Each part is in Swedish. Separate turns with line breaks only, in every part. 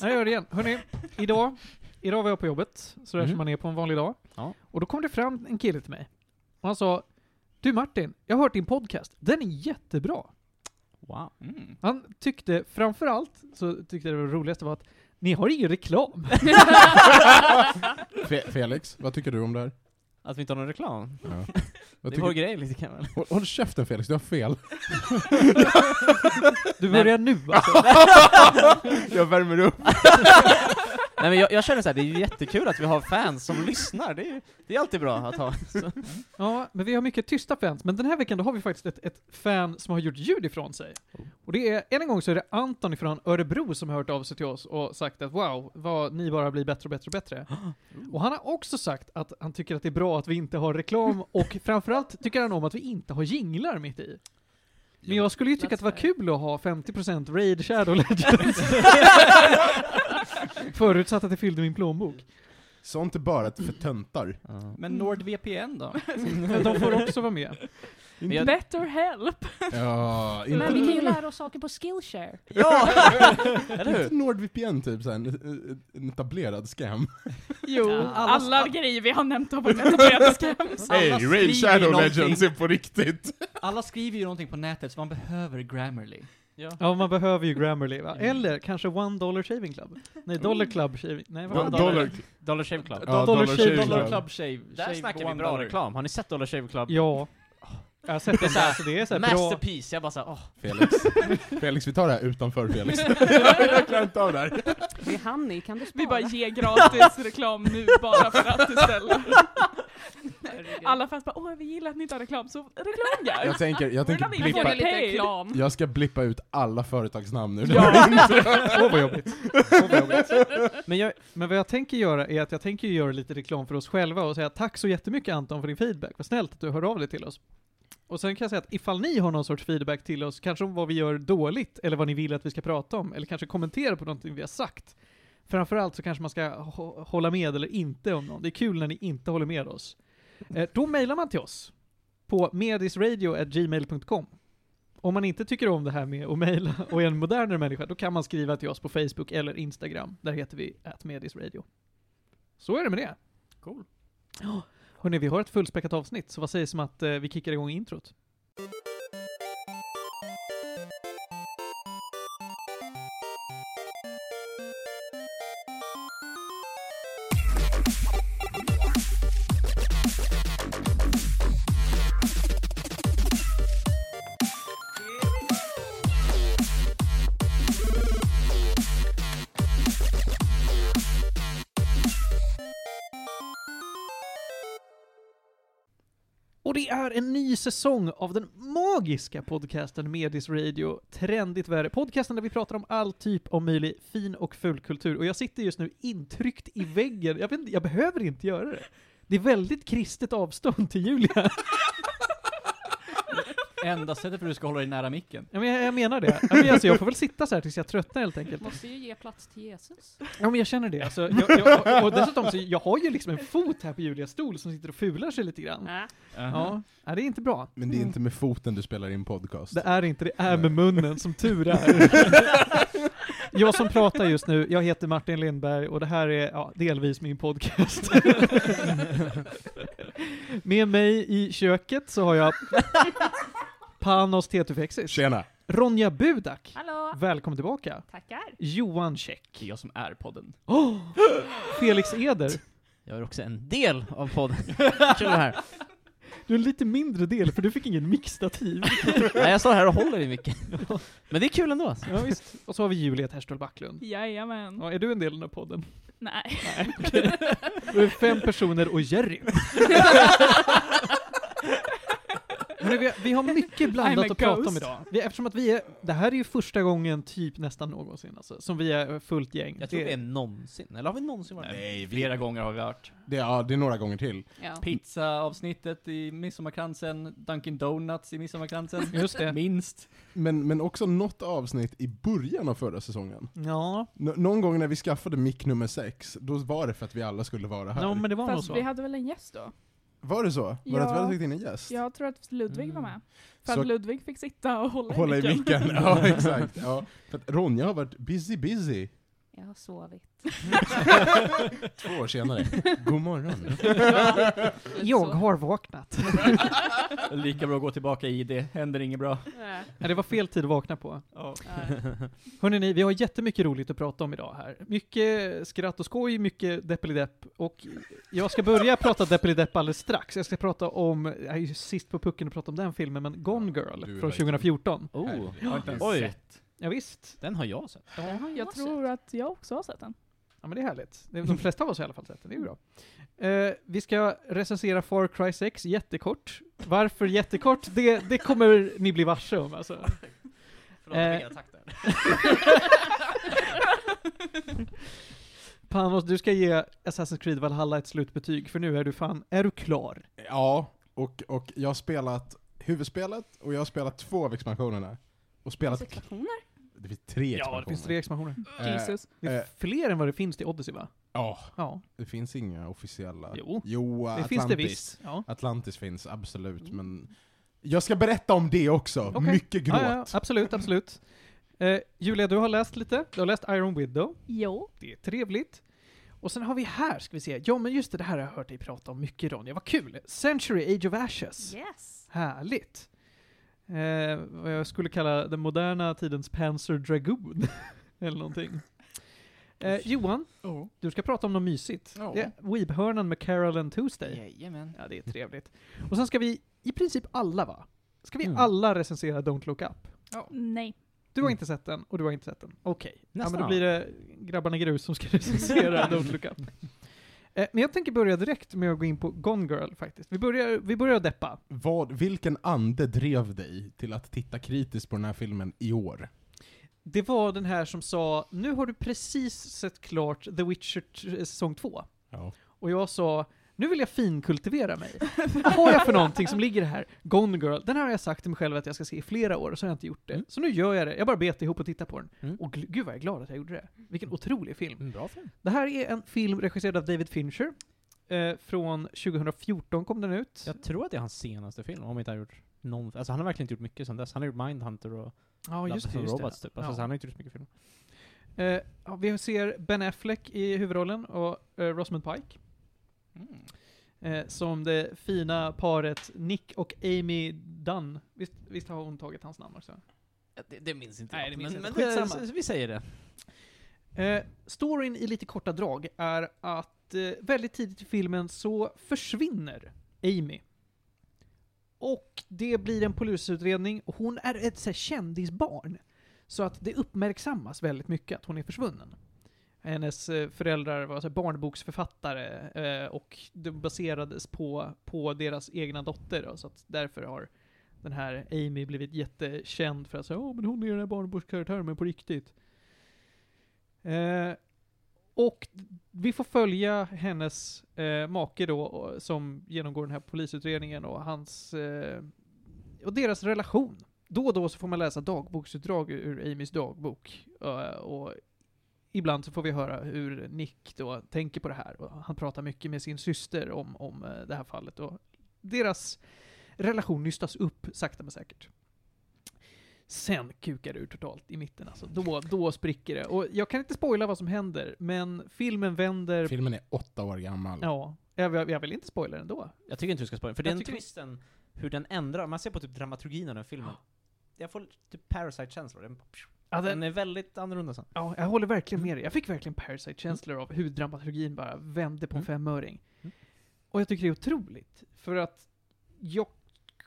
Jag gör det igen. Hörni, idag, idag var jag på jobbet, sådär
Mm.
som man är på en vanlig dag.
Ja.
Och då kom det fram en kille till mig. Och han sa Du Martin, jag har hört din podcast. Den är jättebra.
Wow.
Mm.
Han tyckte framförallt, så tyckte det var roligaste var att ni har ingen reklam.
Fe- Felix, vad tycker du om det här?
Att vi inte har någon reklam.
Ja.
Det
Vad
är vår
tycker...
grej lite grann.
håll, håll käften Felix, du har fel.
Du börjar nu alltså.
jag värmer upp. Nej men jag, jag känner så här, det är ju jättekul att vi har fans som lyssnar. Det är, ju- det är alltid bra att ha. Så.
Ja, men vi har mycket tysta fans. Men den här veckan då har vi faktiskt ett, ett fan som har gjort ljud ifrån sig. Och det är, än en gång så är det Anton ifrån Örebro som har hört av sig till oss och sagt att wow, vad ni bara blir bättre och bättre och bättre. Och han har också sagt att han tycker att det är bra att vi inte har reklam och framförallt tycker han om att vi inte har jinglar mitt i. Men jag skulle ju tycka att det var kul att ha 50% Raid Shadow Legends. Förutsatt att det fyllde min plånbok.
Sånt är bara för töntar.
Men NordVPN då?
Men de får också vara med.
Men jag-
Better help.
Ja,
Men vi
inte,
kan ju lära oss saker på Skillshare.
Ja! Eller hur?
inte NordVPN typ, såhär, en, en- en etablerad scam.
Jo,
Ja.
alla, grejer vi har nämnt har varit etablerade scams.
Alla skriver ju någonting.
är på riktigt.
Alla skriver ju någonting på nätet, så man behöver Grammarly.
Ja.
Ja, man behöver ju Grammarly va?
Mm.
Eller kanske One Dollar Shaving Club? Nej, Dollar Club Shaving... Nej, vad var
Oh. One
det?
dollar. Dollar Shave Club.
Dollar
Ja, Dollar
Shave
Shave
Club.
Dollar
Dollar
Club Shave.
Där snackar vi bra reklam. Har ni sett Dollar Shave Club?
Ja. Jag har sett
Det är
den
så här,
där, så det är så här bra...
Masterpiece. Jag bara såhär, åh.
Felix. Felix, vi tar det här utanför Felix. jag klarar inte av det här.
Det är Hanni, kan du spara?
Vi bara ger gratis reklam nu bara för att istället. Alla fans bara åh vi gillar att ni inte har reklam, så reklam
Jag
guys!
tänker, jag tänker
Redan innan
blippa,
får ni
lite
Paid.
reklam.
jag ska blippa ut alla företagsnamn nu.
Åh vad jobbigt. Åh, vad jobbigt. Men, jag, men vad jag tänker göra är att jag tänker ju göra lite reklam för oss själva och säga tack så jättemycket Anton för din feedback. Vad snällt att du hör av dig till oss. Och sen kan jag säga att ifall ni har någon sorts feedback till oss, kanske om vad vi gör dåligt, eller vad ni vill att vi ska prata om, eller kanske kommentera på någonting vi har sagt. Framförallt så kanske man ska hå- hålla med eller inte om någon. Det är kul när ni inte håller med oss. Eh, Då mejlar man till oss på medisradio.gmail.com. Om man inte tycker om det här med att mejla och är en modernare människa, då kan man skriva till oss på Facebook eller Instagram. Där heter vi @medisradio. Så är det med det.
Cool.
Ja. Hörrni, vi har ett fullspäckat avsnitt, så vad sägs om att eh, vi kickar igång introt? Och det är en ny säsong av den magiska podcasten Medis Radio, Trendigt Värre. Podcasten där vi pratar om all typ av möjlig fin och full kultur. Och jag sitter just nu intryckt i väggen. Jag, vet, inte- jag behöver inte göra det. Det är väldigt kristet avstånd till Julia.
Enda sättet för att du ska hålla dig nära micken.
Ja, men jag, jag menar det. Ja, men alltså, jag får väl sitta så här tills jag tröttnar helt enkelt.
Måste ju ge plats till Jesus.
Ja men jag känner det. Alltså, jag, jag, och dessutom så jag har ju liksom en fot här på Julias stol som sitter och fular sig lite grann.
Nej.
Ja, ja det är inte bra.
Men det är inte med foten du spelar in podcast.
Det är inte, det är med munnen som tur är. Jag som pratar just nu, jag heter Martin Lindberg och det här är ja, delvis min podcast. Med mig i köket så har jag Panos Tetufexis,
Tjena!
Ronja Budak,
Hallå!
välkommen tillbaka,
Tackar!
Johan Käck,
Det är jag som är podden.
Felix Eder,
Jag är också en del av podden. Kul det här.
du är en lite mindre del för du fick ingen mixtativ.
Nej, jag står här och håller i micken. Men det är kul ändå. alltså.
Ja, visst. Och så har vi Julia Terstol Backlund.
Jajamän.
Ja, är du en del av den här podden?
Nej.
Det är fem personer och Jerry. Men vi, vi har mycket
I'm
blandat
a
att prata om
ghost.
idag. Vi, eftersom att vi är, det här är ju första gången typ nästan någonsin alltså, som vi är fullt gäng.
Jag tror
det
det är någonsin. Eller har vi någonsin varit med?
Nej, flera gånger har vi hört.
Det, ja, det är några gånger till.
Ja.
Pizza-avsnittet i Midsommarkransen, Dunkin' Donuts i Midsommarkransen.
Just det.
Minst.
Men, men också något avsnitt i början av förra säsongen.
Ja,
N- någon gång när vi skaffade mick nummer sex, då var det för att vi alla skulle vara här.
ja, men det var nog
Fast vi
så.
hade väl en gäst då?
Var det så? Var det att vi
Ja.
hade tagit in en gäst?
Jag tror att Ludvig var med. För
Så-
att Ludvig fick sitta och hålla,
Hålla i micken, ja exakt. Ja. För att Ronja har varit busy busy.
Jag har sovit.
Två år senare. God morgon.
Jag
Så.
har vaknat.
Lika bra att gå tillbaka i det, händer inget bra.
Nej.
Nej, det var fel tid att vakna på.
Ja.
Nej.
Hörrni, ni, vi har jättemycket roligt att prata om idag här. Mycket skratt och skoj, mycket deppelidepp. Och jag ska börja prata deppelidepp alldeles strax. Jag ska prata om, jag är ju sist på pucken att prata om den filmen, men Gone
Du är
Girl från
verkligen-
2014.
Oh,
Jag har inte ens
Oj.
sett.
Ja, visst.
den har jag sett.
Den har
Jag tror att jag också har sett den.
Ja men det är härligt. Det är de flesta av oss i alla fall sett den, det är ju bra. Eh, vi ska recensera Far Cry 6 jättekort. Varför jättekort? Det, det kommer ni bli varse om alltså.
Förlåt,
Eh.
jag fick en attack där.
Panos, du ska ge Assassin's Creed Valhalla ett slutbetyg, för nu är du fan, är du klar?
Ja, och, och jag har spelat huvudspelet och jag har spelat två av expansionerna. Och spelat...
Situationer?
Det finns tre
Ja,
expansioner.
det finns tre expansioner.
Eh,
Jesus.
Det är
Eh.
fler än vad det finns till Odyssey va?
Ja,
Ja.
det finns inga officiella.
Jo.
Jo,
Det
Ah, Atlantis.
finns det visst. Ja.
Atlantis finns, absolut. Men jag ska berätta om det också.
Okej.
Mycket gråt.
Ja, ja, absolut, absolut. Eh, Julia, du har läst lite. Du har läst Iron Widow.
Jo.
Det är trevligt. Och sen har vi här, ska vi se. Ja, men just det, det här har jag hört dig prata om mycket Ronja. Vad kul! Century Age of Ashes.
Yes.
Härligt. Eh, vad jag skulle kalla den moderna tidens Panzer Dragoon. Eller någonting. Eh, Johan,
oh,
du ska prata om något mysigt.
Ja.
Det är Weebhörnan med Carol and Tuesday.
Jajamän.
Ja, det är trevligt. Och sen ska vi, i princip alla va? Ska vi
Mm.
alla recensera Don't Look Up?
Nej.
Du har
Mm.
inte sett den, och du har inte sett den. Okej. Ja,
Nästan
men då
alla.
blir det grabbarna grus som ska recensera Don't Look Up. Eh, Men jag tänker börja direkt med att gå in på Gone Girl faktiskt. Vi börjar, vi börjar deppa.
Vad, vilken ande drev dig till att titta kritiskt på den här filmen i år?
Det var den här som sa, nu har du precis sett klart The Witcher t- säsong 2.
Ja.
Och jag sa, nu vill jag finkultivera mig. Vad har jag för någonting som ligger här? Gone Girl, den här har jag sagt till mig själv att jag ska se i flera år, och så har jag inte gjort det.
Mm.
Så nu gör jag det, jag bara bet ihop och tittar på den.
Mm.
Och gl- gud vad jag är glad att jag gjorde det. Vilken otrolig film.
Bra film.
Det här är en film regisserad av David Fincher. Eh, från 2014 kom den ut.
Jag tror att det är hans senaste film, om inte han har gjort någon... Alltså han har verkligen inte gjort mycket sedan dess. Han har gjort Mindhunter och
Ja, just det. Just
Love and
det.
Robots typ. Alltså,
Ja.
så han har inte gjort så mycket film.
Eh, ja, vi ser Ben Affleck i huvudrollen och eh, Rosamund Pike.
Mm.
Eh, som det fina paret Nick och Amy Dunn. Visst, visst har hon tagit hans namn också?
Det, det minns inte
Nej,
jag.
det minns
men,
inte.
Men
Skitsamma.
det, vi säger det.
Eh, storyn i lite korta drag är att eh, väldigt tidigt i filmen så försvinner Amy. Och det blir en polisutredning och hon är ett så här, kändisbarn. Så att det uppmärksammas väldigt mycket att hon är försvunnen. Hennes eh, föräldrar var så här, barnboksförfattare eh, och det baserades på, på deras egna dotter. Då, så att därför har den här Amy blivit jättekänd för att säga oh, men hon är den här barnbokskaraktären men på riktigt. Eh, och vi får följa hennes eh, make då, och- som genomgår den här polisutredningen och hans... Eh, och deras relation. Då och då så får man läsa dagboksutdrag ur Amys dagbok. eh, och ibland så får vi höra hur Nick då tänker på det här. Och han pratar mycket med sin syster om, om eh, det här fallet. Och deras relation nystas upp sakta men säkert. Sen kukar det ur totalt i mitten alltså. Då, då spricker det. Och jag kan inte spoila vad som händer, men filmen vänder...
Filmen är åtta år gammal.
ja, jag, jag- jag vill inte spoila den då.
Jag tycker inte du ska spoila, för
Jag
den
tycker-
twisten, hur den ändrar, man ser på typ dramaturgin av den filmen. Jag får typ Parasite-känslor. Den,
Ja,
den
den,
är väldigt annorlunda sen.
ja, jag håller verkligen
Mm.
med dig. Jag fick verkligen Parasite-känslor av hur dramaturgin bara vände på en
Mm.
femöring.
Mm.
Och jag tycker det är otroligt, för att jag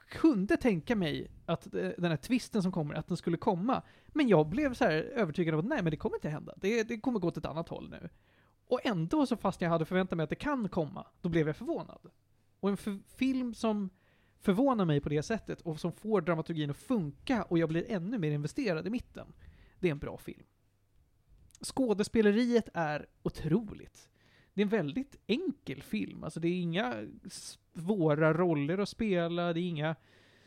kunde tänka mig att eh, den här twisten som kommer, att den skulle komma. Men jag blev så här övertygad om att nej, men det kommer inte hända. Det, det kommer gå åt ett annat håll nu. Och ändå, så fast jag hade förväntat mig att det kan komma, då blev jag förvånad. Och en f- film som förvånar mig på det sättet och som får dramaturgin att funka och jag blir ännu mer investerad i mitten, det är en bra film. Skådespeleriet är otroligt. Det är en väldigt enkel film. Alltså det är inga svåra roller att spela, det är inga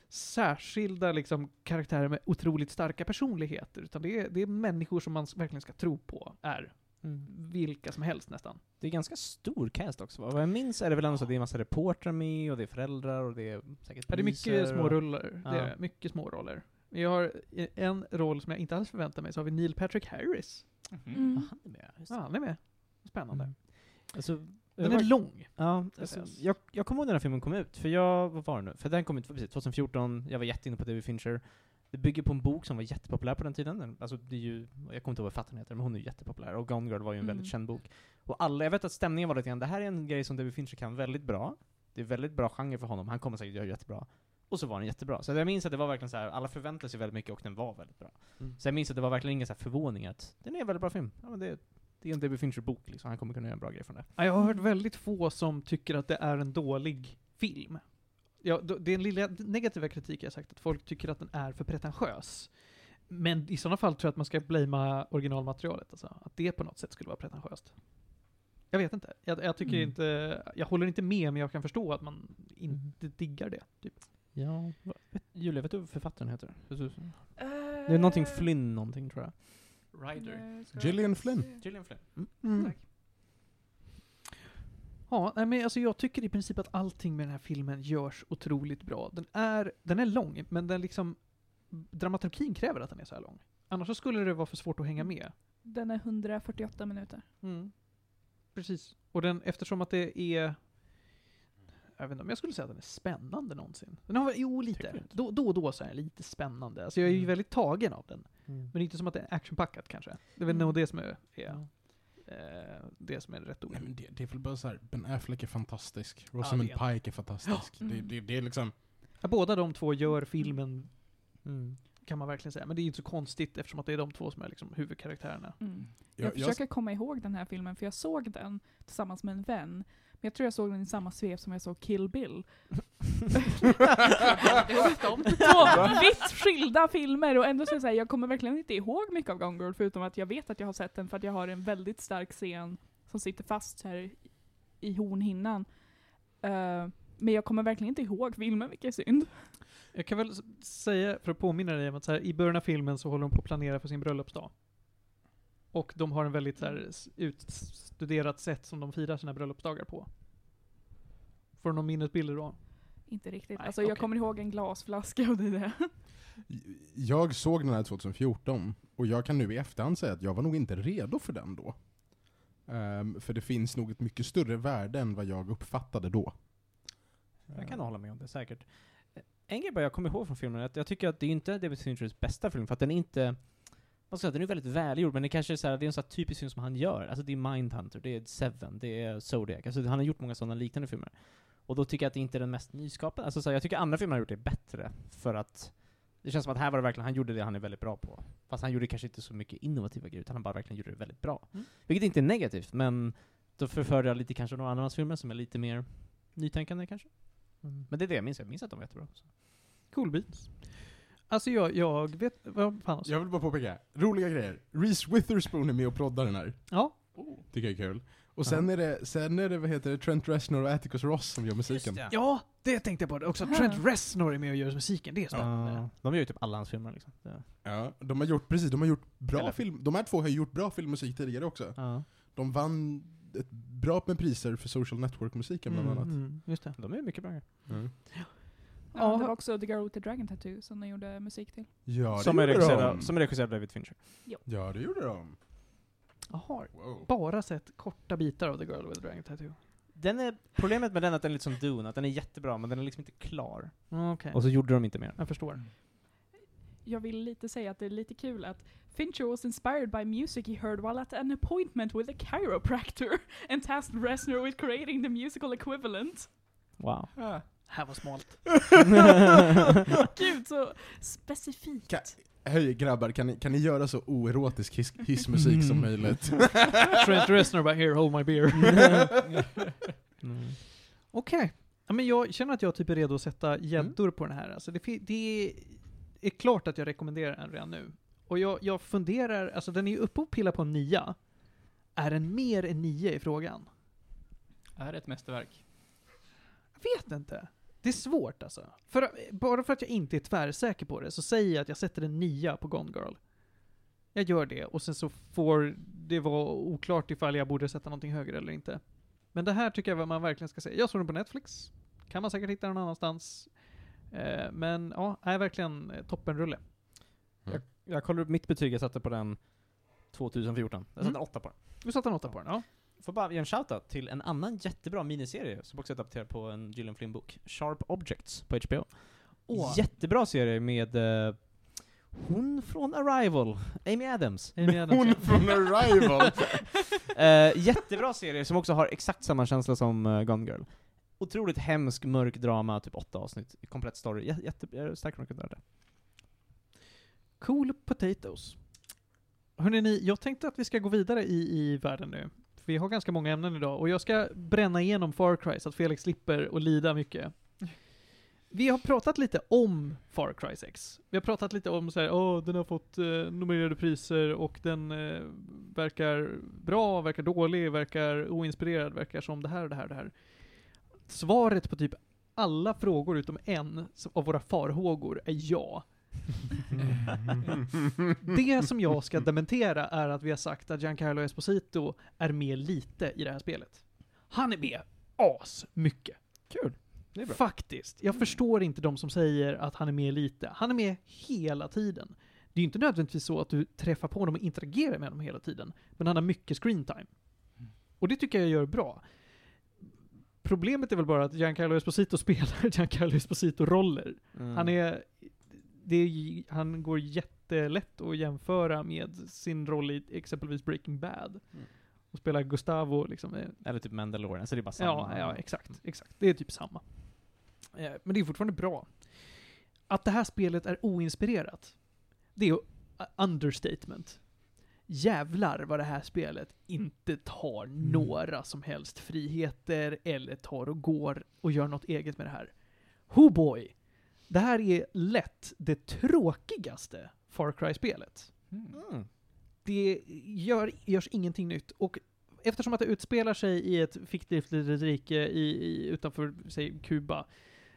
särskilda liksom, karaktärer med otroligt starka personligheter, utan det är, det är människor som man s- verkligen ska tro på är
Mm.
vilka som helst nästan.
Det är ganska stor cast också va? Vad jag minns är det väl ändå så att det är en massa reportrar med, och det är föräldrar, och det är säkert
Ja, det är
poliser
mycket små
och-
roller. Det är
Ja.
mycket små roller. Vi har en roll som jag inte alls förväntar mig, så har vi Neil Patrick Harris.
Mm.
Han är med, just
Ja,
det.
han är med. Spännande.
Mm. Alltså,
Den är lång.
Ja, alltså,
känns-
jag, jag kommer ihåg när den här filmen kom ut, för jag, vad var det nu? För den kom ut precis 2014, jag var jätteinne på David Fincher. Det bygger på en bok som var jättepopulär på den tiden. Den- Alltså, det är ju, jag kommer inte ihåg vad författaren heter, men hon är ju jättepopulär. Och Gone Girl var ju en
Mm.
väldigt känd bok. Och alla, jag vet att stämningen var lite grann, det här är en grej som David Fincher kan väldigt bra. Det är väldigt bra genre för honom, han kommer säkert göra jättebra. Och så var den jättebra. Så jag minns att det var verkligen så här, alla förväntade sig väldigt mycket och den var väldigt bra.
Mm.
Så jag minns att det var verkligen ingen så här förvåning att den är en väldigt bra film. Ja, men det, det är en David Fincher-bok liksom, han kommer kunna göra en bra grej från det.
Ja, Jag har hört väldigt få som tycker att det är en dålig film. Ja, då- det är en lilla negativa kritik jag sagt, att folk tycker att den är för pretentiös. Men i sådana fall tror jag att man ska blamea originalmaterialet, alltså. Att det på något sätt skulle vara pretentiöst. Jag vet inte. Jag, jag tycker
Mm.
inte, jag håller inte med, men jag kan förstå att man inte diggar det. Typ.
Ja, vad- vet, Julia, vet du vad författaren heter? Det är någonting Flynn någonting tror jag.
Eh,
Rider.
Gillian Flynn.
Gillian Flynn.
Tack.
Ja, nej, men alltså jag tycker i princip att allting med den här filmen görs otroligt bra. Den är, den är lång, men den liksom... Dramaturgin kräver att den är så här lång. Annars så skulle det vara för svårt att hänga med.
Den är 148 minuter.
Precis. Och den, eftersom att det är... Jag vet inte om jag skulle säga att den är spännande någonsin. Den har, jo,
Tycker du
lite.
inte?
Då, då och då så är den lite spännande. Alltså jag är ju
Mm.
väldigt tagen av den.
Mm.
Men det är inte som att det är actionpackat kanske. Det är väl
Mm.
nog det som är, är eh, det som är rätt ord.
Nej, men det, det är väl bara såhär, Ben Affleck är fantastisk,
Rosamund
Rosamund Pike är fantastisk.
Mm.
Ja.
Det, det, det är liksom...
Ja, båda de två gör filmen,
Mm.
kan man verkligen säga. Men det är ju inte så konstigt eftersom att det är de två som är liksom huvudkaraktärerna.
Mm. Jag,
Jag, jag,
försöker komma ihåg den här filmen, för jag såg den tillsammans med en vän. Men jag tror jag såg den i samma svep som jag såg Kill Bill. Två vitt skilda filmer och ändå så är det så här, jag kommer verkligen inte ihåg mycket av Gone Girl förutom att jag vet att jag har sett den för att jag har en väldigt stark scen som sitter fast här i- i hornhinnan. Eh, men jag kommer verkligen inte ihåg filmen, vilket är synd.
Jag kan väl s- säga, för att påminna dig om att så här, i början av filmen så håller de på att planera för sin bröllopsdag. Och de har en väldigt så här, s- utstuderat sätt som de firar sina bröllopsdagar på. Får du någon minnesbilder då?
Inte riktigt.
Nej,
alltså jag
okej.
kommer ihåg en glasflaska och det är det.
jag såg den här 2014, och jag kan nu i efterhand säga att jag var nog inte redo för den då. Ehm, för det finns nog ett mycket större värde än vad jag uppfattade då.
Jag kan hålla med om det säkert. Eh, En grej bara jag kommer ihåg från filmen, är att jag tycker att det är inte David Finchers bästa film, för att den är inte vad ska jag säga, den är väldigt välgjord, men det kanske är så här, det är en sån här typisk film som han gör. Alltså det är Mindhunter, det är Seven, det är Zodiac. Alltså han har gjort många sådana liknande filmer. Och då tycker jag att det inte är den mest nyskapande. Alltså så här, jag tycker andra filmer han har gjort är bättre, för att det känns som att här var det verkligen, han gjorde det han är väldigt bra på. Fast han gjorde kanske inte så mycket innovativa grejer, utan han bara verkligen gjorde det väldigt bra.
Mm.
Vilket inte är negativt, men då förförde jag lite kanske några andra av hans filmer som är lite mer nytänkande kanske.
Mm.
Men det är det jag minns, jag minns att de var jättebra. Så.
Cool beans. Alltså jag, jag vet, vad fan
Jag vill bara påpeka, roliga grejer. Reese Witherspoon är med och proddar den här.
Ja,
Tycker jag är kul. Och sen är det, sen är det vad heter det, Trent Reznor och Atticus Ross som gör musiken.
ja, det tänkte jag på också.
Aha.
Trent Reznor är med och gör musiken, det är spännande.
Ja, de gör ju typ alla hans filmer liksom. Ja.
Ja, de har gjort, precis, de har gjort bra
Eller-
film, de här två har gjort bra filmmusik tidigare också.
Ja.
De vann ett bra med priser för social network-musiken bland
Mm,
annat.
mm, just det.
De är mycket bra.
Ja,
Ja.
Det var också The Girl with the Dragon Tattoo som de gjorde musik till.
Ja, det
som, är
gjorde
regisserad, av-
de.
som är regisserad av David Fincher.
Ja, det gjorde de.
Jaha,
Wow.
bara sett korta bitar av The Girl with the Dragon Tattoo.
Den är, problemet med den är att den är lite som Dune, att den är jättebra men den är liksom inte klar.
Okej,
Och så gjorde de inte mer.
jag förstår.
jag vill lite säga att det är lite kul att Fincher was inspired by music he heard while at an appointment with a chiropractor and tasked Reznor with creating the musical equivalent.
Wow.
Här var smalt.
Gud, så specifikt.
Ka- Hej grabbar, kan ni, kan ni göra så oerotisk his, hissmusik som möjligt?
Trent Reznor bara “Here, hold my beer”.
Mm.
Okej. Ja, men jag känner att jag typ är redo att sätta gäddor på den här. Alltså det, fi- det är klart att jag rekommenderar den redan nu. Och jag, jag funderar, alltså den är ju uppe och pillar på en nia. Är den mer än nio i frågan?
Är det ett mästerverk?
Jag vet inte. Det är svårt alltså. För, bara för att jag inte är tvärsäker på det så säger jag att jag sätter en nia på Gone Girl. Jag gör det och sen så får det vara oklart ifall jag borde sätta någonting högre eller inte. Men det här tycker jag man verkligen ska se. Jag såg den på Netflix. Kan man säkert hitta någon annanstans. Eh, men ja, är verkligen eh, toppenrulle.
Jag kollar upp mitt betyg jag satte på den 2014. Jag satte
Mm.
en åtta på den.
Du satte en åtta på den, ja.
Får bara ge en shoutout till en annan jättebra miniserie som också är adapterad på en Gillian Flynn-bok. Sharp Objects på HBO.
Åh.
Jättebra serie med eh, hon från Arrival, Amy Adams.
Amy Adams,
Hon
ja.
från Arrival!
Eh, jättebra serie som också har exakt samma känsla som eh, Gone Girl. Otroligt hemsk, mörk drama, typ åtta avsnitt. Komplett story. Jä- jätte, jag är starkt rekommenderad.
Cool potatoes. Hörrni, ni, jag tänkte att vi ska gå vidare i, i världen nu. För Vi har ganska många ämnen idag och jag ska bränna igenom Far Cry så att Felix slipper och lida mycket. Vi har pratat lite om Far Cry 6. Vi har pratat lite om så här, åh, den har fått eh, nominerade priser och den eh, verkar bra, verkar dålig, verkar oinspirerad, verkar som det här och det här och det här. Svaret på typ alla frågor utom en som- av våra farhågor är ja.
Mm.
Det som jag ska dementera är att vi har sagt att Giancarlo Esposito är med lite i det här spelet. Han är med as mycket.
Kul. Det är bra. Mm.
Faktiskt. Jag förstår inte de som säger att han är med lite. Han är med hela tiden. Det är ju inte nödvändigtvis så att du träffar på honom och interagerar med honom hela tiden. Men han har mycket screen time.
Mm.
Och det tycker jag gör bra. Problemet är väl bara att Giancarlo Esposito spelar Giancarlo Esposito-roller.
Mm.
Han är... Det är, ju- han går jättelätt att jämföra med sin roll i exempelvis Breaking Bad.
Mm.
Och spelar Gustavo liksom. eh,
Eller typ Mandalorian, så det är bara
Ja,
samma.
ja, exakt. Exakt. Det är typ samma. Eh, Men det är fortfarande bra. Att det här spelet är oinspirerat, det är ju eh, understatement. Jävlar vad det här spelet inte tar
Mm.
några som helst friheter eller tar och går och gör något eget med det här. Ho boy! Det här är lätt det tråkigaste Far Cry-spelet
Mm.
det gör, görs ingenting nytt. Och eftersom att det utspelar sig i ett fiktivt litet rike i, i, utanför, säg Kuba,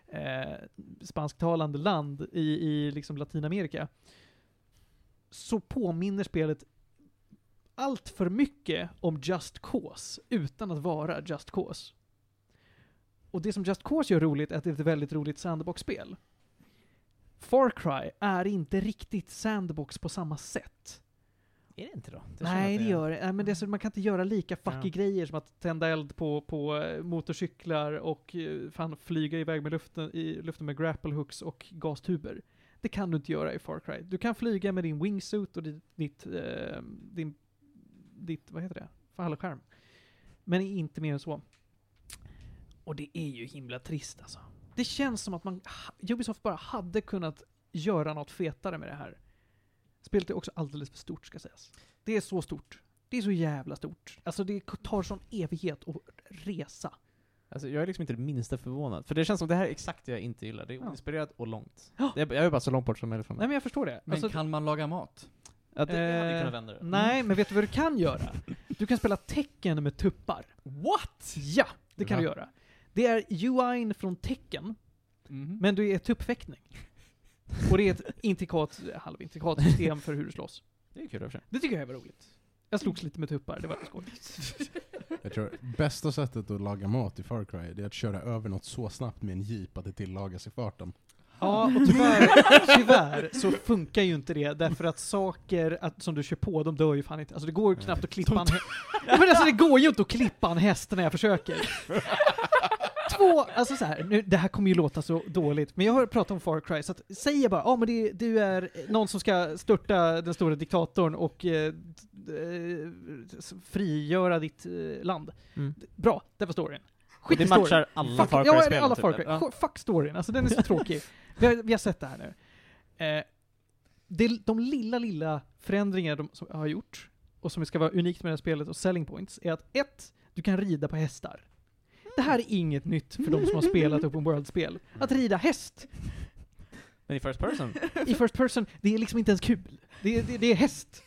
eh, spansktalande land i, i liksom Latinamerika, så påminner spelet allt för mycket om Just Cause, utan att vara Just Cause. Och det som Just Cause gör roligt är att det är ett väldigt roligt sandbox-spel. Far Cry är inte riktigt sandbox på samma sätt.
Är det inte då? Det känns
Nej,
att
det gör det. Nej, men det är så, man kan inte göra lika fucky
Ja.
grejer som att tända eld på, på eh, motorcyklar och eh, fan flyga iväg med luften, i luften med grapple hooks och gastuber. Det kan du inte göra i Far Cry. Du kan flyga med din wingsuit och ditt, ditt, eh, din, ditt vad heter det? Fallskärm. Men inte mer än så. Och det är ju himla trist alltså. Det känns som att man, Ubisoft bara hade kunnat göra något fetare med det här. Spelet är också alldeles för stort ska sägas. Det är så stort. Det är så jävla stort. Alltså det tar sån evighet att resa.
Alltså, jag är liksom inte det minsta förvånad. För det känns som det här är exakt det jag inte gillar. Det är
Ja.
oinspirerat och långt.
Ja.
Det är, jag är bara så långt bort som möjligt från det.
Nej men jag förstår det.
Men
Alltså,
kan man laga mat?
Ja, det jag hade
eh,
ju kunnat vända det.
Nej, men vet du vad du kan göra? Du kan spela tecken med tuppar. What? Ja, det kan du
Va?
göra. Det är UI'n från tecken,
Mhm.
men du är tuppfäktning. Och det är ett intrikat, halvintrikat system för hur du slåss.
Det är kul i och för sig.
Det tycker jag var roligt. Jag slogs lite med tuppar, det var skoj.
Jag tror bästa sättet att laga mat i Far Cry det är att köra över något så snabbt med en jeep att det tillagas i farten.
Ja, och tyvärr, tyvärr så funkar ju inte det därför att saker att, som du kör på, de dör ju fan inte. Alltså det går ju knappt att klippa en häst. Men alltså det går ju inte att klippa en häst när jag försöker. Två, alltså så här, nu, det här kommer ju låta så dåligt, men jag har pratat om Far Cry, så att, säg bara ja men det, du är någon som ska störta den stora diktatorn och eh, d- eh, s- frigöra ditt eh, land.
Mm.
D- Bra, där var storyn.
Och
Skit i
det
storyn.
matchar alla
Fuck,
Far
ja,
Cry-spel.
det är alla
typ.
Far Cry.
Ja.
Sk- Fuck storyn, alltså den är så tråkig. Vi har, vi har sett det här nu. Eh, det, de lilla, lilla förändringar de som jag har gjort, och som ska vara unikt med det här spelet och selling points, är att ett, Du kan rida på hästar. Det här är inget nytt för de som har spelat Open World-spel. Att rida häst
Men i First Person?
i First Person, det är liksom inte ens kul. Det, är- det, det är häst.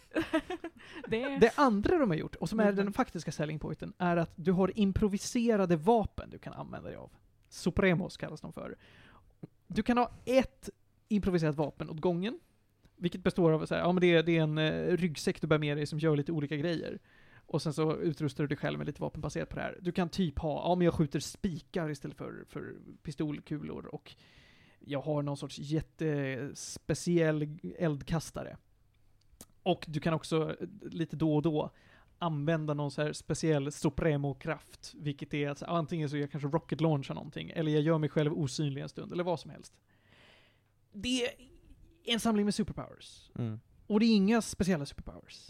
Det är...
Det andra de har gjort, och som är den faktiska selling pointen, är att du har improviserade vapen du kan använda dig av. Supremos kallas de för. Du kan ha ett improviserat vapen åt gången, vilket består av så här, ja, men det, är, det är en eh, ryggsäck du bär med dig som gör lite olika grejer. Och sen så utrustar du dig själv med lite vapen baserat på det här. Du kan typ ha, ja men jag skjuter spikar istället för, för pistolkulor och jag har någon sorts jättespeciell eldkastare. Och du kan också eh, lite då och då använda någon så här speciell Supremo-kraft, vilket är att så- antingen så gör jag kanske rocket launchar någonting, eller jag gör mig själv osynlig en stund, eller vad som helst. Det är en samling med superpowers.
Mm.
Och det är inga speciella superpowers.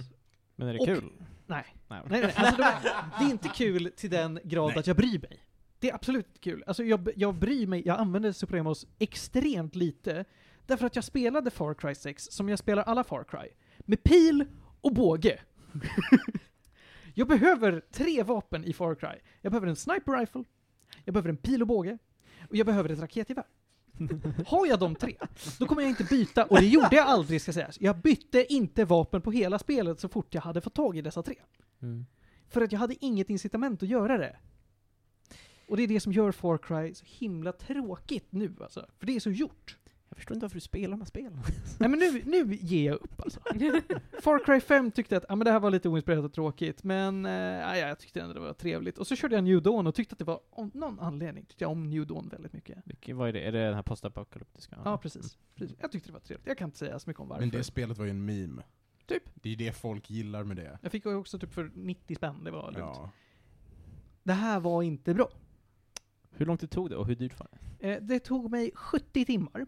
Men är det
Och-
kul?
Nej.
Nej.
Nej, nej, alltså de är, det är inte kul till den grad att jag bryr mig. Det är absolut inte kul. Alltså jag, jag bryr mig, jag använder Supremos extremt lite, därför att jag spelade Far Cry 6 som jag spelar alla Far Cry. Med pil och båge. jag behöver tre vapen i Far Cry. Jag behöver en sniper rifle, jag behöver en pil och båge, och jag behöver ett raketgevär. Har jag de tre, då kommer jag inte byta, och det gjorde jag aldrig ska sägas. Jag bytte inte vapen på hela spelet så fort jag hade fått tag i dessa tre.
Mm.
För att jag hade inget incitament att göra det. Och det är det som gör Far Cry så himla tråkigt nu alltså. För det är så gjort.
Jag förstår inte varför du spelar de här spelen.
Nej men nu, nu ger jag upp alltså. Far Cry 5 tyckte att ah, men det här var lite oinspirerat och tråkigt, men eh, ja, jag tyckte ändå det var trevligt. Och så körde jag New Dawn och tyckte att det var, om någon anledning, tyckte jag om New Dawn väldigt mycket.
Vilket, vad är det? Är det den här postapokalyptiska?
Ja, precis. precis. Jag tyckte det var trevligt. Jag kan inte säga så mycket om varför.
Men det spelet var ju en meme.
Typ.
Det är det folk gillar med det.
Jag fick ju också typ för 90 spänn, det var lugnt.
Ja.
Det här var inte bra.
Hur långt det tog det och hur dyrt var det?
Eh, det tog mig 70 timmar.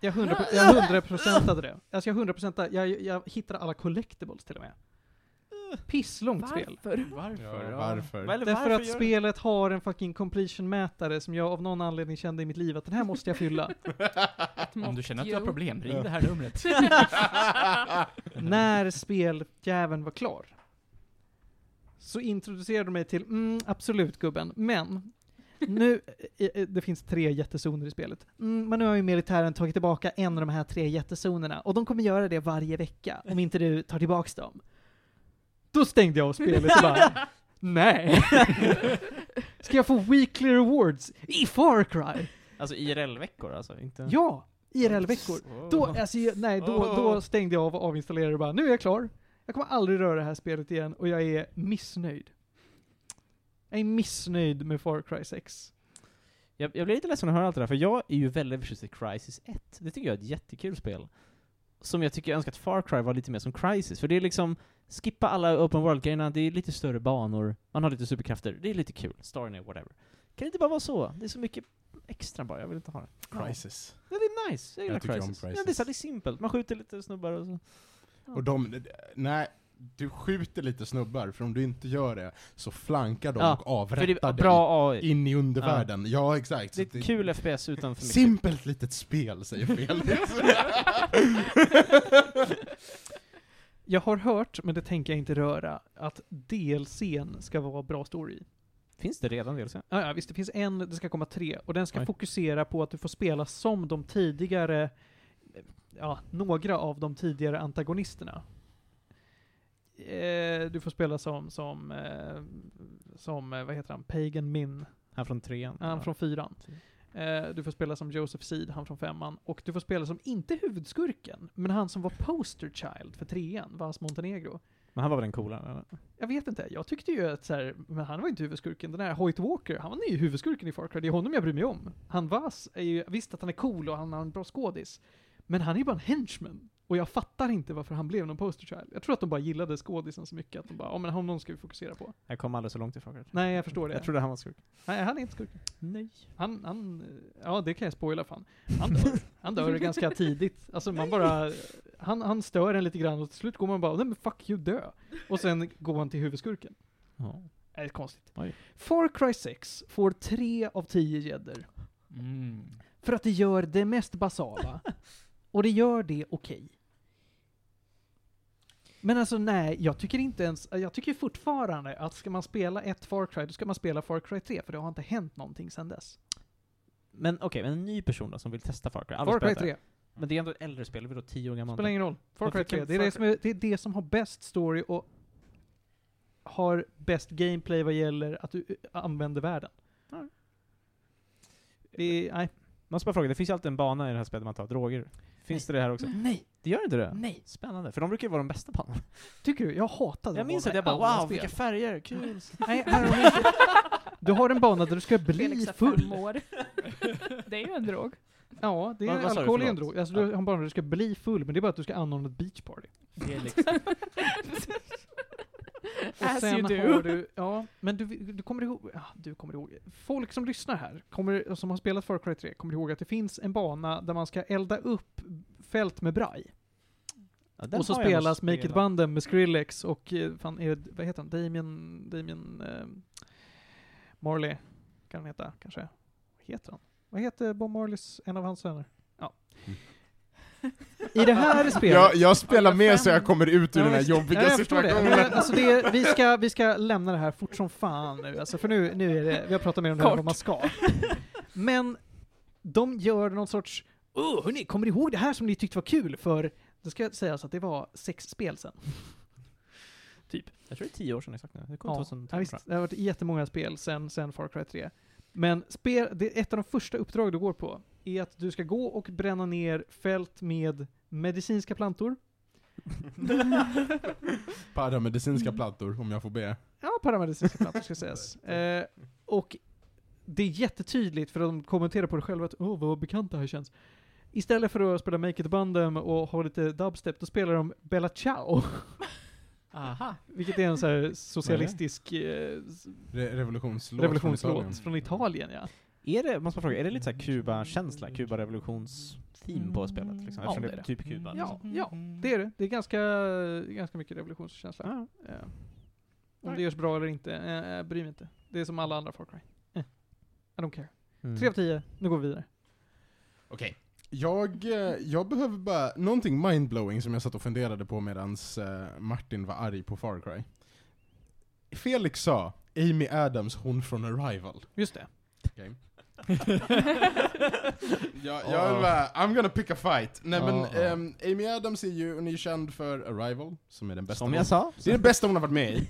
Jag hundra- jag hundraprocentade det. Alltså jag hundraprocentade, jag, jag hittade alla collectibles till och med. Pisslångt spel.
Varför?
Varför?
Ja, varför?
Eller
Därför
varför
att
gör-
spelet har en fucking completion-mätare som jag av någon anledning kände i mitt liv att den här måste jag fylla.
Om du känner att du har problem, ring
Ja.
det här numret.
När speljäveln var klar. Så introducerade de mig till, mm, absolut gubben, men nu, eh, eh, det finns tre jättezoner i spelet. Mm, men nu har ju militären tagit tillbaka en av de här tre jättezonerna och de kommer göra det varje vecka om inte du tar tillbaks dem. Då stängde jag av spelet och bara, nej. Ska jag få weekly rewards i Far Cry?
Alltså IRL-veckor alltså? Inte...
Ja, IRL-veckor. Då, alltså, jag- nej, då, då stängde jag av och avinstallerade och bara, nu är jag klar. Jag kommer aldrig röra det här spelet igen och jag är missnöjd. Jag är missnöjd med Far Cry 6.
Jag, jag blir lite ledsen att höra allt det där, för jag är ju väldigt förtjust i Crisis 1. Det tycker jag är ett jättekul spel. Som jag tycker jag önskar att Far Cry var lite mer som Crisis, för det är liksom, skippa alla open world-grejerna, det är lite större banor, man har lite superkrafter, det är lite kul. Storyn är whatever. Kan det inte bara vara så? Det är så mycket extra bara, jag vill inte ha det.
Crisis.
Ja, det är nice, jag gillar
Jag tycker om
Crisis.
Crysis.
Ja, det är så här, det är simpelt, man skjuter lite snubbar och så.
Och de, nej, du skjuter lite snubbar, för om du inte gör det så flankar de
Ja,
och avrättar
För det är
dig
bra AI.
in i undervärlden. Ja, exakt.
Det är
Så
ett kul FPS utan för mycket.
Simpelt litet spel, säger Felix.
Jag har hört, men det tänker jag inte röra, att DLCn ska vara bra story.
Finns det redan DLC?
Ja, ja, visst, det finns en, det ska komma tre, och den ska
Oj.
fokusera på att du får spela som de tidigare, ja, några av de tidigare antagonisterna. Eh, du får spela som, som, eh, som, eh, vad heter han, Pagan Min,
Han från trean?
han
Ja.
från fyran. Eh, du får spela som Joseph Seed, han från femman, och du får spela som, inte huvudskurken, men han som var poster child för trean, Vas Montenegro.
Men han var väl den coola? Eller?
Jag vet inte, jag tyckte ju att så här, men han var inte huvudskurken. Den här Hoyt Walker, han var ju huvudskurken i Far Cry. Det är honom jag bryr mig om. Han Vaz är ju, visst att han är cool och han har en bra skådis. Men han är ju bara en henchman. Och jag fattar inte varför han blev någon poster child. Jag tror att de bara gillade skådisen så mycket att de bara, ja men honom ska vi fokusera på.
Jag kom aldrig så långt ifrån.
Nej, jag förstår det.
Jag trodde han var skurk.
Nej, han är inte skurken.
Nej.
Han, han, eh, ja det kan jag spoila fan. Han dör, han dör ganska tidigt. Alltså man bara, han, han stör en lite grann och till slut går man bara, nej men fuck you, dö. Och sen går han till huvudskurken.
Ja.
Är det konstigt?
Oj.
Far Cry 6 får 3 av 10 gäddor.
Mm.
För att det gör det mest basala. och det gör det okej. Men alltså nej, jag tycker inte ens, jag tycker fortfarande att ska man spela ett Far Cry, då ska man spela Far Cry 3, för det har inte hänt någonting sedan dess.
Men okej, men en ny person då som vill testa Far Cry? Aldrig
Far Cry
spelat det.
3,
Men det är ändå ett äldre spel, det är då tio år gammalt?
spelar ingen roll. Far Cry
Varför kan
3, det är det,
Far
som är, det är det som har bäst story och har bäst gameplay vad gäller att du eh, använder världen.
Ja.
Det är, nej.
Måste bara fråga, det finns ju alltid en bana i det här spelet man tar droger. Finns det det här också?
Nej,
Det gör inte det?
nej.
Spännande, för de brukar ju vara de bästa banorna.
Tycker du? Jag hatade
Jag minns
att
att jag bara wow, vilka färger, kul!
Nej, här har vi inte. Du har en bana där du ska bli
Felix är
full.
fem år. Det är ju en drog.
Ja, det är
Vad- vad sa du?
alkohol är
Förlåt.
en drog. Alltså, du, han bara du ska bli full, men det är bara att du ska anordna ett beachparty.
Felix.
Och
As
sen
you do.
har du, ja, men du, du kommer ihåg, ja, du kommer ihåg, folk som lyssnar här, kommer, som har spelat Far Cry 3, kommer ihåg att det finns en bana där man ska elda upp fält med braj.
Ja, den
och så
har jag nog
spelas Make It
spelat.
Banden med Skrillex och, eh, fan, är det, vad heter han, Damien, Damien eh, Marley, kan han heta, kanske? Vad heter han? Vad heter Bob Marleys, en av hans söner? Ja. I det här spelet...
Jag, jag spelar
Alla
med
fem.
så jag kommer ut ur
Ja,
den här
visst.
jobbiga
Ja, jag förstår det.
situationen.
Men, alltså det är, vi, ska, vi ska lämna det här fort som fan nu, alltså, för nu, nu är det, vi har pratat mer om det här än vad man ska. Men de gör någon sorts, oh, hörni, kommer ni ihåg det här som ni tyckte var kul? För det ska sägas att det var sex spel sen.
Jag tror det är tio år sedan exakt nu. Det kom
Ja,
2012
ja,
tror
visst,
jag.
det har varit jättemånga spel sen, sen Far Cry 3. Men spel, det, ett av de första uppdrag du går på är att du ska gå och bränna ner fält med medicinska plantor.
Paramedicinska plattor, om jag får be.
Ja, paramedicinska plantor ska sägas. Eh, och det är jättetydligt, för de kommenterar på det själva, att åh vad bekant det här känns. Istället för att spela Make It Bandem och ha lite dubstep, då spelar de Bella Ciao.
Aha.
Vilket är en så här socialistisk eh, s-
Re revolutionslåt. från
revolutionslåt
Italien.
från Italien. Ja.
Är det, måste man fråga, är det lite
Mm.
såhär Kuba-känsla, Kuba-revolutions-theme på spelet? Liksom?
Mm.
Ja,
Eftersom
det är det.
typ Kuba.
Mm. Ja, ja, det är det. Det är ganska, ganska mycket revolutionskänsla. Eh, om det görs bra eller inte, eh, eh, bryr mig inte. Det är som alla andra Far Cry. Eh, I don't care.
Mm.
3 av 10, nu går vi vidare.
Okej. Jag, eh, jag behöver bara, någonting mindblowing som jag satt och funderade på medans eh, Martin var arg på Far Cry. Felix sa Amy Adams, hon från Arrival.
Just det.
Jag, jag vill bara, I'm gonna pick a fight. Nej men,
Ja, ja.
ehm, Amy Adams är ju, hon är ju känd för Arrival, som är den bästa
Som
hon-
jag sa.
Det är den bästa hon har varit med i.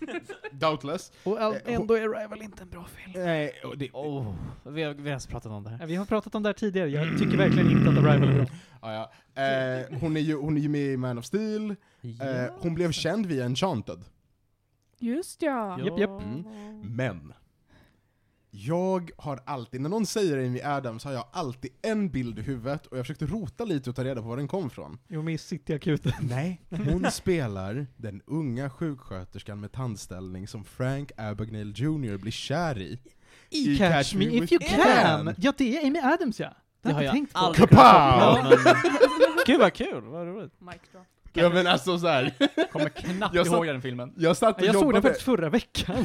Doubtless.
Och all,
Eh, hon-
ändå är Rival inte en bra film.
Nej, och det,
Oh, vi har, vi har alltså pratat om det här.
Ja, Vi har pratat om det här tidigare, jag tycker verkligen inte att Arrival är bra.
ja, ja. Eh, hon, är ju, hon är ju med i Man of Steel, eh, hon blev känd via Enchanted.
Just ja.
Japp, Mm. japp.
Men, jag har alltid, när någon säger Amy Adams har jag alltid en bild i huvudet och jag försökte rota lite och ta reda på var den kom från.
Jo, men i Cityakuten.
Nej, hon spelar den unga sjuksköterskan med tandställning som Frank Abagnale Jr blir kär i.
I Catch, Me If You can. Ja, det är Amy Adams ja. Det,
Det
har
har
jag inte
jag
tänkt på.
aldrig
Kapow!
Gud vad kul, vad roligt.
Mic drop.
Ja men alltså såhär,
Kommer knappt
Jag
ihåg
satt-
den filmen.
jag satt och
Jag såg den
jobbade,
faktiskt förra veckan.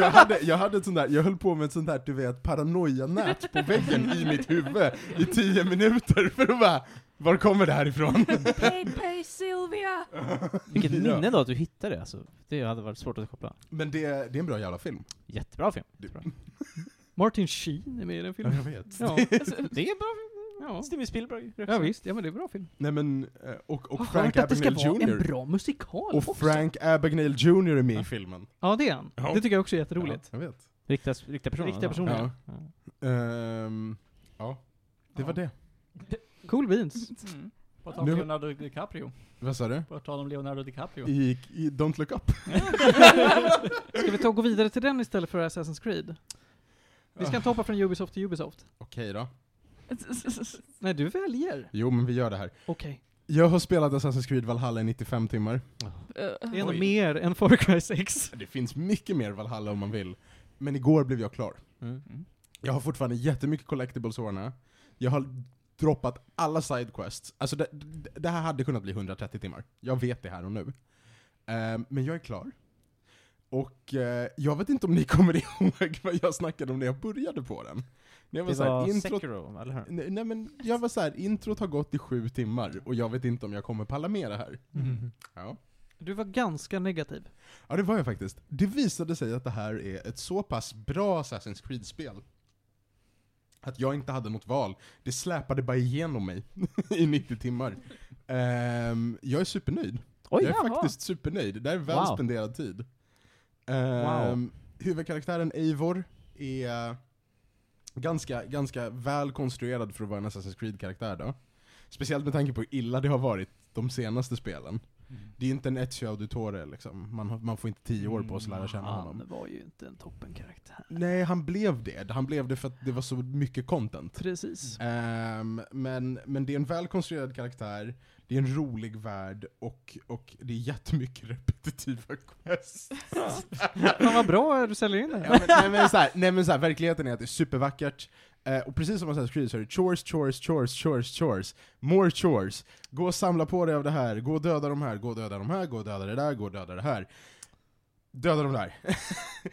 jag hade, jag hade ett sånt där, jag höll på med ett sånt där du vet paranoia-nät på väggen i mitt huvud i tio minuter för att bara, var kommer det här ifrån?
Pay, pay Sylvia!
Vilket
Ja.
minne då att du hittade det alltså. Det hade varit svårt att koppla.
Men det, det är en bra jävla film.
Jättebra film.
Du-
Martin Sheen är med i den filmen.
vet.
Ja,
Det är en bra film.
ja.
Steven Spielberg.
ja visst. Ja men det är en bra film.
Nej men, eh, och,
Jag har
och Frank
hört att det ska
Abagnale
vara en
Jr.
bra musikal
Och
också.
Frank Abagnale Jr är med i filmen.
Ja det är han.
Ja.
Det tycker jag också är jätteroligt.
Ja, jag vet.
Riktiga, riktiga personer.
Riktiga personer.
Ja.
Ja.
Ehm, ja. Det var det.
Cool beans.
Mm. På tal om
Nu-
Leonardo DiCaprio.
Vad sa du?
På tal om Leonardo DiCaprio.
I, i Don't Look Up.
Ska vi ta och gå vidare till den istället för Assassin's Creed? Vi ska inte hoppa från Ubisoft till Ubisoft.
Okej då.
Nej, du väljer.
Jo men vi gör det här.
Okej.
Jag har spelat Assassin's Creed Valhalla i 95 timmar.
Det är ändå
Oj.
mer än Far Cry 6.
Det finns mycket mer Valhalla om man vill. Men igår blev jag klar.
Mm.
Jag har fortfarande jättemycket collectibles att ordna. Jag har droppat alla sidequests. Alltså det, det, det här hade kunnat bli 130 timmar. Jag vet det här och nu. Ehm, men jag är klar. Och eh, jag vet inte om ni kommer ihåg vad jag snackade om när jag började på den. När jag var
Det
så här,
var
introt,
Sekiro, eller hur?
nej, nej men jag var så här, introt har gått i sju timmar och jag vet inte om jag kommer palla med det här.
Mm.
Ja.
Du var ganska negativ.
Ja, det var jag faktiskt. Det visade sig att det här är ett så pass bra Assassin's Creed-spel att jag inte hade något val. Det släpade bara igenom mig i 90 timmar. Ehm, jag är supernöjd.
Oj!
jag är
jaha.
faktiskt supernöjd. Det här är väl
Wow.
spenderad tid. Ehm, Huvudkaraktären Eivor är ganska, ganska väl konstruerad för att vara en Assassin's Creed-karaktär då. Speciellt med tanke på hur illa det har varit de senaste spelen.
Mm.
Det är inte en Ezio Auditore liksom. Man, har- man får inte tio år på sig att lära känna honom.
Han var ju inte en toppenkaraktär.
Nej, han blev det. Han blev det för att det var så mycket content.
Precis.
Ehm, men, men det är en välkonstruerad karaktär, det är en rolig värld och, och det är jättemycket repetitiva quests.
Fan vad bra du säljer in det
Ja,
här.
men, nej men, så här, nej, men så här, verkligheten är att det är supervackert, eh, och precis som man skriver så är det chores, chores, chores, chores, chores, more chores. Gå och samla på dig av det här, gå och döda de här, gå och döda de här, gå och döda det där, gå och döda det här. Döda de där.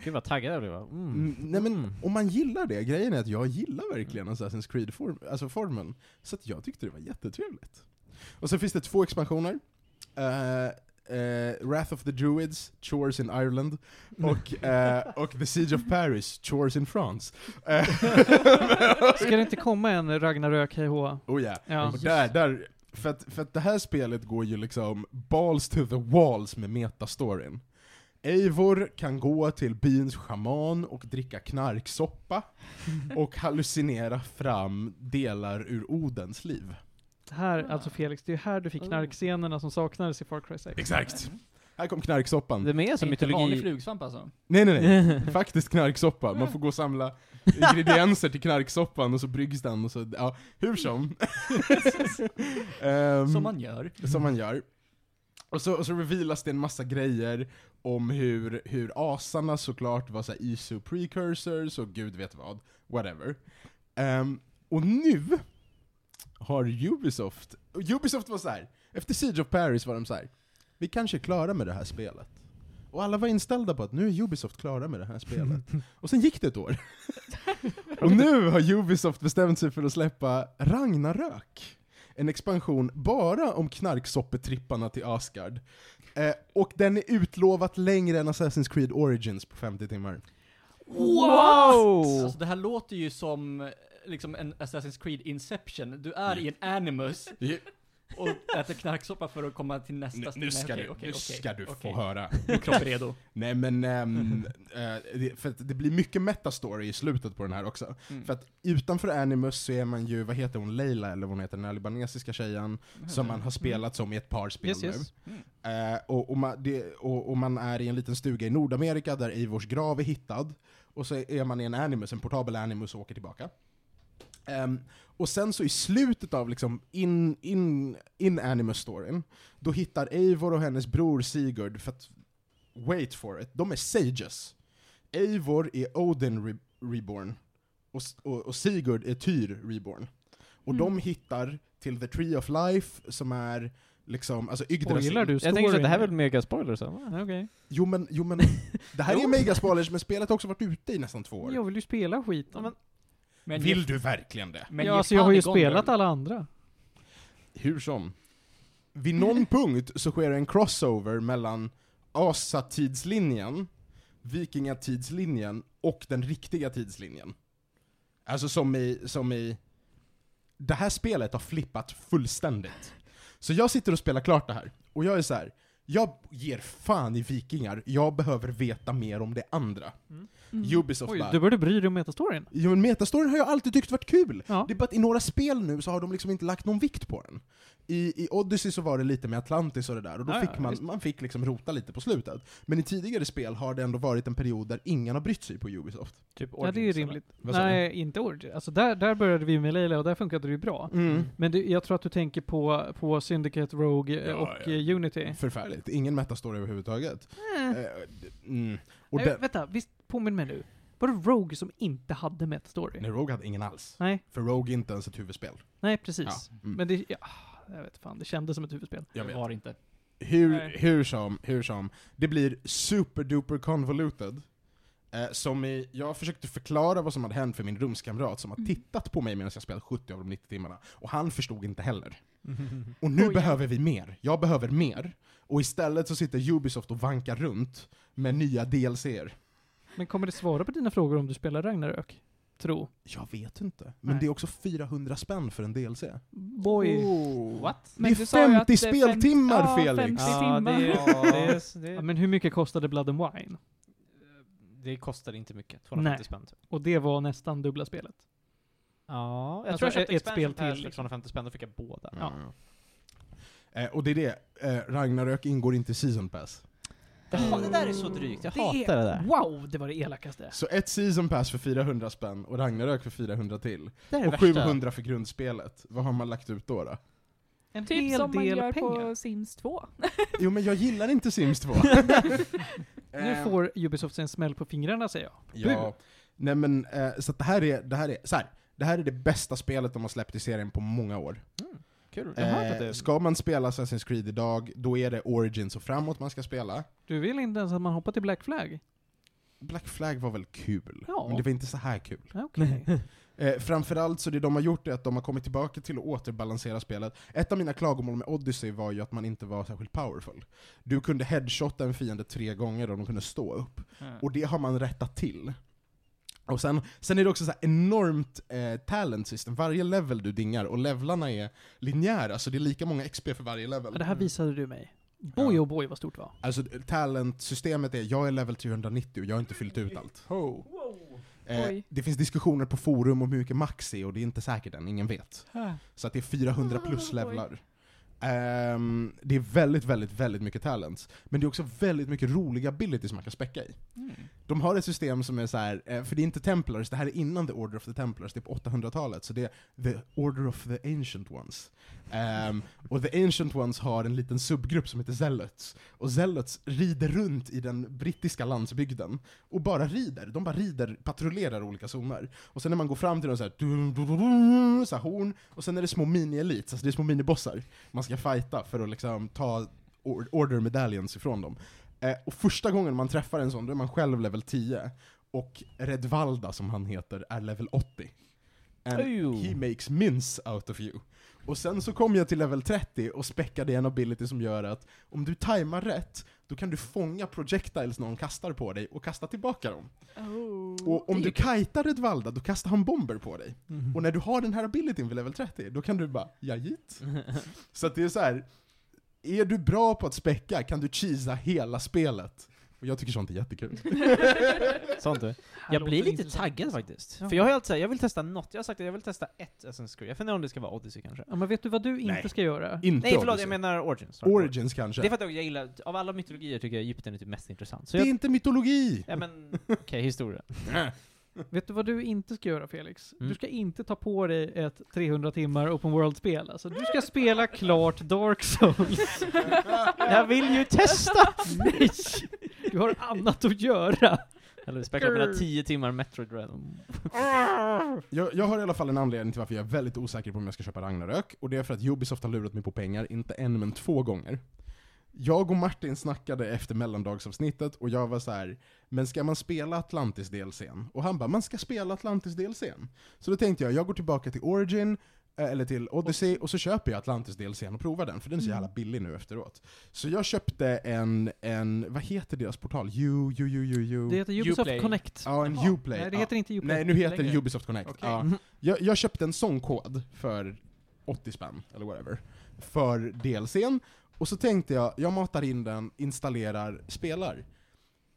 Gud vad taggad jag blev. va? Mm.
Mm, nej men
Mm.
om man gillar det, grejen är att jag gillar verkligen Assassin's Creed form, alltså formen. Så att jag tyckte det var jättetrevligt. Och sen finns det två expansioner. Eh, eh, Wrath of the Druids, Chores in Ireland, och, eh, och The Siege of Paris, Chores in France. Eh,
Ska det inte komma en Ragnarök Hejhoa?
oh yeah.
Ja.
Och där, där, för att, för att det här spelet går ju liksom balls to the walls med metastoryn. Eivor kan gå till byns schaman och dricka knarksoppa och hallucinera fram delar ur Odens liv.
Det här, alltså Felix, det är ju här du fick knarkscenerna som saknades i Far Cry 6.
Exakt. Här kom knarksoppan.
De är som
Inte vanlig
mytologi...
flugsvamp alltså.
Nej nej nej, faktiskt knarksoppa. Man får gå och samla ingredienser till knarksoppan och så bryggs den och så, ja, hur som. Ehm,
Som man gör.
som man gör. Och så, och så revealas det en massa grejer om hur, hur asarna såklart var så här isu precursors och gud vet vad. Whatever. Ehm, och nu har Ubisoft, och Ubisoft var så här. efter Siege of Paris var de så här. vi kanske är klara med det här spelet. Och alla var inställda på att nu är Ubisoft klara med det här spelet. Och sen gick det ett år. och nu har Ubisoft bestämt sig för att släppa Ragnarök. En expansion bara om knarksoppetripparna till Asgard. Eh, och den är utlovat längre än Assassin's Creed Origins på 50 timmar. Oh.
Alltså det här låter ju som eh, liksom en Assassin's Creed Inception. Du
Mm.
är i en animus och äter knarksoppa för att komma till nästa
Nu,
steg.
nu ska
Nej,
du,
okej,
nu
okej,
ska du
okej.
få höra.
Min kropp är redo.
Nej men, ehm, eh, det, för att det blir mycket metastory i slutet på den här också.
Mm.
För att utanför Animus så är man ju, vad heter hon, Leila, eller vad hon heter, den här libanesiska tjejen, som man har spelat som i ett par spel
Mm. Yes,
nu.
yes. Mm.
Eh, och, och, man, det, och, och man är i en liten stuga i Nordamerika där Eivors grav är hittad. Och så är man i en animus, en portabel animus och åker tillbaka. Ehm, och sen så i slutet av liksom in, in, in animus-storyn, då hittar Eivor och hennes bror Sigurd, för att, wait for it, de är sages. Eivor är Odin re- reborn, och, S- och, och Sigurd är Tyr reborn. Och de hittar till the tree of life, som är liksom, alltså Yggdrasil.
Spoilar du
Jag tänker så att det här är väl
storyn?
mega spoiler så.
Ja, Okej.
Jo men, jo men, det här är ju megaspoilers, men spelet har också varit ute i nästan två år.
Jag vill ju spela skiten. Men,
Men
Vill du verkligen det?
men
ja,
ge
alltså jag har ju
fan i Gondor.
spelat alla andra.
Hur som. Vid någon punkt så sker en crossover mellan asatidslinjen, vikingatidslinjen och den riktiga tidslinjen. Alltså som i, som i... Det här spelet har flippat fullständigt. Så jag sitter och spelar klart det här, och jag är så här. jag ger fan i vikingar, jag behöver veta mer om det andra. Ubisoft
Mm. Oj,
bara,
du började bry dig om metastoryn.
Jo men metastoryn har jag alltid tyckt varit kul!
Ja.
Det är bara att i några spel nu så har de liksom inte lagt någon vikt på den. I, i Odyssey så var det lite med Atlantis och det där, och då
Ja, ja,
fick man,
visst.
man fick liksom rota lite på slutet. Men i tidigare spel har det ändå varit en period där ingen har brytt sig på Ubisoft.
Typ
Ja, det är ju
Origins,
rimligt.
Vad sa
Nej, inte Origin. Alltså där, där började vi med Leila och där funkade det ju bra.
Mm.
Men du, jag tror att du tänker på, på Syndicate, Rogue eh,
Ja,
och
ja.
eh, Unity.
Förfärligt, ingen metastory överhuvudtaget.
Eh,
Eh, d- mm. Och
nej,
den,
vänta, visst påminn mig nu. Var det Rogue som inte hade metastory?
nej, Rogue hade ingen alls.
Nej,
För Rogue är inte ens ett huvudspel.
nej, precis.
Mm.
Men det, ja, jag vet fan, det kändes som ett huvudspel.
Jag vet.
Var inte.
Hur,
Nej.
hur som, hur som. Det blir superduper convoluted. Eh, som i, jag försökte förklara vad som hade hänt för min rumskamrat som
Mm.
har tittat på mig medan jag spelat 70 av de 90 timmarna. Och han förstod inte heller. Och nu
Oj.
behöver vi mer. Jag behöver mer. Och istället så sitter Ubisoft och vankar runt med nya DLCer.
Men kommer det svara på dina frågor om du spelar Ragnarök? Tro.
Jag vet inte. Men
Nej.
det är också 400 spänn för en DLC.
Boy.
What?
Men
det
du
är
sa ju
50
att det är fem-
speltimmar,
ja,
Felix.
50
Ja, det,
timmar.
är, det, är, det,
Ja,
är,
men hur mycket kostade Blood and Wine?
det kostar inte mycket. 250
Nej.
spänn. Typ.
Och det var nästan dubbla spelet.
Ja, jag
Alltså,
tror jag köpte
ett spel
expansion pass
till.
för 250 spänn, då fick jag båda.
Ja.
Ja. Mm. Eh, och det är det, eh, Ragnarök ingår inte i Season Pass.
Det, ha- det där är så drygt, jag hatar det där.
Wow, det var det elakaste.
Så ett Season Pass för 400 spänn och Ragnarök för 400 till.
Det här är det
Och
värsta.
700 för grundspelet. Vad har man lagt ut då? då?
En
Typ
hel
som man
del
gör
pengar.
på Sims 2.
Jo men jag gillar inte Sims 2.
Nu
Eh,
får Ubisoft en smäll på fingrarna säger jag.
Ja. Nej men, eh, så att det här är, det här är, så här, det här är det bästa spelet de har släppt i serien på många år.
Kul. Jag har hört att det
Eh,
är...
ska man spela Assassin's Creed idag, då är det Origins och framåt man ska spela.
Du vill inte ens att man hoppar till Black Flag?
Black Flag var väl kul,
Ja.
men det var inte så här kul.
Ja, Okej.
Eh, framförallt så det de har gjort är att de har kommit tillbaka till att återbalansera spelet. Ett av mina klagomål med Odyssey var ju att man inte var särskilt powerful. Du kunde headshotta en fiende tre gånger och de kunde stå upp.
Mm.
Och det har man rättat till. Och sen, sen är det också så här enormt eh, talent system. Varje level du dingar, och levlarna är linjära, så det är lika många XP för varje
Ja,
level.
det här visade du mig. Boy
Mm. Ja.
oh boy vad stort det var.
Alltså talentsystemet är, jag är level 390 och jag har inte fyllt ut allt. Eh,
Oj.
det finns diskussioner på forum om hur mycket max är, och det är inte säkert än, ingen vet. Så att det är 400 plus
Oj.
levlar. Ehm, det är väldigt, väldigt, väldigt mycket talents. Men det är också väldigt mycket roliga abilities man kan späcka i.
Mm.
De har ett system som är så här, eh, för det är inte Templars, det här är innan The Order of the Templars, det är på 800-talet, så det är The Order of the Ancient Ones. Ehm, och The Ancient Ones har en liten subgrupp som heter Zealots, och Zealots rider runt i den brittiska landsbygden och bara rider. De bara rider, patrullerar olika zoner. Och sen när man går fram till dem så här, dun, dun, dun, dun, så här horn, och sen är det små mini-elites, alltså det är små minibossar man ska fighta för att liksom ta or- order medallions ifrån dem. Eh, och första gången man träffar en sån, då är man själv level 10. Och Redvalda, som han heter, är level 80. And
Ew.
he makes mince out of you. Och sen så kom jag till level 30 och späckade en ability som gör att om du tajmar rätt, då kan du fånga projectiles någon kastar på dig och kasta tillbaka dem.
Oh,
Och om
typ.
du kitar Redvalda, då kastar han bomber på dig.
Mhm.
Och när du har den här abilityn vid level 30, då kan du bara jajit. så att det är så här. är du bra på att späcka kan du cheesa hela spelet. Och jag tycker sånt är jättekul.
Sånt du.
Här
Jag
låter
blir
det
lite
intressant.
taggad faktiskt.
Ja.
För jag har ju alltid sagt, jag vill testa något. Jag har sagt att jag vill testa ett Assassin's Creed. Jag funderar om det ska vara Odyssey kanske.
Ja, men vet du vad du inte
Nej.
ska göra?
Inte
Nej förlåt,
Odyssey.
jag menar Origins. sorry.
Origins kanske.
Det är
Det,
för att jag gillar, av alla mytologier tycker jag Egypten är typ mest intressant. Så
är
jag,
inte mytologi!
ja men, okej historia.
Vet du vad du inte ska göra Felix?
Mm.
Du ska inte ta på dig ett 300 timmar open world-spel. Alltså, du ska spela klart Dark Souls.
Jag vill ju testa!
Nej! Du har annat att göra.
Oh. Eller späcka mina 10 timmar Metroid Dread.
Jag, jag har i alla fall en anledning till varför jag är väldigt osäker på om jag ska köpa Ragnarök, och det är för att Ubisoft har lurat mig på pengar, inte en men två gånger. Jag och Martin snackade efter mellandagsavsnittet och jag var så här. men ska man spela Atlantis DLCn? Och han bara, man ska spela Atlantis DLCn. Så då tänkte jag, jag går tillbaka till Origin, eh, eller till Odyssey, och så köper jag Atlantis DLCn och provar den, för den är så
Mm.
jävla billig nu efteråt. Så jag köpte en, en vad heter deras portal? U, U, U, U, U.
Det heter Ubisoft
Uplay.
Connect.
Ja, en Uplay.
Nej, det
Ja.
heter inte Uplay.
Ah. Nej, nu heter det
längre.
Ubisoft Connect. Ja. Jag, jag köpte en sån kod för 80 spänn, eller whatever, för DLCn. Och så tänkte jag, jag matar in den, installerar, spelar.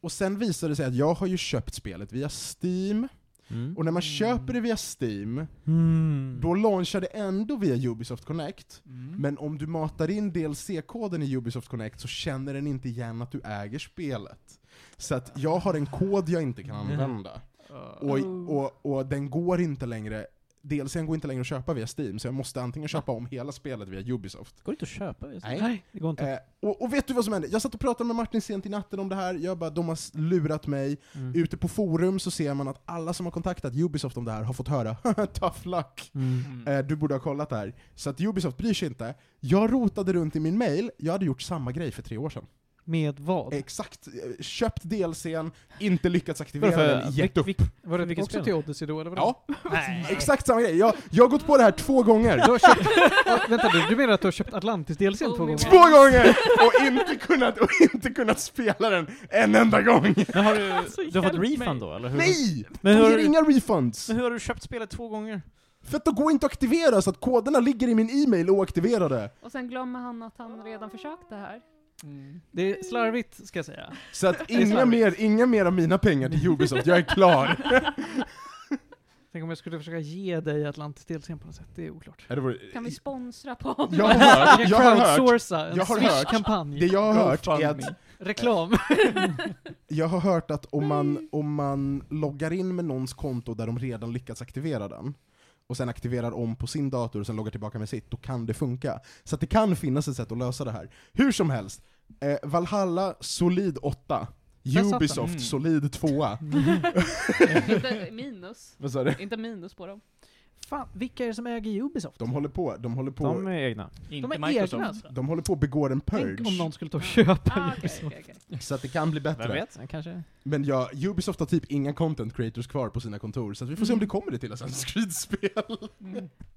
Och sen visade det sig att jag har ju köpt spelet via Steam,
Mm.
och när man köper det via Steam,
Mm.
då launchar det ändå via Ubisoft Connect.
Mm.
Men om du matar in DLC-koden i Ubisoft Connect så känner den inte igen att du äger spelet. Så att jag har en kod jag inte kan använda.
Ah.
Och, och, och den går inte längre, DLCn går inte längre att köpa via Steam, så jag måste antingen köpa om hela spelet via Ubisoft.
Går det inte att köpa? just det?
Nej.
Nej, det går inte.
Eh, och, och vet du vad som hände? Jag satt och pratade med Martin sent i natten om det här, jag bara de har s- lurat mig. Ute på forum så ser man att alla som har kontaktat Ubisoft om det här har fått höra tough luck.
Mm.
Eh, du borde ha kollat det här. Så att Ubisoft bryr sig inte. Jag rotade runt i min mail, jag hade gjort samma grej för tre år sedan.
Med vad?
Exakt, eh, köpt DLCn, inte lyckats aktivera
Varför?
den, gett upp.
Var det
vilket
också
spel?
till Odyssey då, eller vadå?
Ja, exakt samma grej. Jag, jag har gått på det här två gånger.
Du har köpt... Äh, vänta du, du menar att du har köpt Atlantis DLC två
Oh my
gånger?
God.
Två gånger! Och inte, kunnat, och inte kunnat spela den en enda gång!
Men har du,
Alltså,
du har fått
hjälp
refund
mig.
då eller? Hur?
Nej!
Men
Men
hur
de
har
ger
du-
inga refunds!
Men hur har du köpt spelet två gånger?
För att de går inte att aktivera, så att koderna ligger i min e-mail oaktiverade.
Och sen glömmer han att han redan försökt det här.
Mm.
Det är slarvigt, ska jag säga.
Så att
är
inga
slarvigt.
mer, inga mer av mina pengar till Ubisoft, jag är klar.
Tänk om jag skulle försöka ge dig Atlantis delsen på något sätt, det är oklart.
Ja, det vore-
Kan vi sponsra på
Jag har hört, jag har hört,
crowdsourca en
jag har hört- det
Swish-kampanj.
jag har hört är att
Reklam.
Jag har hört att om man, om man loggar in med någons konto där de redan lyckats aktivera den, och sen aktiverar om på sin dator och sen loggar tillbaka med sitt, då kan det funka. Så att det kan finnas ett sätt att lösa det här. Hur som helst, eh, Valhalla solid 8,
satt den.
Ubisoft
Mm.
solid 2.
inte minus?
Vad sa du?
Inte minus på dem.
Fan, vilka är det som äger Ubisoft?
De håller på, de håller på,
De
de,
är egna.
De
Inte
är egna
Microsoft.
alltså.
håller på att begå en
Tänk om
purge.
någon skulle ta och köpa
Ah, okej,
Ubisoft.
okej, okej.
Så att det kan bli
Vem
bättre.
vet? Kanske.
Men ja, Ubisoft har typ inga content creators kvar på sina kontor, så att vi får se om
Mm.
det kommer det till Assassin's Creed-spel.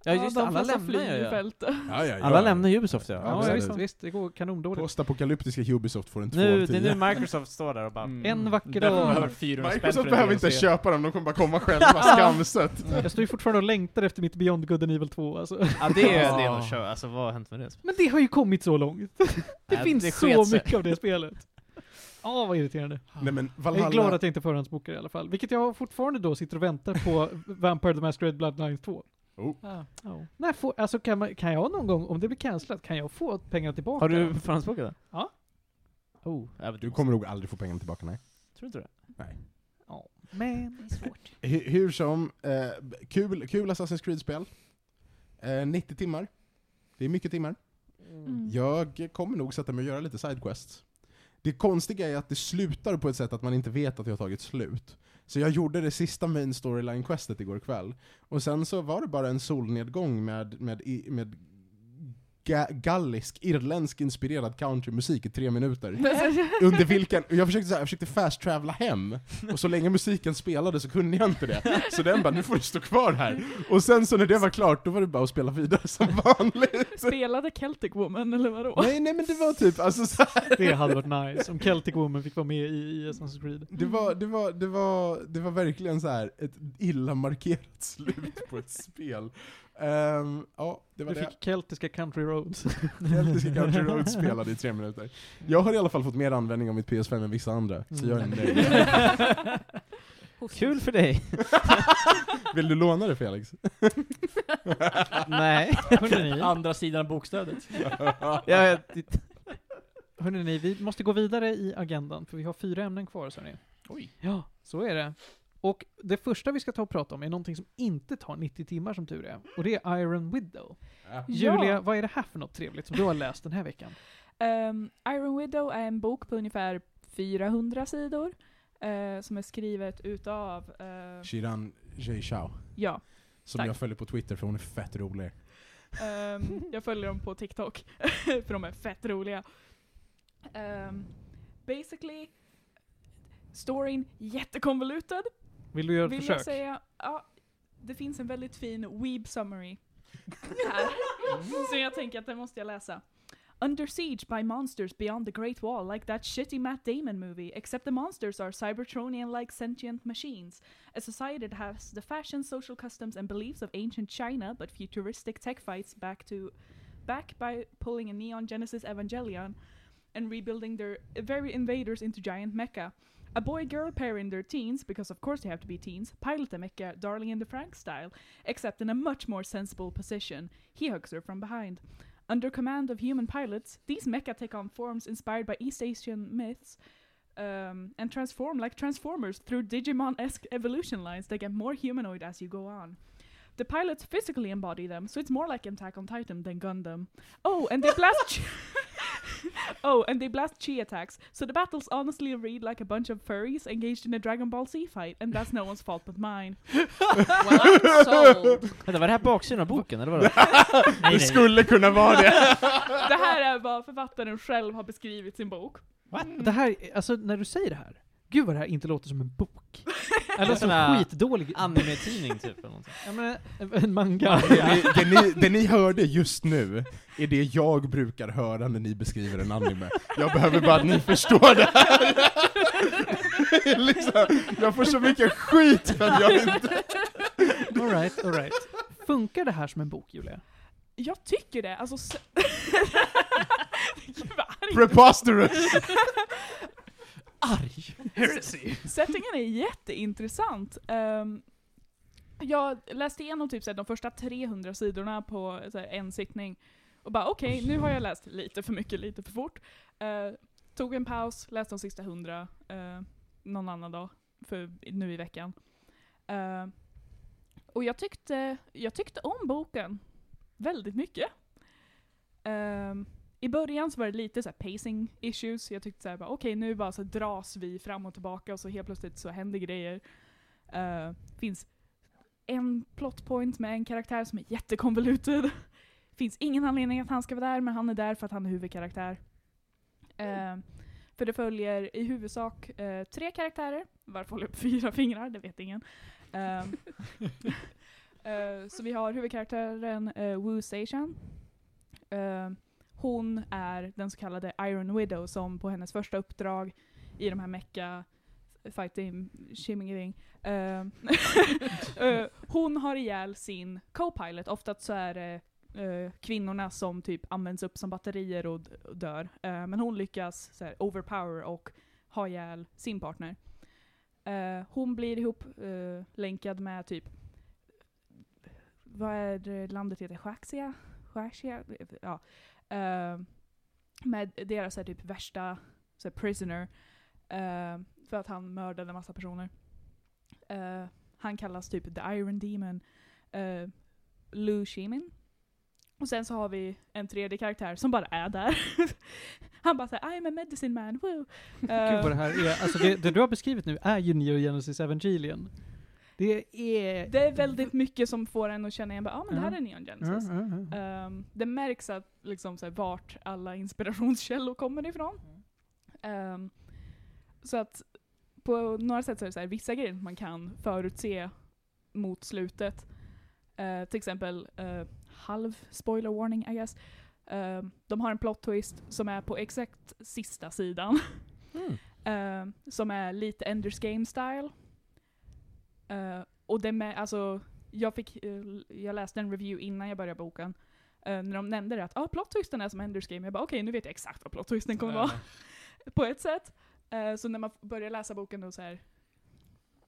Ja just det,
de
alla
flesta
lämnar
flyr i
ju.
fältet.
Ja, ja,
Alla lämnar Ubisoft ja.
Ja,
precis.
visst, visst, det går kanondåligt.
Postapokalyptiska Ubisoft får en 2
Nu,
av
det
10.
är nu Microsoft står där och bara...
Mm.
En vacker
Därför
dag.
behöver 400 spänn för
Microsoft
en
behöver
DLC.
inte köpa dem, de kommer bara komma själva, skamset.
Jag står ju fortfarande och längtar efter mitt Beyond Good and Evil 2 alltså.
Ja det är
Ja.
det är nog kör. Alltså vad har hänt med det?
Men det har ju kommit så långt. Det
Nej,
finns
det
så
sket sig.
mycket av det spelet. Ja, vad irriterande.
Nej men Valhalla...
Jag är glad att jag inte förhandsbokar i alla fall. Vilket jag fortfarande då sitter och väntar på Vampire the Masquerade Bloodlines 2.
Oh.
Ah.
oh.
När får, alltså kan, man, kan jag någon gång, om det blir cancelat, kan jag få pengarna tillbaka?
Har du förhandsbokat det?
Ja.
Oh, ja, men
Du kommer nog aldrig få pengarna tillbaka, nej.
Tror inte det?
Ja, men...
Det är svårt.
Hur, hur som, eh, kul, kul Assassin's Creed-spel. Eh, 90 timmar. Det är mycket timmar.
Mm.
Jag kommer nog sätta mig och göra lite sidequests. Det konstiga är att det slutar på ett sätt att man inte vet att det har tagit slut. Så jag gjorde det sista main storyline-questet igår kväll, och sen så var det bara en solnedgång med, med, i- med ga- gallisk, irländsk inspirerad countrymusik i tre minuter. Under vilken, och jag försökte, så här, jag försökte fast-travla hem, och så länge musiken spelade så kunde jag inte det. Så den bara 'Nu får du stå kvar här' Och sen så när det var klart, då var det bara att spela vidare som vanligt.
Spelade Celtic Woman eller vadå?
Nej, nej men det var typ, alltså så här,
Det hade varit nice om Celtic Woman fick vara med i, i Assassin's Creed.
Det var, det var, det var, det var verkligen så här ett illa markerat slut på ett spel. Ehm, ja, det var
Du
det.
fick keltiska country roads.
Celtiska Country Road spelade i tre minuter. Jag har i alla fall fått mer användning av mitt PS5 än vissa andra, så jag är nöjd.
Kul för dig.
Vill du låna det Felix?
Nej.
Hörrni,
Andra sidan bokstädet.
Jag,
hörrni, vi måste gå vidare i agendan för vi har fyra ämnen kvar sa ni.
Oj.
Ja, så är det. Och det första vi ska ta och prata om är någonting som inte tar 90 timmar som tur är. Och det är Iron Widow. Julia, vad är det här för något trevligt som du har läst den här veckan?
Ehm, Iron Widow är en bok på ungefär 400 sidor. eh, som är skrivet utav... eh,
Shiran Jay Chao,
ja.
som
Tack.
jag följer på Twitter för hon är fett rolig.
Ehm, jag följer dem på TikTok, för de är fett roliga. Ehm, basically, storyn jättekonvoluted,
Vill du göra ett
vill jag
försök?
säga. Ja, det finns en väldigt fin weeb summary här, som jag tänker att den måste jag läsa. Under siege by monsters beyond the great wall like that shitty Matt Damon movie except the monsters are Cybertronian-like sentient machines. A society that has the fashion, social customs and beliefs of ancient China but futuristic tech fights back to back by pulling a neon Genesis Evangelion and rebuilding their very invaders into giant mecha. A boy-girl pair in their teens, because of course they have to be teens, pilot a mecha, Darling in the Frank style, except in a much more sensible position. He hugs her from behind. Under command of human pilots, these mecha take on forms inspired by East Asian myths um, and transform like Transformers through Digimon esque evolution lines that get more humanoid as you go on. The pilots physically embody them, so it's more like Attack on Titan than Gundam. Oh, and they blast. chi- oh, and they blast chi attacks, so the battles honestly read like a bunch of furries engaged in a Dragon Ball Z fight, and that's no one's fault but mine.
Well, I'm sold.
vänta, var det här baksidan av boken eller vadå? nej,
Det skulle kunna vara det!
Det här är vad författaren själv har beskrivit sin bok. Mm.
Det här, alltså när du säger det här, gud vad det här inte låter som en bok. Det låter som en
Såna-
skitdålig
Anime-tidning typ eller någonting.
Ja, men, en manga.
Det ni, det, ni, det ni hörde just nu är det jag brukar höra när ni beskriver en anime. Jag behöver bara att ni förstår det här! liksom, jag får så mycket skit för att jag inte...
All right, all right. Funkar det här som en bok, Julia?
Jag tycker det, alltså... s- Gud vad arg
Preposterous!
Settingen är jätteintressant. Ehm, Jag läste igenom typ så här, de första 300 sidorna på så här, en sittning. Och bara okej, nu har jag läst lite för mycket, lite för fort. Eh, tog en paus, läste de sista 100 eh, någon annan dag, för nu i veckan. Eh, och jag tyckte, jag tyckte om boken väldigt mycket. Ehm, I början så var det lite så här pacing issues. Jag tyckte så här, bara, okej nu bara så dras vi fram och tillbaka och så helt plötsligt så händer grejer. Eh, finns en plot point med en karaktär som är jättekonvoluted. finns ingen anledning att han ska vara där, men han är där för att han är huvudkaraktär. Ehm, för det följer i huvudsak eh, tre karaktärer. Varför håller jag upp fyra fingrar? Det vet ingen. Ehm, Eh, så vi har huvudkaraktären uh, Wu Seishan. Eh, hon är den så kallade Iron Widow som på hennes första uppdrag i de här mecka fighting shimming Hon har ihjäl sin co-pilot. Ofta så är det eh, kvinnorna som typ används upp som batterier och d- och dör. Eh, men hon lyckas så här, overpower och ha ihjäl sin partner. Eh, hon blir ihop eh, länkad med typ vad är det landet heter? Schaxia? Schaxia? Ja. Eh, med deras så här, typ värsta så här, prisoner. eh, för att han mördade en massa personer. Eh, han kallas typ The Iron Demon. Uh, Lu Shimin. Och sen så har vi en tredje karaktär som bara är där. han bara såhär I'm a medicine man, woo!
Gud vad det
Eh,
här är. Alltså det, det du har beskrivit nu är ju Neo Genesis Evangelion. Det är...
det är väldigt mycket som får en att känna igen, bara, ah, men det här
Ja.
är Neon Genesis.
Ja, ja, ja.
Ehm, det märks att liksom, så här, vart alla inspirationskällor kommer ifrån. Ehm, så att på några sätt så är det så här, vissa grejer man kan förutse mot slutet. Eh, till exempel, eh, halv spoiler warning I guess. Ehm, de har en plot twist som är på exakt sista sidan. Ehm, som är lite Enders Game style. Eh, och det med, alltså, jag, fick, eh, jag läste en review innan jag började boken. Eh, när de nämnde det att ah, plot twisten är som Enders Game. Jag bara okej, nu vet jag exakt vad plot twisten kommer vara. på ett sätt. Eh, så när man f- börjar läsa boken och så här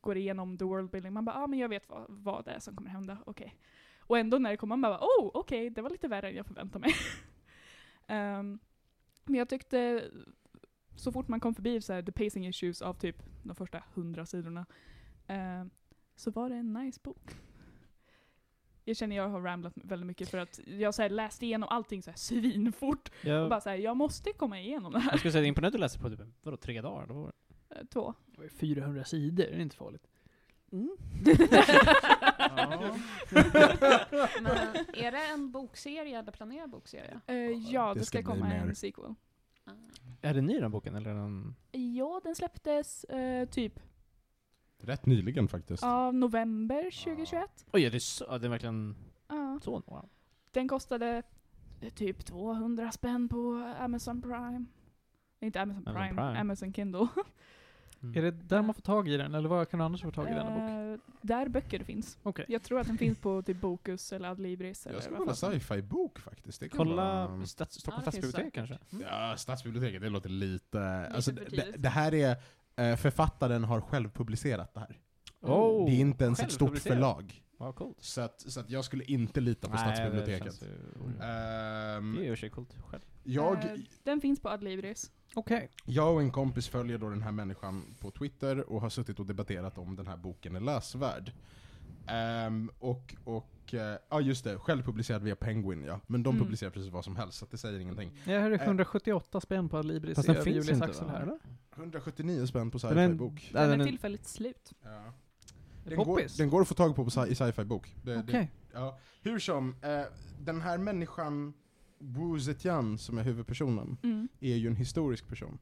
går igenom the world building, man bara ah, men jag vet vad, vad det är som kommer hända, okej. Och ändå när det kommer man bara oh, okej, det var lite värre än jag förväntade mig. Ehm, men jag tyckte så fort man kom förbi så här, the pacing issues av typ de första hundra sidorna eh, så var det en nice bok. Jag känner jag har ramblat väldigt mycket för att jag så här, läste igenom allting så här svinfort. Och
Jag,
bara så här, jag måste komma igenom det här.
jag skulle säga det är imponerande att läsa på typ, vadå, tre dagar? Då var
Eh, Två.
Det var ju 400 sidor, det är inte farligt.
Mm.
Men är det en bokserie eller planerad bokserie?
Eh, ja, det,
det
ska,
ska bli
komma
mer.
en sequel.
Ah.
är det ny den boken, eller är den...
Ja, den släpptes eh, typ
Rätt nyligen faktiskt.
av november
Ah.
2021.
Oj, är det så, ja, det är verkligen
Ja.
så? Wow.
Den kostade eh, typ 200 spänn på Amazon Prime. Inte Amazon
Amazon
Prime,
Prime.
Amazon Kindle.
Mm. Är det där man får tag i den, eller var kan du annars få tag i denna bok?
Eh, där böcker finns.
Okej.
Jag tror att den finns på typ Bokus eller Adlibris.
Jag
eller
ska
vad
kolla
fan.
sci-fi-bok faktiskt. Det kan
Kolla
vara-
stats, Stockholms
Ja, det finns
stadsbibliotek kanske?
Ja, Stadsbiblioteket, det låter lite... alltså,
för
det,
tidigt.
det- det här är... eh, Författaren har själv publicerat det här.
Mm.
Oh,
det är inte ens ett stort
självpublicerat.
förlag.
Wow, coolt.
Så att, så att jag skulle inte lita på Stadsbiblioteket. Mm.
Det, känns ju-
Ehm,
det är ju i och för sig coolt själv.
Eh,
jag,
den finns på Adlibris.
Okej.
jag och en kompis följer då den här människan på Twitter och har suttit och debatterat om den här boken är läsvärd. Ehm, och, och, eh, ja just det, självpublicerad via Penguin ja. Men de
Mm.
publicerar precis vad som helst, så att det säger ingenting.
Jag hörde
Eh.
178 spänn på Adlibris
Fast den
i
finns
Julius
inte,
Axel
va?
här.
Eller?
179 spänn på
Men-
sci-fi-bok.
Den,
den
är
är-
tillfälligt slut.
Ja. Den, går,
Poppis?
den går att få tag på, på sci- i sci-fi-bok. Det- det-
Okej.
Ja, hur som, eh, den här människan, Wu Zetian, som är huvudpersonen,
Mm.
är ju en historisk person.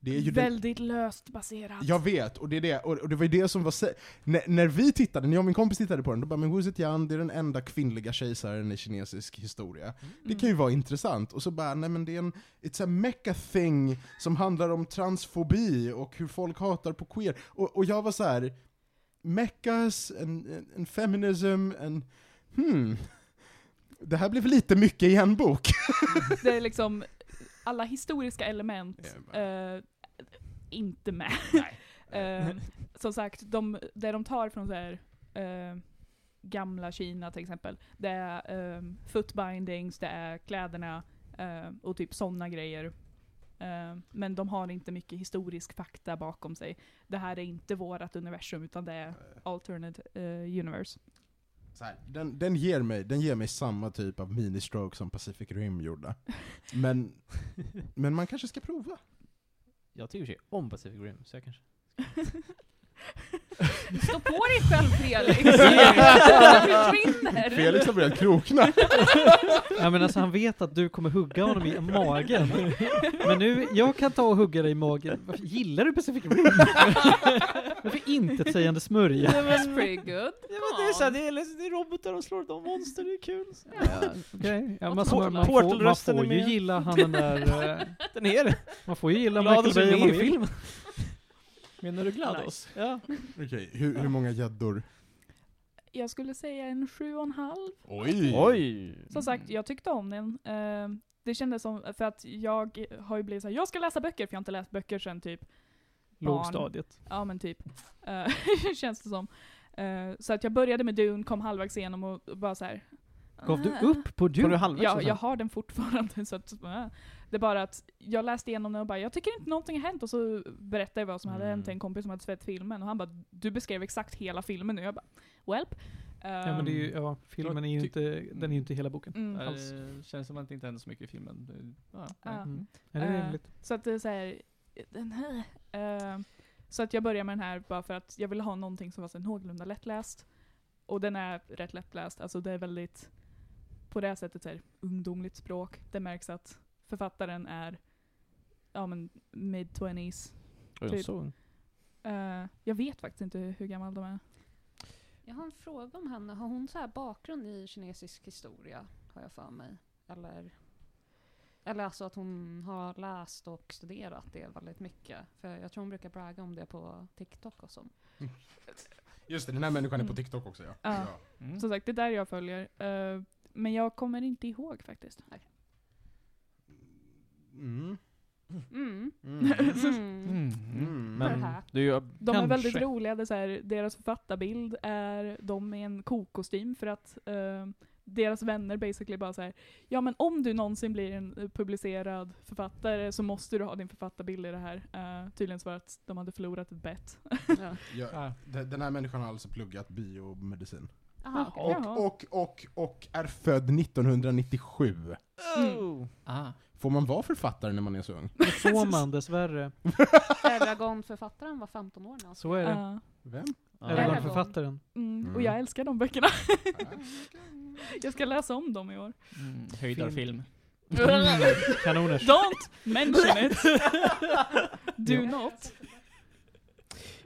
Det är ju den,
Väldigt löst baserat.
jag vet, och det, är det, och, och det var ju det som var... sä- När, när vi tittade, när jag och min kompis tittade på den, då bara men Wu Zetian, det är den enda kvinnliga kejsaren i kinesisk historia. Det
Mm.
kan ju vara intressant. Och så bara, nej men det är en, it's a mecha thing som handlar om transfobi och hur folk hatar på queer. Och, och jag var så här, mechas, and, and- and feminism, and hmm. Det här blev lite mycket i en bok.
Det är liksom alla historiska element
Ja, bara-
eh, inte med. Eh, som sagt, de, det de tar från så här, eh, gamla Kina till exempel. Det är um, footbindings, det är kläderna eh, och typ sådana grejer. Eh, men de har inte mycket historisk fakta bakom sig. Det här är inte vårt universum utan det är alternate eh, universe.
Så här, den, den, ger mig, den ger mig samma typ av mini-stroke som Pacific Rim gjorde. Men, men man kanske ska prova.
Jag tycker i och för sig om Pacific Rim, så jag kanske...
Stå på dig själv Felix! Du försvinner!
Felix har börjat liksom krokna.
Ja, men alltså han vet att du kommer hugga honom i magen. Men nu, jag kan ta och hugga dig i magen. Varför gillar du Pacific Rim? Varför intetsägande smörja?
That's pretty good.
men det är såhär, det är, det är robotar och slår de monster, det är kul.
Ja.
Okej, ja,
Och
man,
Tor-
man, man, får, man
Tortelrösten är
får ju
med.
gilla han den där... eh,
Den är det.
Man får ju gilla
Glad
Michael
att
Bay om
du är
man
med i
vill.
filmen.
Menar du GLaDOS?
Ja.
Okej, hur, hur många gäddor?
Jag skulle säga en sju och en halv.
Oj!
Oj!
Mm.
Som sagt, jag tyckte om den. Eh, det kändes som, för att jag har ju blivit såhär, jag ska läsa böcker för jag har inte läst böcker sen typ
Lågstadiet.
Ja men typ. Eh, känns det som. Eh, så att jag började med Dune, kom halvvägs igenom och bara så här.
Gav du
"Ah."
upp på
Var du
du?
halvvägs?
Ja,
någonstans?
jag har den fortfarande. Så att, eh. Det är bara att jag läste igenom den och bara, jag tycker inte någonting har hänt. Och så berättade jag vad som hade
Mm.
hänt till en kompis som hade sett filmen. Och han bara, du beskrev exakt hela filmen nu. Jag bara, welp. Eh,
Ja, men det är ju, ja, filmen är ju
Ty-
inte, den är ju inte hela boken.
mm.
Alls.
Det Eh, känns som att det inte händer så mycket i filmen. Det- Ja, nej.
Ja.
Mm. Är det
Eh,
rimligt?
Så att det är så här, den här. eh, så att jag börjar med den här bara för att jag ville ha någonting som var så någorlunda lättläst. Och den är rätt lättläst, alltså det är väldigt, på det här sättet så här, ungdomligt språk. Det märks att författaren är, ja men mid-twenties.
Oj,
typ.
så.
Eh, jag vet faktiskt inte hur, hur gammal de är.
Jag har en fråga om henne. Har hon så här bakgrund i kinesisk historia? Har jag för mig. Eller? Eller alltså att hon har läst och studerat det väldigt mycket. För jag tror hon brukar bragga om det på TikTok och så.
Just det, den här människan är på TikTok också ja.
Ja.
Ja.
Mm.
Som sagt, det är där jag följer. eh, men jag kommer inte ihåg faktiskt.
Mm.
Mm.
Mm.
Mm.
Mm.
Men
här.
du, jag
De
kanske.
är väldigt roliga, det är så här, deras författarbild är de i en kokostym för att eh, deras vänner basically bara så här, ja men om du någonsin blir en eh, publicerad författare så måste du ha din författarbild i det här. Eh, tydligen så var det att de hade förlorat ett bett.
Ja.
Ja.
Ah.
de- Den här människan har alltså pluggat biomedicin.
Aha, okej.
Ja. Jaha.
Och, och, och, och är född 1997.
Oh.
Mm.
Ah.
Får man vara författare när man är så ung?
Det får man dessvärre.
Eragon-författaren var 15 år när han
Så är det.
Eh,
Vem?
Ja.
Eller
Eragon.
var författaren.
mm, och
Mm.
jag älskar de böckerna.
Ah.
jag ska läsa om dem i år.
Mm. Höjdarfilm.
Mm. Kanoners.
Don't mention it! Do not.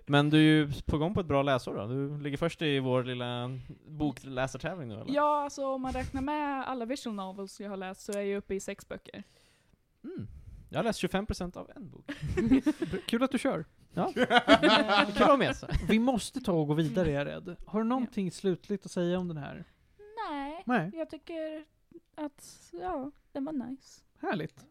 Men du är ju på gång på ett bra läsår då? Du ligger först i vår lilla bokläsartävling nu eller?
Ja, alltså om man räknar med alla visual novels jag har läst så är jag uppe i sex böcker.
Mm. Jag har läst 25% av en bok.
Kul att du kör.
Det
Eh,
kan vara med sig.
Vi måste ta och gå vidare är jag rädd. Har du någonting slutligt att säga om den här?
Nej.
Nej.
Jag tycker att, ja, den var nice.
Härligt.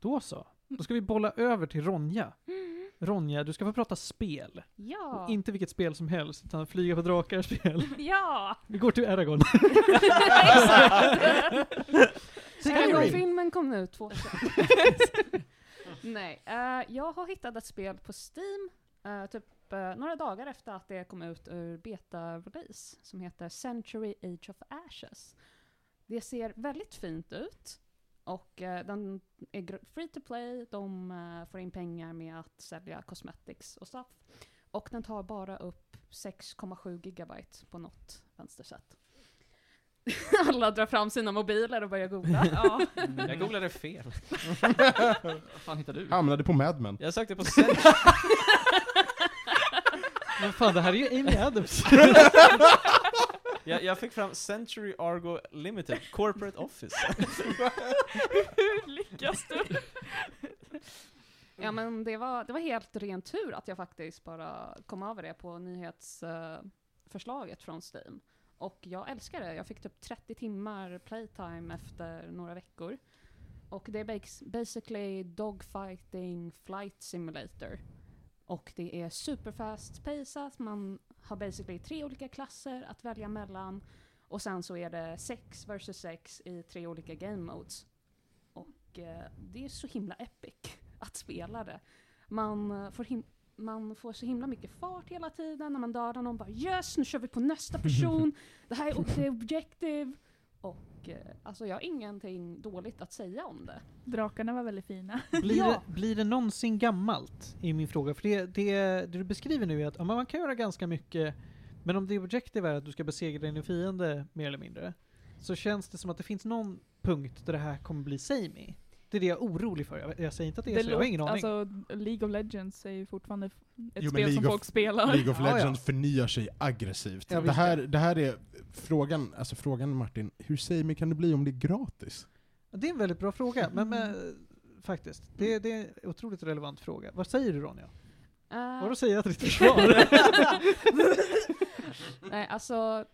Då så. Då ska vi bolla över till Ronja. Mm. Ronja, du ska få prata spel.
Ja!
Och inte vilket spel som helst, utan flyga på drakar-spel.
ja!
Vi går till Eragon.
Exakt!
Skyrim.
filmen kom ut 2000. Nej, eh, jag har hittat ett spel på Steam, eh, typ eh, några dagar efter att det kom ut ur beta-release, som heter Century Age of Ashes. Det ser väldigt fint ut, och eh, den är gr- free to play, de eh, får in pengar med att sälja cosmetics och stuff. Och den tar bara upp 6,7 gigabyte på något vänstersätt. Alla drar fram sina mobiler och börjar googla. ja.
Jag googlade fel.
Vad fan hittar du?
Hamnade på Mad Men.
Jag sökte på sen.
Men fan, det här är ju Amy Adams.
Jag, jag fick fram Century Argo Limited Corporate Office.
Hur lyckas du?
ja men det var, det var helt ren tur att jag faktiskt bara kom över det på nyhetsförslaget från Steam. Och jag älskar det. Jag fick typ 30 timmar playtime efter några veckor. Och det är bas- basically dogfighting flight simulator.
Och det är superfast pacat, man har basically tre olika klasser att välja mellan. Och sen så är det 6 versus 6 i tre olika game modes. Och eh, det är så himla epic att spela det. Man eh, får, him- man får så himla mycket fart hela tiden när man dödar någon. Bara yes, nu kör vi på nästa person. Det här är the objective. Och eh, alltså jag har ingenting dåligt att säga om det.
Drakarna var väldigt fina.
Blir,
Ja.
det, blir det någonsin gammalt? I min fråga. För det, det, det du beskriver nu är att ja, men man kan göra ganska mycket, men om det objektiva är att du ska besegra din fiende mer eller mindre, så känns det som att det finns någon punkt där det här kommer bli samey. Det är det jag är orolig för. Jag, jag säger inte att det är så, jag har ingen aning.
Alltså, League of Legends är ju fortfarande f- ett
men
spel som
League of-
folk spelar.
League of
Ja, ja.
Legends förnyar sig aggressivt.
Ja,
det,
visst.
här, det här är frågan, alltså frågan Martin, hur samey kan det bli om det är gratis?
Det är en väldigt bra fråga, men, men
Mm.
faktiskt. Det, det är en otroligt relevant fråga. Vad säger du Ronja?
Eh,
Vadå säger jag till ditt försvar? Alltså,
Nej, alltså...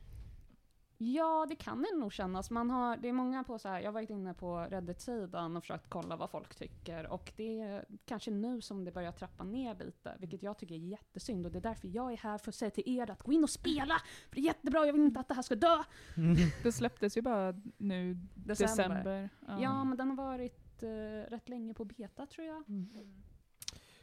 Ja, det kan det nog kännas. Man har, det är många på så här, jag har varit inne på Reddit-sidan och försökt kolla vad folk tycker. Och det är kanske nu som det börjar trappa ner lite, vilket jag tycker är jättesynd. Och det är därför jag är här för att säga till er att gå in och spela! För det är jättebra, jag vill inte att det här ska dö!
Det släpptes ju bara nu
December.
december.
Ja, men den har varit eh, rätt länge på beta tror jag.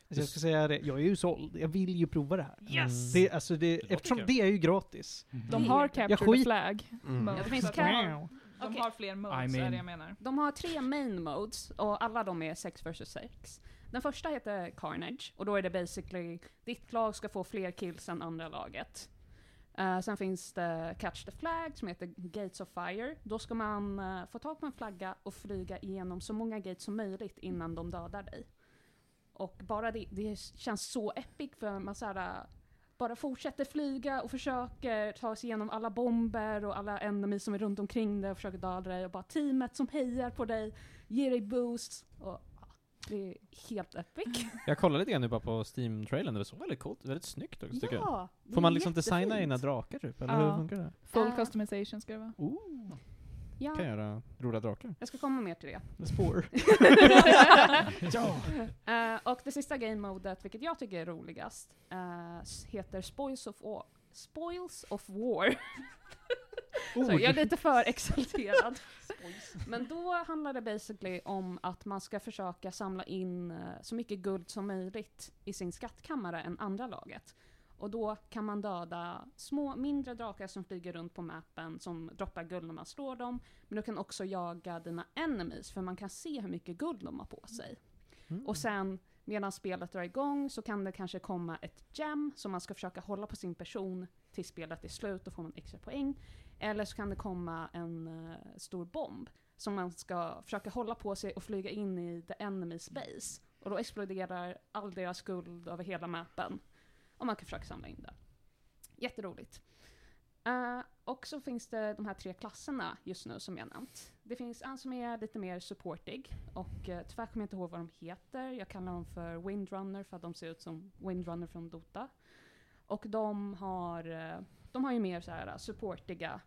jag ska säga det, jag är ju såld. Jag vill ju prova det här.
Yes!
Det, alltså det,
låter
eftersom
kul.
det är ju gratis.
Mm.
De har capture the
skit-
flag.
Mm.
Ja,
det finns
så att
cap-
de- De
Okej.
har fler modes,
I
är
mean-
det jag menar.
De har tre main modes och alla de är 6 vs 6. Den första heter Carnage och då är det basically ditt lag ska få fler kills än andra laget. Eh, sen finns det Catch the Flag som heter Gates of Fire. Då ska man eh, få tag på en flagga och flyga igenom så många gates som möjligt innan de dödar dig. Och bara det, det känns så epic för man så här, eh, bara fortsätter flyga och försöker ta sig igenom alla bomber och alla enemies som är runt omkring dig och försöker döda dig och bara teamet som hejar på dig, ger dig boost. Och, ja, det är helt epic.
Jag kollade lite grann nu bara på Steam-trailern, det såg väldigt coolt, väldigt snyggt också tycker jag.
ja, det
Får
är
man liksom
jättefint.
designa egna drakar typ, eller
Ja.
hur funkar det?
Full
Eh.
customization ska det vara.
Ooh. Kan
Ja,
göra roliga drakar.
jag ska komma mer till det.
Spår.
Eh, och det sista game-modet, vilket jag tycker är roligast, eh, s- heter Spoils of War. Spoils of War.
Oh,
Så jag är lite för exalterad. Men då handlar det basically om att man ska försöka samla in eh, så mycket guld som möjligt i sin skattkammare än andra laget. Och då kan man döda små, mindre drakar som flyger runt på mappen som droppar guld när man slår dem. Men du kan också jaga dina enemies för man kan se hur mycket guld de har på sig. Och sen medan spelet drar igång så kan det kanske komma ett gem som man ska försöka hålla på sin person tills spelet är slut, då får man extra poäng. Eller så kan det komma en eh, stor bomb som man ska försöka hålla på sig och flyga in i the enemy's base. Och då exploderar all deras guld över hela mappen. Och man kan försöka samla in det. Jätteroligt. Eh, och så finns det de här tre klasserna just nu som jag nämnt. Det finns en som är lite mer supportig och uh, tyvärr kommer jag inte ihåg vad de heter. Jag kallar dem för Windrunner för att de ser ut som Windrunner från Dota. Och de har, eh, de har ju mer så här eh, supportiga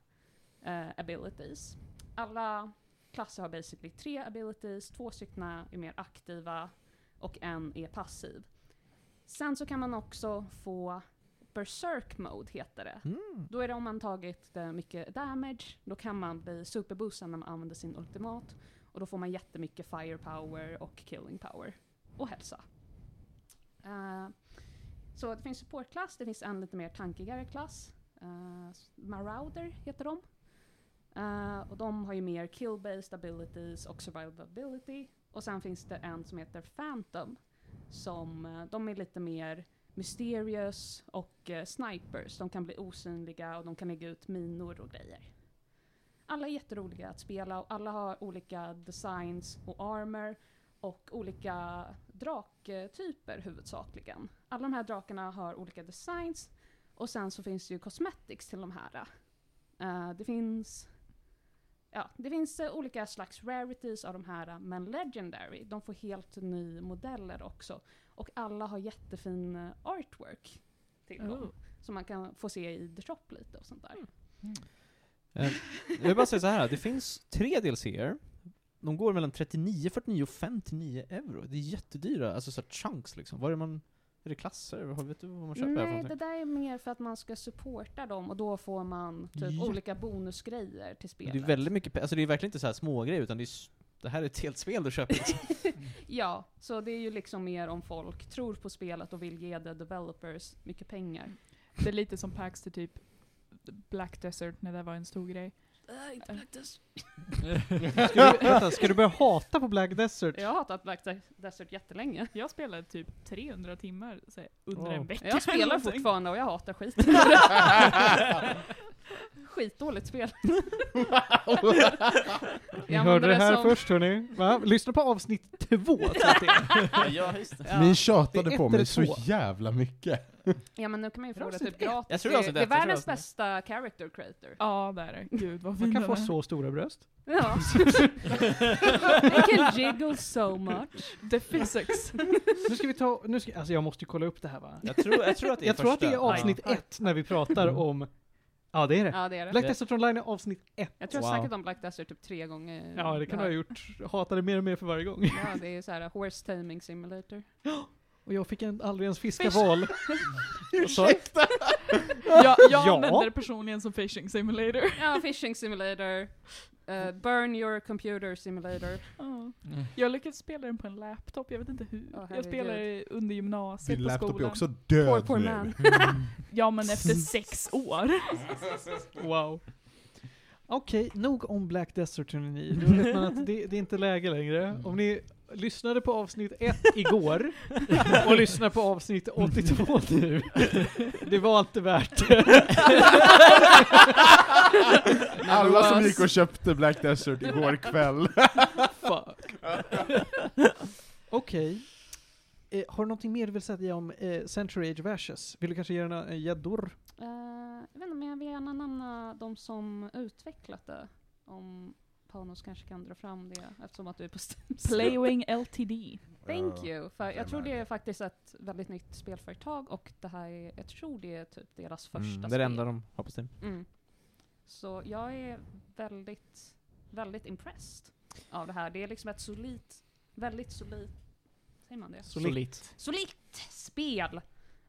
eh, abilities. Alla klasser har basically tre abilities, två stycken är mer aktiva och en är passiv. Sen så kan man också få Berserk Mode heter det. Då är det om man tagit eh, mycket damage, då kan man bli superboostad när man använder sin ultimat. Och då får man jättemycket firepower och killing power. Och hälsa. Eh, så det finns supportklass, det finns en lite mer tankigare klass. Eh, s- Marauder heter de. Eh, och de har ju mer kill-based abilities och survivability. Och sen finns det en som heter Phantom. Som, eh, de är lite mer Mysterious och eh, Snipers. De kan bli osynliga och de kan lägga ut minor och grejer. Alla är jätteroliga att spela och alla har olika designs och armor och olika draktyper huvudsakligen. Alla de här drakarna har olika designs och sen så finns det ju cosmetics till de här. Eh, det finns Ja, det finns eh, olika slags rarities av de här, men legendary, de får helt nya modeller också. Och alla har jättefin eh, artwork till dem. Som man kan få se i The Shop lite och sånt där.
Eh, Jag vill bara säga så här. det finns tre DLCer. De går mellan 39, 49 och 59 euro. Det är jättedyra, alltså så här chunks liksom. Vad är det man Är det klasser? Vad- Vet du vad man köper här för
Nej, det
någonting?
där är mer för att man ska supporta dem och då får man typ
Ja.
olika bonusgrejer till
Men
spelet.
Det är väldigt mycket pe- Alltså det är verkligen inte så här smågrejer, utan det, är, s- det här är ett helt spel du köper.
Ja, så det är ju liksom mer om folk tror på spelet och vill ge the developers mycket pengar.
Det är lite som Paxter typ Black Desert när det var en stor grej.
Äh, inte Black Desert.
Ska du, vänta, ska du börja hata på Black Desert?
Jag har hatat Black Des- Desert jättelänge.
Jag spelade typ 300 timmar så här, under
Wow.
en vecka.
Jag
eller
spelar
någonting.
fortfarande och jag hatar skit. Skitdåligt spel.
Ni
Jag
hörde
använder
det
det
här
som-
först hörni. Va? Lyssna på avsnitt två. så att det-
ja, just
Ja.
Ni
Det är
tjatade
ett
på mig
eller
så
två.
jävla mycket.
Ja men nu kan man ju
Är det
få det
avsnitt
typ
ett?
gratis.
Jag tror alltså det
det är, det är
är avsnitt ett, jag tror
världens
det är
bästa character creator.
Ja, det är det. Gud vad fin
Man kan
den
få
är.
så stora bröst.
Ja. I can jiggle so much.
The physics.
Nu ska vi ta, nu ska, alltså jag måste ju kolla upp det här va?
Jag tror, jag tror att det är
Jag tror att det är
första. Mm.
avsnitt ett när vi pratar om, ja det är det.
Ja det är det.
Black Desert Online är avsnitt ett.
Jag tror
Wow.
jag snackat om Black Desert typ tre gånger.
Ja det kan du ha gjort. Hatar det mer och mer för varje gång.
Ja det är så här horse taming simulator.
Och jag fick en, aldrig ens fiska
Fish.
val.
jag jag
Ja.
använder det personligen som fishing simulator.
Ja, fishing simulator. eh, burn your computer simulator.
Ja.
Mm.
Jag lyckades spela den på en laptop, jag vet inte hur.
Åh, herregud.
jag spelade under gymnasiet
Din
på
laptop är
skolan.
också död
Poor, poor
nu.
man.
Ja men efter sex år.
Wow. Okej, nog om Black Desert hörni ni. Då vet man att det, det är inte läge längre. Om ni lyssnade på avsnitt 1 igår och lyssnar på avsnitt 82 nu. Det var inte värt det.
Alla som gick och köpte Black Desert igår kväll.
Fuck. Okej. Eh, har du någonting mer du vill säga om eh, Century Age of Ashes? Vill du kanske ge den en gäddor?
Eh, jag vet inte, men jag vill gärna nämna de som utvecklat det. Om Panos kanske kan dra fram det eftersom att du är på Steam.
Playwing LTD.
Thank you. För
vem
jag tror
är
det är
det?
faktiskt ett väldigt nytt spelföretag och det här är, jag tror det är typ deras första
Mm,
spel.
det är det enda de har på Steam.
Mm. Så jag är väldigt, väldigt impressed av det här. Det är liksom ett solitt, väldigt solitt, säger man det?
Solitt.
solitt spel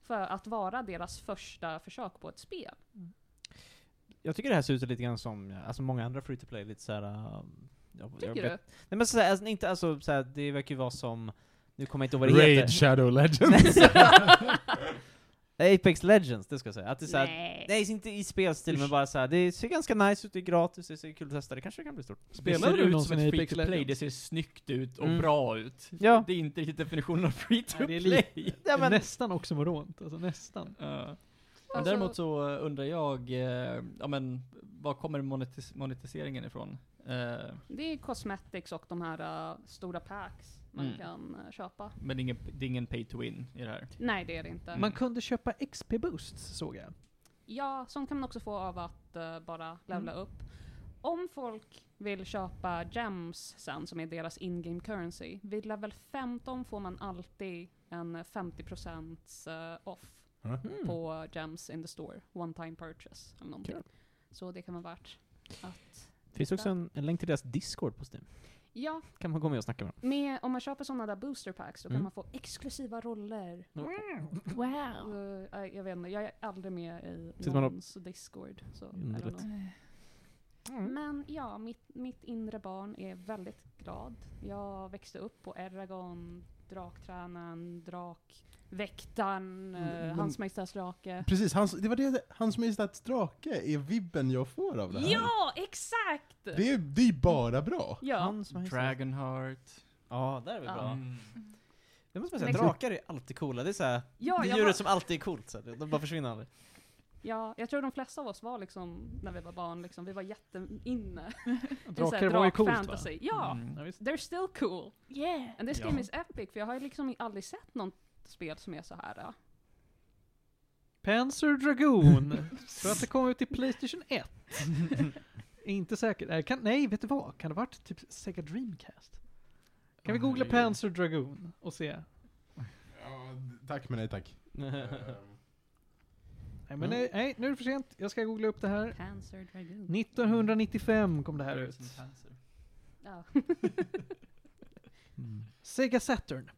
för att vara deras första försök på ett spel.
Jag tycker det här ser ut lite grann som, ja, alltså många andra free to play, lite såhär... Jag, jag
Tycker
vet-
du?
Nej men såhär, alltså, inte alltså såhär, det verkar ju vara som, nu kommer jag inte ihåg vad det
Raid
heter.
Shadow Legends.
Nej, Apex Legends, det ska jag säga. Att det är såhär, nej.
Nej.
inte i spelstil men bara såhär, det ser ganska nice ut, det är gratis, det ser kul att testa, det kanske kan bli stort.
Spelar
det ser
du
ut som
någonsin
ett
Apex
free to play,
Legends?
det ser snyggt ut och
Mm.
bra ut.
Ja.
Det är inte riktigt definitionen av free to
Nej, det är
play.
lite-
Ja, men,
Nästan oxymoront, alltså nästan.
Ja. Eh, Men
Alltså-
däremot så eh, undrar jag, eh, ja men, var kommer monetis- monetiseringen ifrån? Eh,
Det är cosmetics och de här eh, stora packs man
Mm.
kan eh, köpa.
men det är, ingen, det är ingen pay to win i det här.
Nej, det är det inte.
Man kunde köpa XP boosts såg jag.
Ja, sånt kan man också få av att eh, bara levla
Mm.
upp. Om folk vill köpa gems sen, som är deras in-game currency, vid level 15 får man alltid en 50% eh, off
mm.
på gems in the store. One time purchase eller någonting. Så det kan vara värt att...
Finns också en, en länk till deras discord på Steam.
Ja,
Kan man gå med och snacka med dem.
med, om man köper sådana där booster packs då kan
Mm.
man få exklusiva roller.
Wow.
Eh, nej, jag vet inte, jag är aldrig med i
Sitter man och-
någons discord. Så, I
Underligt.
don't know.
Mm.
Men ja, mitt, mitt inre barn är väldigt glad. Jag växte upp på Eragon, Draktränaren, Drakväktaren,
Mm,
eh,
men-
Hans Majestäts Drake.
Precis, hans, det var det, Hans Majestäts Drake är vibben jag får av det här.
Ja, exakt!
Det är det är ju bara bra.
Ja,
Hans Majestät.
Dragonheart.
Ja, där Mm. är vi
Ja.
bra.
Mm.
Det måste man säga,
Men-
drakar är alltid coola. Det är såhär,
ja,
det är
jag,
djuret
var,
som alltid är coolt. Så här. de bara försvinner aldrig.
ja, jag tror de flesta av oss var liksom, när vi var barn, liksom, vi var jätteinne.
Drakar var ju coolt va?
fantasy. Ja,
Mm.
they're still cool.
Yeah.
And this
Ja.
game is epic, för jag har ju liksom aldrig sett något spel som är så här. ja.
Panzer Dragoon. Tror att det kom ut i Playstation 1. Är Inte säker. Nej, Kan, nej, vet du vad? Kan det ha varit typ Sega Dreamcast? Kan vi
Åh,
googla
herregud.
Panzer Dragoon och se?
tack men nej tack.
Nej, men nej, nej, nu är det för sent. Jag ska googla upp det här.
Panzer Dragoon.
1995 kom det här ut.
Som cancer.
Ja.
Sega Saturn.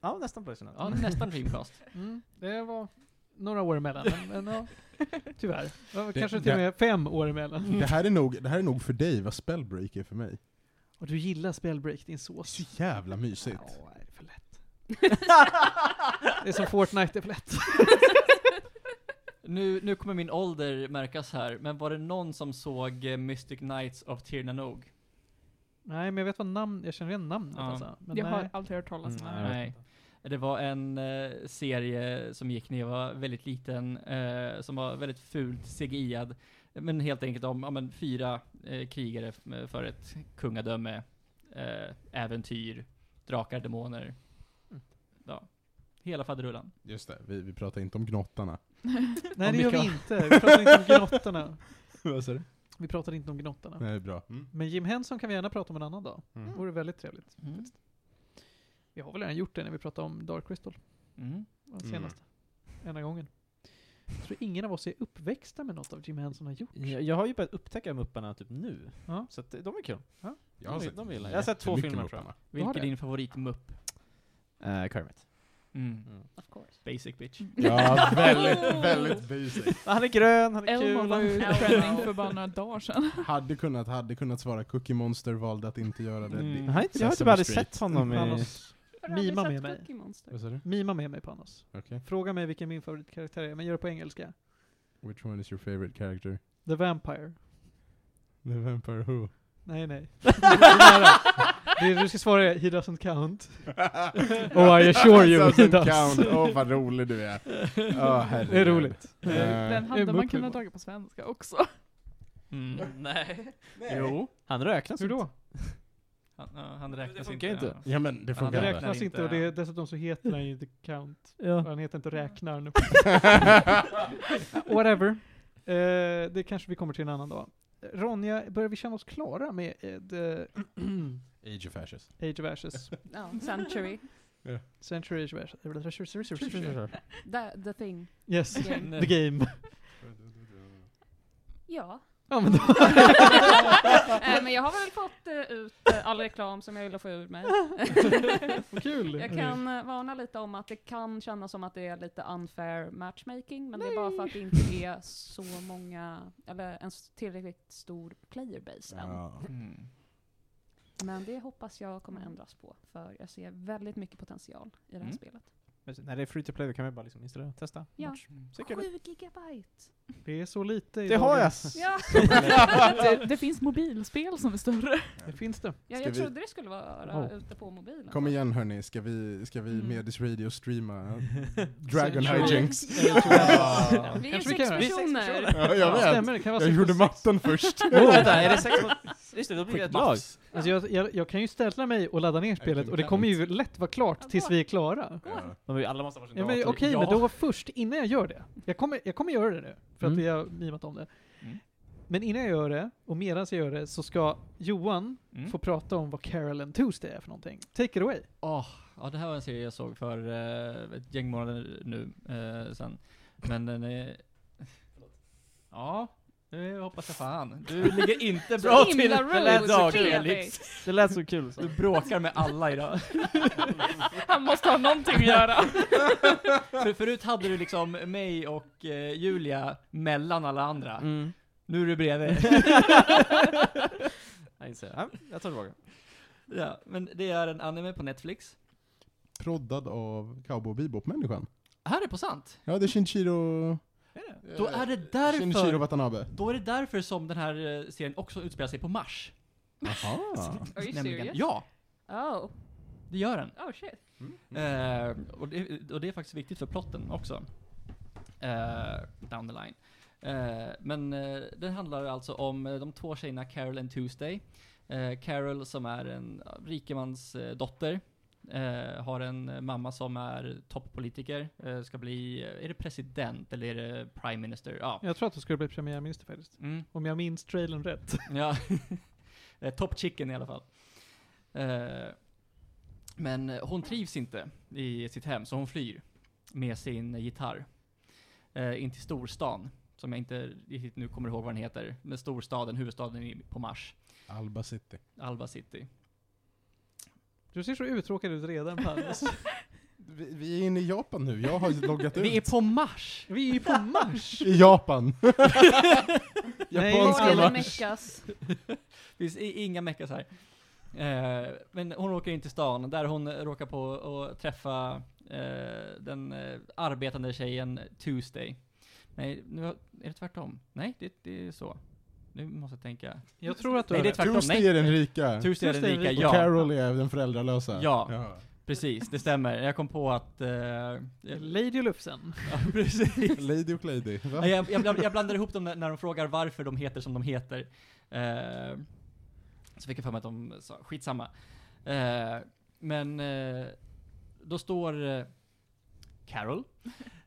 Ja, nästan Poison Ivy.
Ja, nästan Dreamcast.
Mm, det var några år emellan, men, men ja, tyvärr. Det var
Det-
kanske till och med fem år emellan.
Det här, är nog, det här är nog för dig vad spellbreak är för mig.
Och du gillar spelbreak, din
Det är
sås.
så jävla mysigt.
Ja, det är för lätt. det är som Fortnite, det är för lätt.
Nu, nu kommer min ålder märkas här, men var det någon som såg eh, Mystic Knights of Tirnanog?
Nej, men jag vet vad namn, jag känner igen namnet
Ja.
alltså. Men
jag har
nej.
aldrig hört talas om
Mm,
det här.
nej.
Nej. Det var en eh, serie som gick när jag var väldigt liten, eh, som var väldigt fult CGI-ad. Men helt enkelt om ja, men fyra eh, krigare f- för ett kungadöme, eh, äventyr, drakar, demoner.
Mm.
Ja. Hela faderullan.
Just det, vi, vi pratar inte om gnottarna.
nej, det gör vi
Mikael.
inte. Vi pratar inte om gnottarna.
Vad sa du?
Vi pratar inte om gnottarna.
Nej, bra. Mm.
Men Jim Henson kan vi gärna prata om en annan dag. Det
Mm.
vore väldigt trevligt.
Mm.
Vi har väl redan gjort det när vi pratade om Dark Crystal,
Mm.
den
Mm.
senaste. Ena gången. Jag tror ingen av oss är uppväxta med något av Jim Henson har gjort.
Jag, jag har ju börjat upptäcka Mupparna typ nu.
Ja.
Så att de är kul.
Jag har
De-
sett,
de gillar- jag har sett två
jättemycket
filmer,
med
tror jag.
Mupparna.
Du har
Vilken är
det?
din favoritmupp?
Uh, Kermit.
Mm.
Mm.
Of course.
Basic bitch.
Ja,
Oh.
väldigt, väldigt busig.
Han är grön, han är
Elmo
kul.
var
han är-
trending för bara några dagar sedan.
Hade kunnat, hade kunnat svara Cookie Monster, valde att inte göra det.
Mm.
Jag har inte, jag har inte
Sesame
aldrig
Street.
sett honom i...
Panos,
Har du aldrig
Mima
sett
med mig.
Cookie Monster?
Vad sa du?
mima med mig Panos.
Okej.
Fråga mig vilken min favoritkaraktär är, men gör det på engelska.
Which one is your favorite character?
The Vampire.
The Vampire Who?
Nej, nej. Det är nära. Det är- Du ska svara he doesn't count. Oh, I assure you, he
Doesn't
does.
count. Åh, vad rolig du är. Åh, herregud.
Det är roligt.
Eh,
Den hade man
Muppet.
kunnat dra på svenska också.
Mm. Nej.
Jo. Han räknas
Hur då?
Han, ja, han räknas
Det funkar inte.
Ja men det
Det
funkar
Ja,
inte.
räknas
inte.
inte och det är, dessutom så heter han ju inte count. Och
Ja.
Han heter inte räknaren. Whatever. Eh, det kanske vi kommer till en annan dag. Ronja, börjar vi känna oss klara med eh, the
Age of Ashes.
Age of Ashes?
Ja, Sanctuary.
Century Age of Ashes?
The, the thing.
Yes,
Game.
the game.
Ja.
Ja, men då.
Eh, Men jag har väl fått eh, ut eh, all reklam som jag ville få ur mig.
Vad kul!
Jag kan eh, varna lite om att det kan kännas som att det är lite unfair matchmaking, men det är bara för att det inte är så många, eller en s- tillräckligt stor playerbase än.
Ja.
Mm.
Men det hoppas jag kommer ändras på, för jag ser väldigt mycket potential i det här
Mm.
spelet.
Men När det är free to play då kan vi bara liksom installera och testa.
Ja.
Match. Så är det kul.
7 gigabyte!
Det är så lite i
Det har jag!
dagens-
Ja,
det, det finns mobilspel som är större.
Det finns det.
ja
Ska
jag
vi-
trodde det skulle vara
Oh.
ute på mobilen.
Kom igen hörni, ska vi, ska vi
Mm.
Medis Radio
Mm.
streama Dragon
Century.
Hijinks?
Age of Ashes.
Ja.
Vi är
Kanske
sex
vi kan göra.
Vi är sex personer.
personer!
Ja, jag vet.
Stämmer, det kan vara
Jag
sex-
gjorde matten först.
Oh, vänta, är det sex mot... Just det, då blir det ett lag.
Alltså jag, jag, jag kan ju ställa mig och ladda ner spelet och det
kan
kommer ju
inte.
lätt vara klart
Ja,
tills vi är klara.
Ja.
De är ju alla måste ha varsin
Ja, men, Okej,
dator.
ja.
men då först, innan jag gör det. Jag kommer, jag kommer göra det nu, för att
Mm.
vi har mimat om det.
Mm.
Men innan jag gör det, och medan jag gör det, så ska Johan
Mm.
få prata om vad Carol and Tuesday är för någonting. Take it away.
Åh, ja det här var en serie jag såg för eh, ett gäng månader nu eh, sen. Men den är... Ja, nu hoppas jag fan. Du ligger inte bra
Så
till
himla
den här
rude,
dagen
Felix.
Felix.
Det lät så kul. Så.
Du bråkar med alla idag.
Han måste ha någonting att göra.
För förut hade du liksom mig och eh, Julia mellan alla andra.
Mm.
Nu är du bredvid.
Jag inser. Ja, jag tar tillbaka.
ja, men det är en anime på Netflix.
Proddad av Cowboy Bebop-människan.
Här är på sant.
Ja, det är Shinchiro...
Då är det
Eh, Shinichiro
därför,
Watanabe.
då är det därför som den här eh, serien också utspelar sig på Mars.
Aha.
Are you serious?
Ja,
Oh,
det gör den.
oh shit.
Eh, och, det, och det är faktiskt viktigt för plotten också. Eh, down the line. Eh, men eh, den handlar alltså om eh, de två tjejerna Carol and Tuesday. Eh, Carol som är en ja, rikemans eh, dotter. Eh, har en eh, mamma som är toppolitiker. Eh, ska bli, eh, är det president eller är det prime minister? Ja.
Jag tror att du skulle bli premiärminister faktiskt.
Mm.
Om jag minns trailern rätt.
Ja. Eh, Top chicken i alla fall. Eh, Men eh, hon trivs inte i sitt hem, så hon flyr med sin gitarr. eh, In till storstan, som jag inte riktigt nu kommer ihåg vad den heter. Men storstaden, huvudstaden i- på Mars.
Alba City.
Alba City.
Du ser så uttråkad ut redan Panos.
Vi, vi är inne i Japan nu, jag har ju loggat ut.
Vi är på Mars!
Vi är på Mars!
I Japan!
Nej,
Japanska
det
Eller
var-
Mars.
meckas.
Det finns i- inga meckas här. Eh, men hon åker in till stan, där hon råkar på att träffa eh, den eh, arbetande tjejen Tuesday. Nej, nu har- är det tvärtom? Nej, det, det är så. Nu måste jag tänka.
Jag tror att du
Nej,
har
det är
rätt.
tvärtom.
Tuesday
Nej.
är den rika.
Tuesday är den
Tuesday är
rika,
Och
ja.
Carol är den föräldralösa.
Ja. Precis, det stämmer. Jag kom på att... eh, jag-
Lady Lufsen.
ja, precis.
Lady och lady. Va?
Nej, jag, jag, bland- jag blandar ihop dem när, när de frågar varför de heter som de heter. Eh, så fick jag för mig att de sa, skitsamma. Eh, men eh, då står eh, Carol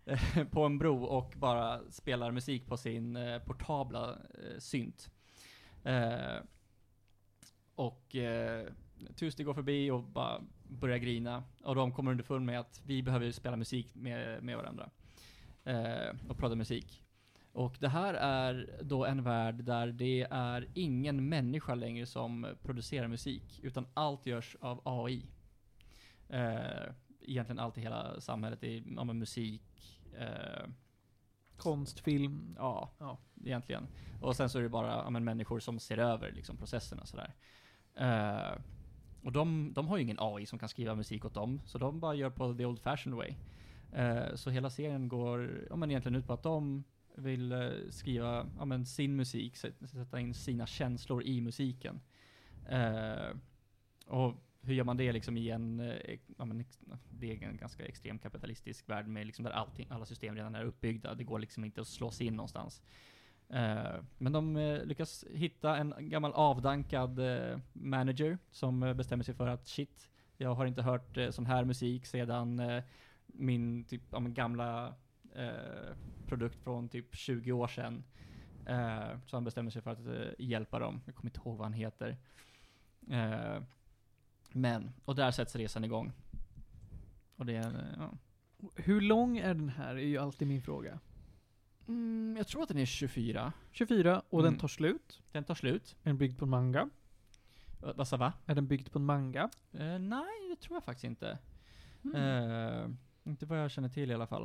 eh, på en bro och bara spelar musik på sin eh, portabla eh, synt. Eh, och eh, Tuesday går förbi och bara börjar grina. Och de kommer underfund med att vi behöver spela musik med, med varandra. Eh, och prata musik. Och det här är då en värld där det är ingen människa längre som producerar musik, utan allt görs av AI. Eh, egentligen allt i hela samhället, i ja, men musik, eh,
Konstfilm.
ja,
Ja.
egentligen. Och sen så är det bara ja, men människor som ser över liksom, processerna sådär. Eh, och de, de har ju ingen AI som kan skriva musik åt dem, så de bara gör på the old fashioned way. Eh, så hela serien går ja, men egentligen ut på att de vill eh, skriva ja, men sin musik, sä- sätta in sina känslor i musiken. Eh, och hur gör man det liksom i en, eh, ex- ja, men ex, det är en ganska extrem kapitalistisk värld med liksom där allting, alla system redan är uppbyggda. Det går liksom inte att slå sig in någonstans. Eh, men de eh, lyckas hitta en gammal avdankad eh, manager som eh, bestämmer sig för att shit, jag har inte hört eh, sån här musik sedan eh, min typ, ja, men gamla eh, produkt från typ 20 år sedan. Eh, så han bestämmer sig för att eh, hjälpa dem. Jag kommer inte ihåg vad han heter. Eh, men, och där sätts resan igång. Och det är, eh, ja.
Hur lång är den här? är ju alltid min fråga.
mm, Jag tror att den är 24.
24, och
Mm.
den tar slut.
Den tar slut.
Är den byggd på en manga?
Eh, Vad sa va?
Är den byggd på en manga?
Eh, nej, det tror jag faktiskt inte.
Mm.
Eh, inte vad jag känner till i alla fall.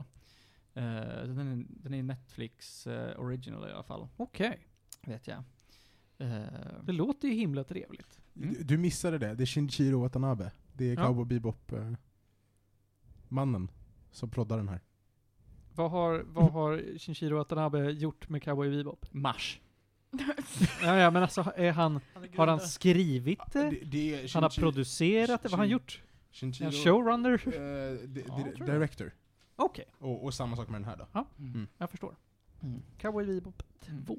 Eh, den, är, den är Netflix eh, original i alla fall,
Okej.
vet jag. Eh,
Det låter ju himla trevligt.
Mm.
Du- Du missade det, det är Shinichiro Watanabe. Det är
Ja.
Cowboy Bebop-mannen som proddar den här.
Vad har, vad har Shinshiro Watanabe gjort med Cowboy Bebop?
mars.
Ja, ja, men alltså är han, har han skrivit det?
det är
Han har producerat det? Vad har han gjort? Är han showrunner?
Eh, di- di-
Ja, jag tror det.
director.
Okej,
Och, och samma sak med den här då.
Mm.
jag förstår.
Mm.
Cowboy Bebop 2.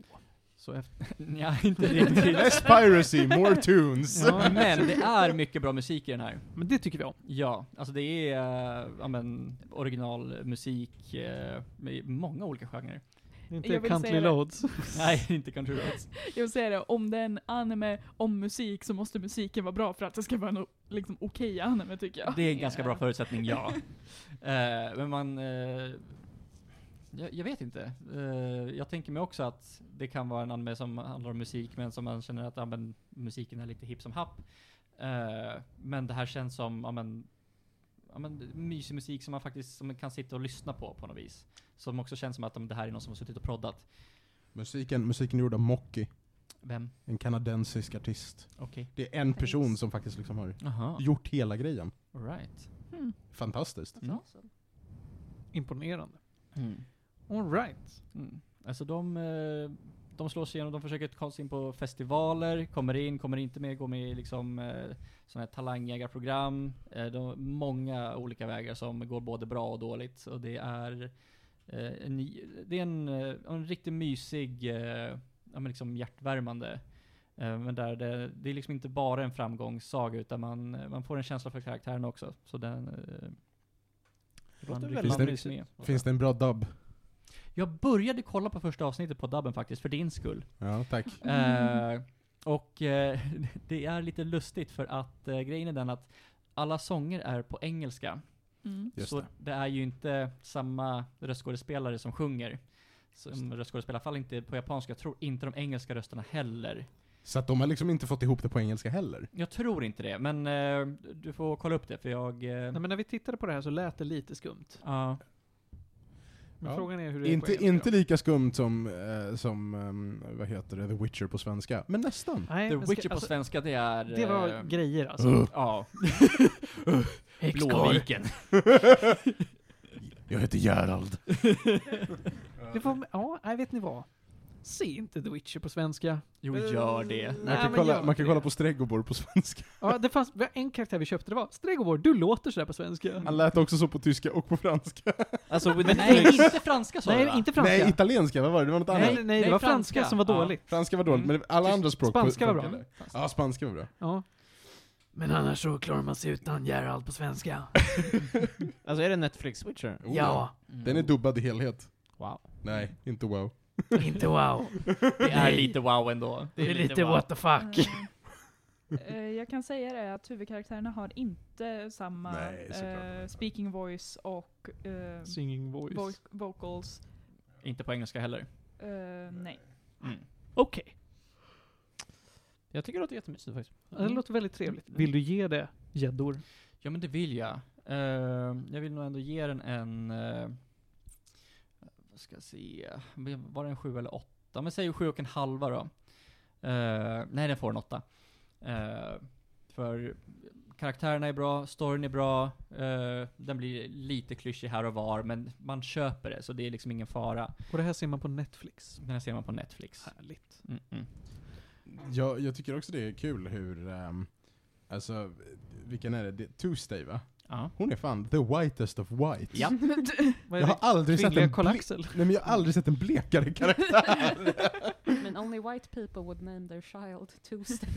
Så efter... Nja, inte riktigt.
Less piracy, more tunes!
Ja,
Men det är mycket bra musik i den här.
Men det tycker vi om.
Ja, alltså det är eh, ja, men, originalmusik eh, med många olika genrer.
Det är
Jag
Inte
vill
Country
säga det.
Loads.
Nej, inte Country Roads.
Jag vill säga det, om det är en anime om musik så måste musiken vara bra för att det ska vara en o- liksom, okej anime tycker jag.
Det är en ganska bra förutsättning, ja. Eh, men man... eh, jag, jag vet inte. Eh, jag tänker mig också att det kan vara en anime som handlar om musik, men som man känner att ja, men, musiken är lite hipp som happ. Eh, men det här känns som ja, men, ja, men, mysig musik som man faktiskt som man kan sitta och lyssna på, på något vis. Som också känns som att de, det här är någon som har suttit och proddat.
musiken, musiken är gjord av Mocky,
Vem?
en kanadensisk artist.
Okej.
Det är en person
Thanks.
som faktiskt liksom har
Jaha,
gjort hela grejen.
alright.
Mm.
Fantastiskt.
Mm.
Imponerande. Alright.
Mm. Alltså de, eh, de slår sig igenom, de försöker ta sig in på festivaler, kommer in, kommer inte med, går med i liksom eh, sådana här talangjägarprogram. Eh, de, många olika vägar som går både bra och dåligt. Och det är, eh, en, det är en, eh, en riktigt mysig, eh, ja, men liksom hjärtvärmande. Eh, men där det, det är liksom inte bara en framgångssaga utan man, man får en känsla för karaktären också. Så den... Eh, man
väldigt
lyckas bli
mysigt.
med.
Finns det en bra dubb?
Jag började kolla på första avsnittet på dubben faktiskt, för din skull.
Ja, tack.
Mm.
Eh, och eh, det är lite lustigt för att eh, grejen är den att alla sånger är på engelska.
Mm.
Just
så
det.
det. är ju inte samma röstskådespelare som sjunger. Som röstskådespelare, i alla fall inte på japanska. Jag tror inte de engelska rösterna heller.
Så att de har liksom inte fått ihop det på engelska heller.
Jag tror inte det, men eh, du får kolla upp det för jag... eh,
Nej, men när vi tittade på det här så lät det lite skumt.
ja.
Men
Ja.
frågan är hur det är på
Inte,
engelska
inte
då.
lika skumt som, eh, som ehm, vad heter det, The Witcher på svenska. Men nästan.
Nej,
The
men ska-
Witcher på
alltså,
svenska, det är...
Det var
eh,
grejer alltså.
Ja.
Häxkarl.
Blåviken.
Jag heter Gerald.
Mm.
Det var, ja, nej, vet ni vad? Se inte The Witcher på svenska.
Jo, gör det.
Man
Nej,
kan,
men
kolla,
gör
man kan
det.
kolla på Stregobor på svenska.
Ja, det fanns en karaktär vi köpte, det var Stregobor, du låter sådär på svenska.
Han lät också så på tyska och på franska.
Alltså, with
Nej,
the
inte franska sa du va?
Nej, inte franska.
Nej, italienska, vad var det? Det var något
nej,
annat.
nej, det var franska, som var
Ja.
dåligt.
Franska var dåligt,
Mm.
men alla andra språk
Spanska var bra.
funkade. Ja, spanska var bra. Oh,
Ja. Men annars så klarar man sig utan Gerald på svenska.
alltså är det Netflix Witcher?
Oh,
Mm.
Den är dubbad i helhet.
Wow.
Nej, inte wow.
inte wow.
Det är lite wow ändå.
the fuck.
Eh, jag kan säga det att huvudkaraktärerna har inte samma
Nej, såklart.
eh, speaking voice och eh,
Singing voice.
vo- vocals.
Inte på engelska heller.
Eh, nej.
Mm.
Okej.
Jag tycker det låter jättemysigt faktiskt.
Det låter väldigt trevligt. Vill du ge det gäddor?
Ja, men det vill jag. Eh, jag vill nog ändå ge den en... eh, vad ska jag se? Var det en sju eller åtta? Men säg sju och en halva då. Eh, nej, den får en åtta. Eh, för karaktärerna är bra, storyn är bra, eh, den blir lite klyschig här och var, men man köper det, så det är liksom ingen fara.
Och det här ser man på Netflix.
Den här ser man på Netflix.
Härligt.
Mm -mm.
Jag, jag tycker också det är kul hur, ehm, alltså, vilken är det? det? Tuesday va?
Ja.
Hon är fan the whitest of whites.
Ja.
Vad
Jag
är
har
det?
aldrig sett
Kvinnliga
en
Karl
ble-
Axel?
Nej men jag har aldrig sett en blekare karaktär.
Men only white people would name their child Tuesday.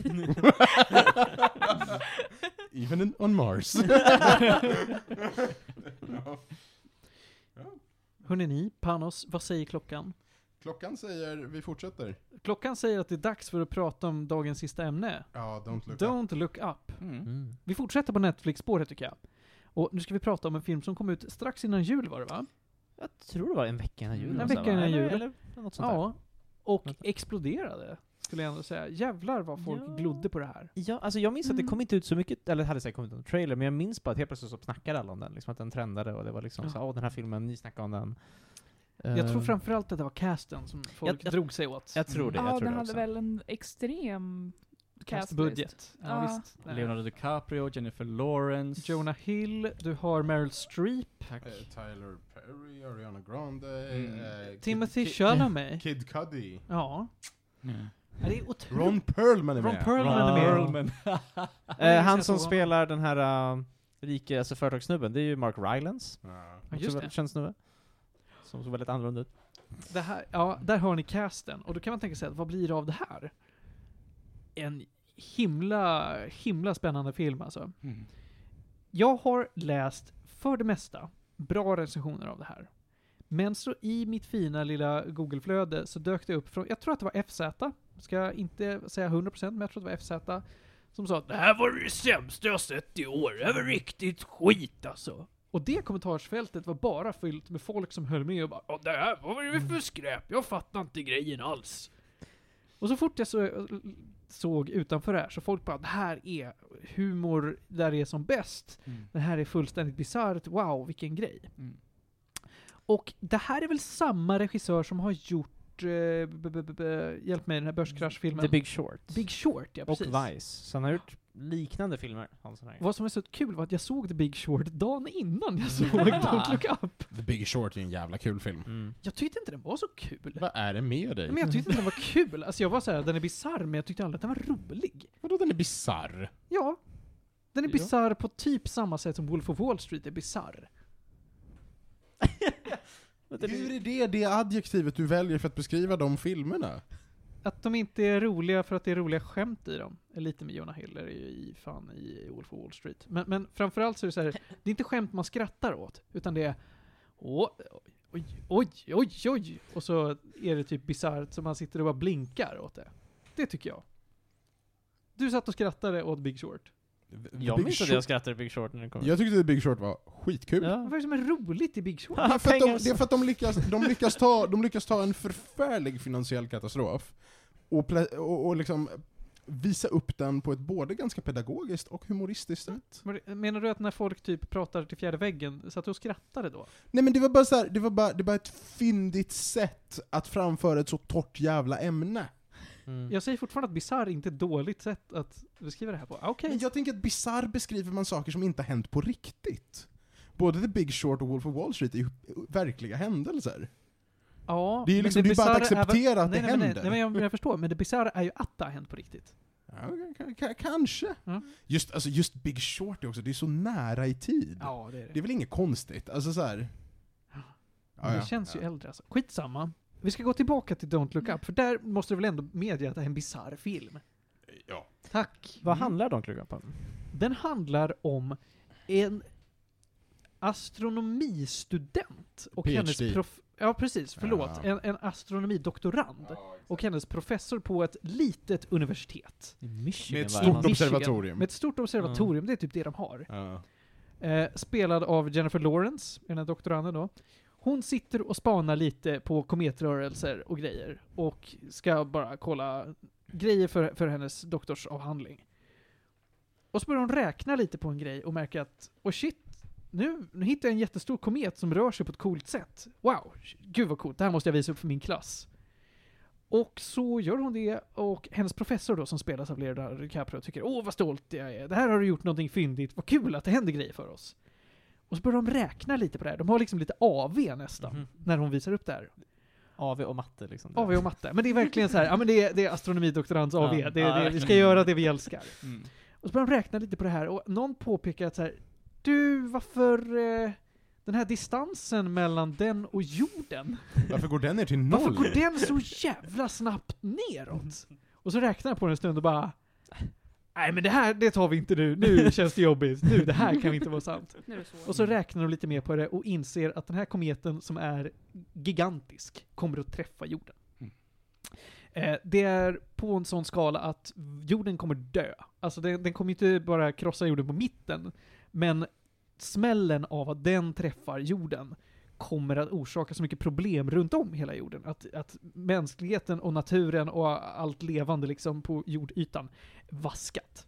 Even in, on Mars.
Hörrni ni, Panos, vad säger klockan?
Klockan säger vi fortsätter.
Klockan säger att det är dags för att prata om dagens sista ämne.
Ja, don't look up.
Don't look up.
Mm.
Vi fortsätter på Netflix-spåret tycker jag. Och nu ska vi prata om en film som kom ut strax innan jul var det va?
Jag tror det var en vecka innan jul.
En
alltså,
vecka
va?
innan jul.
Eller, eller något sånt där.
Ja. Och
Vänta.
exploderade, skulle jag ändå säga. Jävlar vad folk
Ja.
glodde på det här.
Ja, alltså jag minns att
Mm.
det kom inte ut så mycket, eller det hade säkert kommit en trailer, men jag minns bara att helt plötsligt så snackade alla om den, liksom att den trendade och det var liksom
Ja.
så åh den här filmen, ni snackade om den.
Jag
Eh,
tror framförallt att det var casten som folk
jag-
drog sig åt.
Jag tror det,
Ja,
jag tror
den
det
hade
också.
väl en extrem cast list.
Castbudget. Ja,
Ja.
visst. Nej.
Leonardo DiCaprio, Jennifer Lawrence.
Jonah Hill, du har Meryl Streep,
Tack.
Eh, Tyler Perry, Ariana Grande,
Mm.
eh, Kid-
Timothy
Kid-
Chalamet.
Kid Cudi.
Ja.
Mm.
Ja, Det är otroligt.
Ron Perlman är
Ron
med.
Perlman är med.
Perlman. Eh, han som spelar den här uh, rike, alltså företagssnubben, det är ju Mark Rylance.
Ja.
Ja,
också
just
väldigt
det.
Känd snubbe. Som såg väldigt annorlunda ut.
Det här, ja, där har ni casten. Och då kan man tänka sig, att, vad blir det av det här? En himla, himla spännande film alltså.
Mm.
Jag har läst, för det mesta, bra recensioner av det här. Men så i mitt fina lilla Google-flöde så dök det upp från, jag tror att det var FZ, ska inte säga 100% men jag tror att det var FZ, som sa att det här var det sämsta jag sett i år, det här var riktigt skit alltså. Och det kommentarsfältet var bara fyllt med folk som höll med och bara "Ja, det här, vad var det för skräp? Jag fattar inte grejen alls. Och så fort jag så, såg utanför det här så folk bara det här är humor där det är som bäst.
Mm.
Det här är fullständigt bisarrt, wow vilken grej.
Mm.
Och det här är väl samma regissör som har gjort, eh, b- b- b- b- hjälp mig, den här börskraschfilmen?
The Big Short.
Big Short, ja
och
precis.
Vice. Så han har gjort liknande filmer. Han sån här.
Vad som är så kul var att jag såg The Big Short dagen innan jag såg Don't Look Up.
The Big Short är en jävla kul film.
Mm.
Jag tyckte inte den var så kul.
Vad är det med dig?
Nej, Men jag tyckte inte den var kul. Alltså jag var såhär, den är bisarr men jag tyckte aldrig att den var rolig.
Vadå den är bizarr?
Ja. Den är
Ja.
bisarr på typ samma sätt som Wolf of Wall Street är bisarr.
Hur är det det adjektivet du väljer för att beskriva de filmerna?
Att de inte är roliga för att det är roliga skämt i dem. Lite med Jonah Hill är det ju i fan i Wolf of Wall Street. Men, men framförallt så är det så här, det är inte skämt man skrattar åt, utan det är åh, oj, oj, oj, oj. Och så är det typ bisarrt så man sitter och bara blinkar åt det. Det tycker jag. Du satt och skrattade åt Big Short.
Jag
Big
minns att
Short-
jag skrattade i Big Short när den kom ut.
Jag tyckte The Big Short var skitkul.
Vad
Ja.
är det som är roligt i Big Short?
Det, är för att de,
Pengar.
det är för att de lyckas, de lyckas, ta, de lyckas ta en förfärlig finansiell katastrof och, plä, och, och liksom visa upp den på ett både ganska pedagogiskt och humoristiskt sätt.
Menar du att när folk typ pratar till fjärde väggen, satt du och skrattade då?
Nej men det var bara så här, det var bara, det var ett fyndigt sätt att framföra ett så torrt jävla ämne.
Mm.
Jag säger fortfarande att bisarr inte är ett dåligt sätt att beskriva det här på. Ah, Okej.
Men jag tänker att bisarr beskriver man saker som inte har hänt på riktigt. Både The Big Short och Wolf of Wall Street är ju verkliga händelser.
Ja,
Det är ju
men
liksom- det är bara att
bisarra väl-
acceptera att
nej,
det
nej, men
händer.
Nej, nej, men jag, jag förstår. Men det bisarra är ju att det har hänt på riktigt.
Ja, k- k- kanske.
Ja.
Just, alltså, just Big Short är också, det är så nära i tid.
Ja, det är
Det är väl inget konstigt? Alltså så här.
Ja.
Ja, ja.
Det känns ju
Ja.
äldre alltså. Skitsamma. Vi ska gå tillbaka till Don't Look Up, för där måste du väl ändå medge att det är en bisarr film?
Ja.
Tack.
Vad handlar de klugga på?
Den handlar om en astronomistudent och
PhD.
hennes prof- Ja, precis. Förlåt.
Ja.
En, en astronomidoktorand och hennes professor på ett litet universitet.
I Michigan
Med ett
va?
stort
Michigan.
observatorium. Mm.
Med ett stort observatorium, det är typ det de har.
Ja.
Eh, spelad av Jennifer Lawrence, den här doktoranden då. Hon sitter och spanar lite på kometrörelser och grejer och ska bara kolla grejer för, för hennes doktorsavhandling. Och så börjar hon räkna lite på en grej och märker att, och shit, nu, nu hittar jag en jättestor komet som rör sig på ett coolt sätt. Wow, gud vad coolt, det här måste jag visa upp för min klass. Och så gör hon det och hennes professor då som spelas av Leonardo DiCaprio tycker åh vad stolt jag är, det här har du gjort någonting fyndigt, vad kul att det händer grejer för oss. Och så börjar de räkna lite på det här, de har liksom lite AV nästan,
Mhm.
när hon visar upp det här.
AV och matte liksom.
AV och matte, men det är verkligen så här, ja men det är, det är astronomidoktorands AV,
Ja.
det,
Ja,
är det, vi ska
verkligen.
göra det vi älskar.
Mm.
Och så börjar de räkna lite på det här och någon påpekar att så här, du varför eh, den här distansen mellan den och jorden,
Varför går den ner till noll?
varför går den så jävla snabbt neråt? Och så räknar jag på den en stund och bara Nej men det här, det tar vi inte nu, nu känns det jobbigt, nu det här kan inte vara sant.
Nu är det så.
Och så räknar de lite mer på det och inser att den här kometen som är gigantisk kommer att träffa jorden.
Mm.
Eh, det är på en sån skala att jorden kommer dö. Alltså den, den kommer inte bara krossa jorden på mitten, men smällen av att den träffar jorden kommer att orsaka så mycket problem runt om hela jorden. Att, att mänskligheten och naturen och allt levande liksom på jordytan vaskat.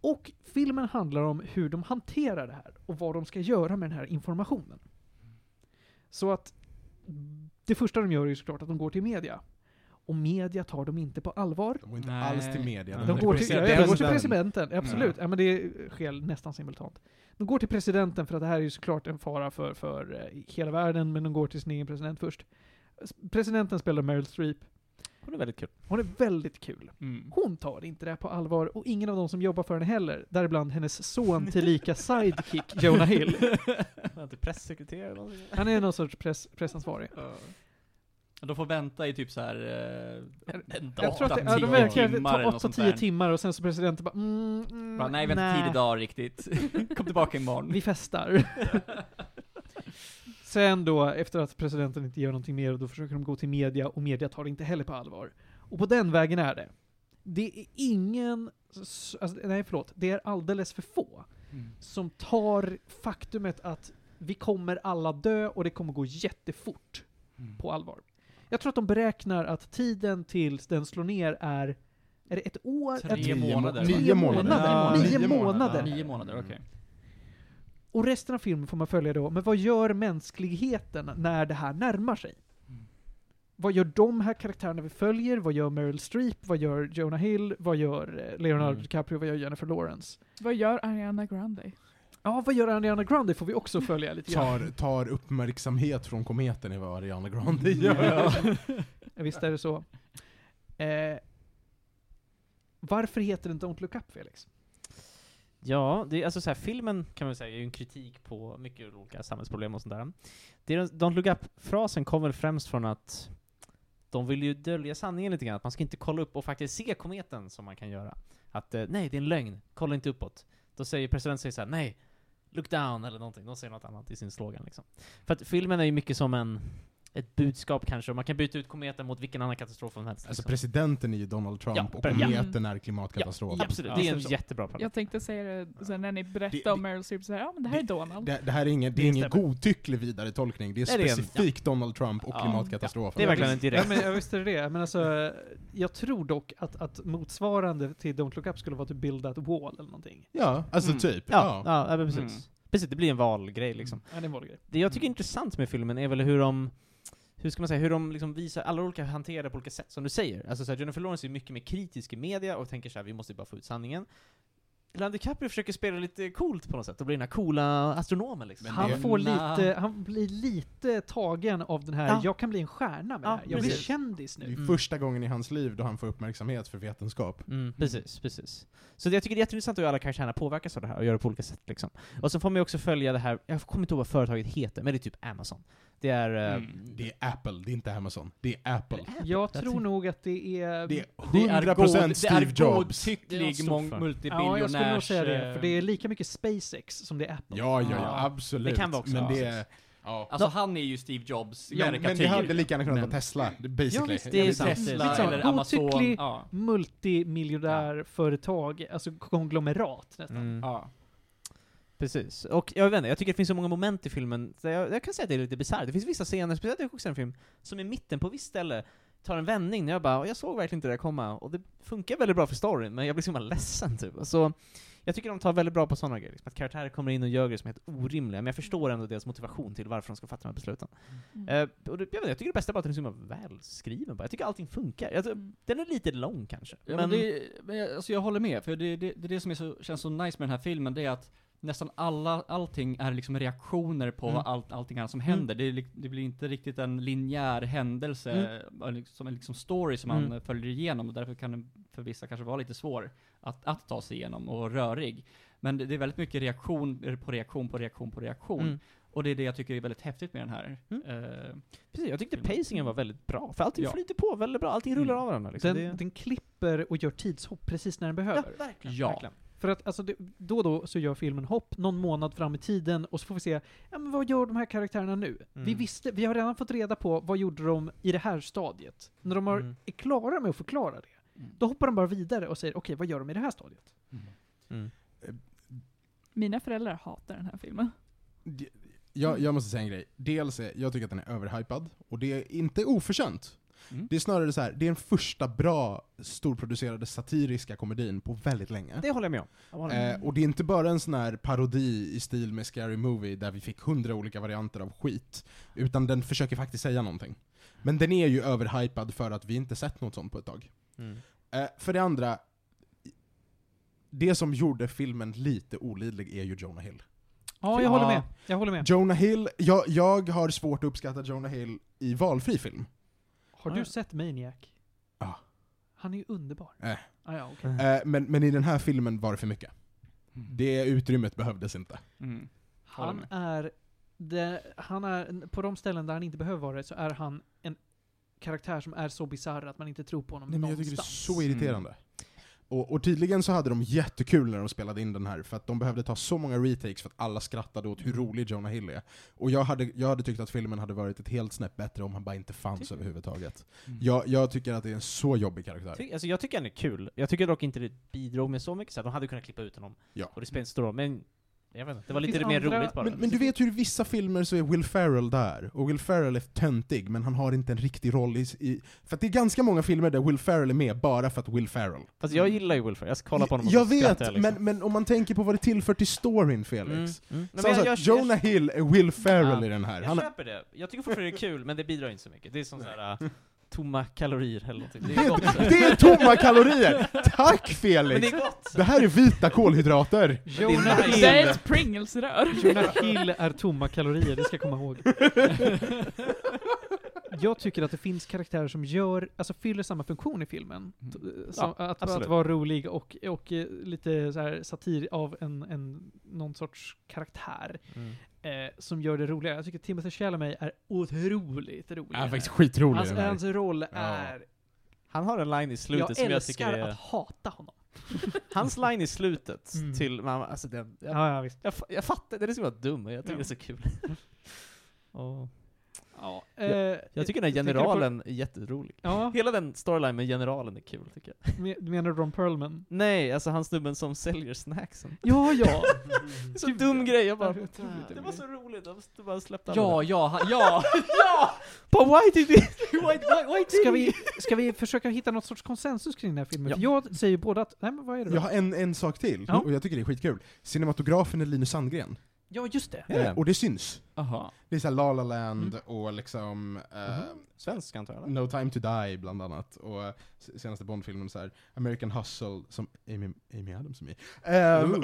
Och filmen handlar om hur de hanterar det här och vad de ska göra med den här informationen. Så att det första de gör är ju såklart att de går till media. Och media tar dem inte på allvar.
De går inte
Nej.
alls till media.
De
De
är
går till, ja, de går till
presidenten.
presidenten, absolut. Ja. men det sker nästan simultant. De går till presidenten för att det här är ju såklart en fara för, för eh, hela världen, men de går till sin egen president först. S- Presidenten spelar Meryl Streep.
Det är väldigt kul.
Hon är väldigt kul.
Mm.
Hon tar inte det här på allvar och ingen av de som jobbar för henne heller, däribland hennes son Mm. tillika sidekick Jonah Hill.
Var inte pressekreterare eller någonting?
Han är någon sorts press, pressansvarig.
De får vänta i typ så här eh, en dag,
Jag tror att det, ja,
tio
de verkar
timmar eller
ta
något sånt
8-10
där.
timmar och sen så presidenten bara mm, mm,
Bara, nej, vi har inte tid idag riktigt. Kom tillbaka imorgon.
Vi festar. Sen då, efter att presidenten inte gör någonting mer, då försöker de gå till media och media tar det inte heller på allvar. Och på den vägen är det. Det är ingen, s- alltså, nej förlåt, det är alldeles för få
Mm.
som tar faktumet att vi kommer alla dö och det kommer gå jättefort
Mm.
på allvar. Jag tror att de beräknar att tiden tills den slår ner är, är det ett år?
Tre
Ett,
Nio månader.
Nio månader.
månader.
Ja,
Nio
nio
månader.
Nio månader, okej.
och resten av filmen får man följa då, men vad gör mänskligheten när det här närmar sig?
Mm.
Vad gör de här karaktärerna vi följer? Vad gör Meryl Streep? Vad gör Jonah Hill? Vad gör eh, Leonardo
Mm.
DiCaprio? Vad gör Jennifer Lawrence?
Vad gör Ariana Grande?
Ja, vad gör Ariana Grande? får vi också följa lite grann.
Tar, tar uppmärksamhet från kometen i vad Ariana Grande
Mm.
gör.
Ja, Visst är det så. Eh, varför heter den Don't Look Up, Felix?
Ja, det är alltså så här, filmen kan man säga är ju en kritik på mycket olika samhällsproblem och sånt där. Det är, don't look up-frasen kommer väl främst från att de vill ju dölja sanningen lite grann, att man ska inte kolla upp och faktiskt se kometen som man kan göra. Att eh, nej, det är en lögn, kolla inte uppåt. Då säger presidenten säger så här, nej, look down eller någonting. De säger något annat i sin slogan liksom. För att filmen är ju mycket som en ett budskap kanske, och man kan byta ut kometen mot vilken annan katastrof som helst.
Alltså
liksom.
presidenten är ju Donald Trump
Ja,
och
pre-
ja.
kometen är klimatkatastrofen.
Absolut,
Ja,
det är en
så-
jättebra parallell.
Jag tänkte säga det sen när ni berättade
Det-
om Meryl Streep, så här, ja men det här är Donald.
Det, det här är ingen, det är
Det
ingen
stämmer.
godtycklig vidare tolkning, det är
Nej, det är en-
specifikt Donald Trump och
Ja.
klimatkatastrofen.
Det är verkligen en direkt...
Nej, men jag visste det. Men alltså, jag tror dock att, att motsvarande till Don't Look Up skulle vara typ Build That Wall eller någonting.
Ja, alltså
Mm.
typ.
Ja,
Ja.
ja. ja, men precis.
Mm.
Precis, det blir en valgrej liksom.
Ja, det är en vanlig grej.
Det jag tycker är intressant med filmen är väl hur de hur ska man säga, hur de liksom visar, alla olika hanterar det på olika sätt, som du säger. Alltså såhär, Jennifer Lawrence är mycket mer kritisk i media och tänker såhär, vi måste bara få ut sanningen. Leonardo DiCaprio försöker spela lite coolt på något sätt och bli den här coola astronomen liksom.
Men
Han,
det-
får
Nah.
lite, han blir lite tagen av den här,
Ja.
jag kan bli en stjärna med
Ja,
det här. Jag blir
precis.
kändis
Det
nu.
är ju
Mm.
första gången i hans liv då han får uppmärksamhet för vetenskap.
Mm, precis, precis. Så det- jag tycker det är jätteintressant hur alla karaktärerna påverkas av det här och gör det på olika sätt liksom. Och så får man ju också följa det här, jag kommer inte ihåg vad företaget heter, men det är typ Amazon. Det är... eh,
Mm.
Det är Apple, det är inte Amazon. Det är Apple.
Jag tror nog att det är...
Det är
Det är
100%
god-
Steve
Det är
Jobs.
godtycklig
Det är
mång-
för.
ja, jag skulle nog
multibiljonärs...
säga det. För det är
eh,
lika mycket SpaceX som det är Apple.
Ja, ja,
Ja.
ja, absolut.
Det kan vara också,
Men
ja,
det
precis.
är... Ja.
Alltså han är ju Steve Jobs
Ja, men det
karikatyr.
hade lika gärna kunnat
Men-
vara Tesla, basically.
Ja, visst,
det är sant.
Tesla
Liksom,
eller Amazon.
godtycklig-
Ja.
Multimiljardärföretag, alltså konglomerat nästan.
Mm.
Ja.
Precis. Och jag vet inte, jag tycker det finns så många moment i filmen, där jag, jag kan säga att det är lite bisarrt. Det finns vissa scener, speciellt i Huxenfilm, som i mitten på visst ställe tar en vändning när jag bara, jag såg verkligen inte det där komma. Och det funkar väldigt bra för storyn, men jag blir så himla ledsen typ. Och Så jag tycker de tar väldigt bra på sådana grejer, liksom, att karaktärer kommer in och gör grejer som är helt orimliga, men jag förstår ändå deras motivation till varför de ska fatta de här besluten.
Mm.
Eh, och det, jag, vet, inte, jag tycker det bästa är bara att den är så himla välskriven bara. Jag tycker allting funkar. Jag,
Mm.
den är lite lång kanske.
Ja, men det, men jag, alltså jag håller med, för det, det, det är det som är så, känns så nice med den här filmen, det är att nästan alla, allting är liksom reaktioner på
Mm.
allt, allting annat som händer. Det, är lik- det blir inte riktigt en linjär händelse, eh, liksom- som en liksom story som man
Mm.
eh, följer igenom, och därför kan den för vissa kanske vara lite svår att, att ta sig igenom, och rörig. Men det, det är väldigt mycket reaktion på reaktion på reaktion på reaktion.
Mm.
Och det är det jag tycker är väldigt häftigt med den här.
Mm.
Eh,
Precis, jag tyckte pacingen var väldigt bra, för allting
Ja.
flyter på väldigt bra, allting rullar
Mm.
av varandra liksom.
Den, den klipper och gör tidshopp precis när den behöver.
Ja, verkligen.
Ja.
verkligen.
För att alltså, det, då och då så gör filmen hopp någon månad fram i tiden och så får vi se, ja men vad gör de här karaktärerna nu? Vi
Mm.
visste, vi har redan fått reda på vad gjorde de i det här stadiet. När de har,
Mm.
är klara med att förklara det,
Mm.
då hoppar de bara vidare och säger okej, vad gör de i det här stadiet?
Mina föräldrar hatar den här filmen.
Det- Jag, jag måste säga en grej. Dels är, jag tycker att den är överhypad, och det är inte oförtjänt.
Mm.
Det är snarare så här, det är den första bra storproducerade satiriska komedin på väldigt länge.
Det håller jag med om. Jag håller med.
Eh, och det är inte bara en sån här parodi i stil med Scary Movie där vi fick hundra olika varianter av skit, utan den försöker faktiskt säga någonting. Men den är ju överhypad för att vi inte sett något sånt på ett tag.
Mm.
Eh, för det andra, det som gjorde filmen lite olidlig är ju Jonah Hill.
Ja, jag
Ja.
håller med. Jag håller med.
Jonah Hill, jag, jag har svårt att uppskatta Jonah Hill i valfri film.
Har
Ja, ja.
du sett Maniac?
Ja.
Han är ju underbar.
Eh.
Äh.
Ah, ja, okej.
Mm.
Eh, men, men i den här filmen var det för mycket. Det utrymmet behövdes inte.
mm. Håller
Han är, det, han är, på de ställen där han inte behöver vara det så är han en karaktär som är så bisarr att man inte tror på honom
Nej, men jag
någonstans.
tycker det är så irriterande.
Mm.
Och, och tydligen så hade de jättekul när de spelade in den här, för att de behövde ta så många retakes för att alla skrattade åt
Mm.
hur rolig Jonah Hill är. Och jag hade, jag hade tyckt att filmen hade varit ett helt snäpp bättre om han bara inte fanns
Tycker du?
överhuvudtaget.
Mm.
Jag, jag tycker att det är en så jobbig karaktär.
Ty, alltså, jag tycker han är kul. Jag tycker dock inte det bidrog med så mycket, så att de hade kunnat klippa ut honom.
Ja.
Och det spelar inte så stor roll, men jag vet inte, det var
Det
lite
finns
mer
andra-
roligt bara.
Men, men du vet hur i vissa filmer så är Will Ferrell där, och Will Ferrell är töntig, men han har inte en riktig roll i... i för att det är ganska många filmer där Will Ferrell är med bara för att Will Ferrell.
Fast jag gillar ju Wilfred, jag ska kolla på honom och
jag
så skrattar
vet,
liksom.
men, men om man tänker på vad det tillför till storyn, Felix.
Mm, mm.
Så alltså, Jonah Hill är Will Ferrell
Ja.
i den här.
jag,
Han,
jag köper det. Jag tycker fortfarande det är kul, men det bidrar inte så mycket. Det är som såhär, äh, tomma kalorier eller någonting. Det
det,
är gott.
är, det är tomma kalorier! Tack
Men
Felix! Det,
det är gott!
här är vita kolhydrater.
Jonah
Det är
Hill,
Det är ett Pringles-rör.
Jonah Hill är tomma kalorier, det ska jag komma ihåg. Jag tycker att det finns karaktärer som gör, alltså fyller samma funktion i filmen.
Mm.
T- eh, Som, att,
absolut.
att vara rolig och, och eh, lite så här satir av en, en, någon sorts karaktär
Mm.
eh, som gör det roligare. Jag tycker Timothy Chalamet är otroligt rolig.
Han är faktiskt skitrolig
Alltså,
hans,
i den
Alltså,
här.
hans roll är...
Han har en line i slutet
Jag
som jag
älskar
tycker är...
att hata honom.
Hans line i slutet
Mm.
till mamma, alltså den, jag,
Ja, ja, visst.
jag, fa- jag fattar, den är så jävla dum och jag tycker
Ja.
det är så kul. och,
Ja,
Jag tycker den här
du på-
generalen är jätterolig.
Ja,
Hela den storyline med generalen är kul tycker jag.
men- du menar Ron Perlman?
Nej, alltså han snubben som säljer snacksen.
Ja, ja!
Typ Det är så dum grej, jag bara...
Det är otroligt
Det var så roligt, jag måste bara släppte alla
Ja,
där.
ja, han- ja!
But why did we...
Ska vi, ska vi försöka hitta något sorts konsensus kring den här filmen?
Ja.
För jag säger både att, nej men vad är det då?
Jag har en, en sak till,
Ja.
och jag tycker det är skitkul. Cinematografen är Linus Sandgren.
Ja, just det.
Ja. Mm.
Eh, Och det syns.
Aha.
Det är såhär La La Land och liksom
Mm-hmm.
eh,
Svensk antar jag? eller?
No Time To Die bland annat. Och eh, s- senaste Bond-filmen så här, American Hustle, som Amy, Amy Adams är med i. Ehm,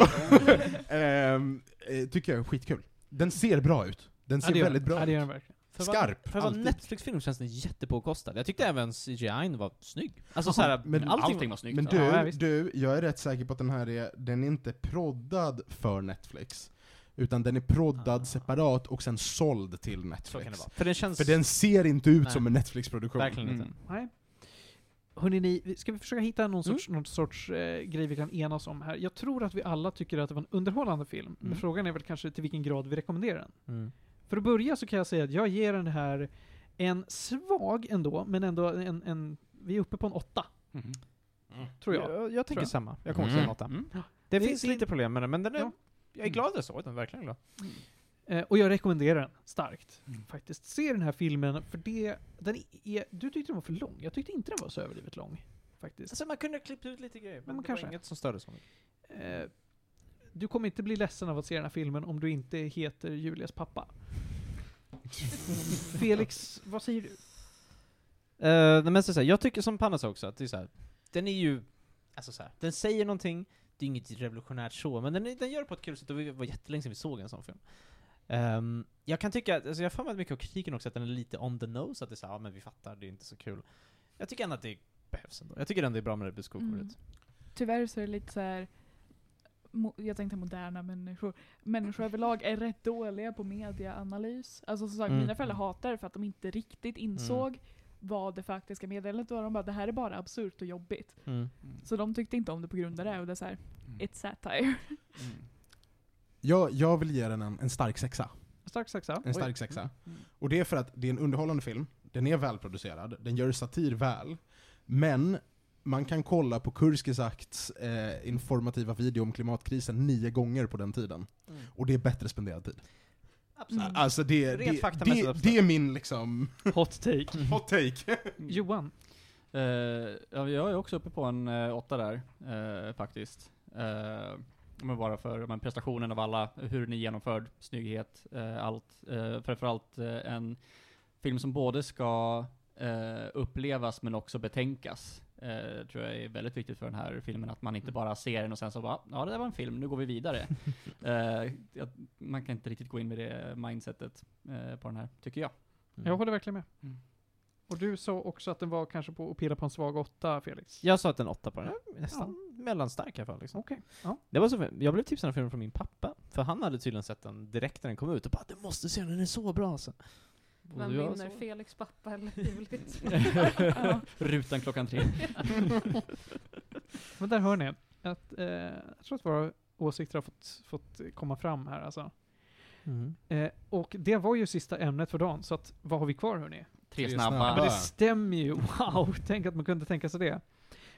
ehm, eh, Tycker jag är skitkul. Den ser bra ut. Den ser
Ja, det gör
väldigt
den.
bra
Ja, det gör
ut.
den verkligen.
För vad-
Skarp,
För att vara
alltid.
Netflix-film känns den jättepåkostad. Jag tyckte även CGI var snygg. Alltså såhär,
men
allting,
Mm, Allting
var...
var snyggt.
Men
Ja.
Ja,
du,
visst.
du, jag är rätt säker på att den här är, den är inte proddad för Netflix. Utan den är proddad
Ah.
separat och sen såld till
Så kan det
Netflix.
vara. För den känns...
För den ser inte ut
Nej.
som en Netflix-produktion.
Verkligen inte.
Mm.
Nej. Hörrni, ni, vi- ska vi försöka hitta någon sorts, någon sorts eh, grej vi kan enas om här? Jag tror att vi alla tycker att det var en underhållande film, men
Mm.
frågan är väl kanske till vilken grad vi rekommenderar den.
Mm.
För att börja så kan jag säga att jag ger den här en svag ändå, men ändå en, en vi är uppe på en åtta,
Mm.
Mhm.
tror jag.
jag, tänker
Tror jag.
samma. Jag kommer också
Mm.
säga något.
Mm.
Det
Det-
finns
det-
lite problem med den, men den är...
Ja.
Jag är glad att jag såg den, verkligen glad.
Eh, och jag rekommenderar den starkt.
Mm.
Faktiskt, se den här filmen, för det, den är, du tyckte den var för lång. Jag tyckte inte den var så överdrivet lång, faktiskt.
Alltså man kunde klippt ut lite grejer, men,
men
det
det kanske.
var
var
inget som störde så mycket.
Eh, du kommer inte bli ledsen av att se den här filmen om du inte heter Julias pappa. Felix, vad säger du?
Eh, nej, men så så här, jag tycker som Panna sa också, att det är så här, den är ju... Alltså så här, den säger någonting, det är inget revolutionärt så, men den, är- den gör det på ett kul sätt, och det var jättelänge sedan vi såg en sån film. Ehm, jag kan tycka, att- alltså jag har för mig att mycket av kritiken också, att den är lite on the nose, att det är såhär, ja men vi fattar, det är inte så kul. Jag tycker ändå att det behövs ändå. Jag tycker ändå det är bra med det buskokåret.
Mm. Tyvärr så är det lite så här. mo- Jag tänkte moderna människor. Människor överlag är rätt dåliga på mediaanalys. Alltså som sagt,
Mm.
mina föräldrar hatar det för att de inte riktigt
Mm.
insåg vad det faktiska meddelandet var. De bara, det här är bara absurt och jobbigt.
Mm.
Så de tyckte inte om det på grund av det. Och det är såhär,
Mm.
it's satire.
Mm.
Jag, jag vill ge den en, en stark sexa.
Stark saxa.
En stark sexa.
Mm.
Och det är för att det är en underhållande film, den är välproducerad, den gör satir väl, men man kan kolla på Kurskisakts eh, informativa video om klimatkrisen nio gånger på den tiden. Och det är bättre spenderad tid.
Mm. Absolut.
Mm.
Alltså det,
Rent
det,
faktamässigt
det,
absolut.
det är min liksom
Hot take.
hot take.
Johan,
Eh, ja, jag är också uppe på en eh, åtta där, eh, faktiskt. Eh, men bara för men prestationen av alla, hur den är genomförd, snygghet, eh, allt. Eh, framförallt eh, en film som både ska eh, upplevas men också betänkas. Eh, tror jag är väldigt viktigt för den här filmen, att man
Mm.
inte bara ser den och sen så bara, ja det där var en film, nu går vi vidare. eh, jag- man kan inte riktigt gå in med det mindsetet eh, på den här, tycker jag.
jag håller verkligen med.
Mm.
Och du sa också att den var kanske på att pilla på en svag åtta, Felix.
Jag sa att en åtta på den. Nästan mellanstark i alla fall. Liksom.
Okej.
Det var så, jag blev tipsad om filmen från min pappa, för han hade tydligen sett den direkt när den kom ut och bara 'Du måste se den, den är så bra' alltså. Och
Vem
jag
vinner,
så-
Felix pappa eller Julius?
Rutan klockan tre.
Men där hör ni att eh, jag tror att våra åsikter har fått, fått komma fram här alltså.
Mm.
Eh, och det var ju sista ämnet för dagen, så att, vad har vi kvar hörni?
Tre
Tre
snabba.
snabba.
Ja, men det
Ah.
stämmer ju. Wow, tänk att man kunde tänka sig det.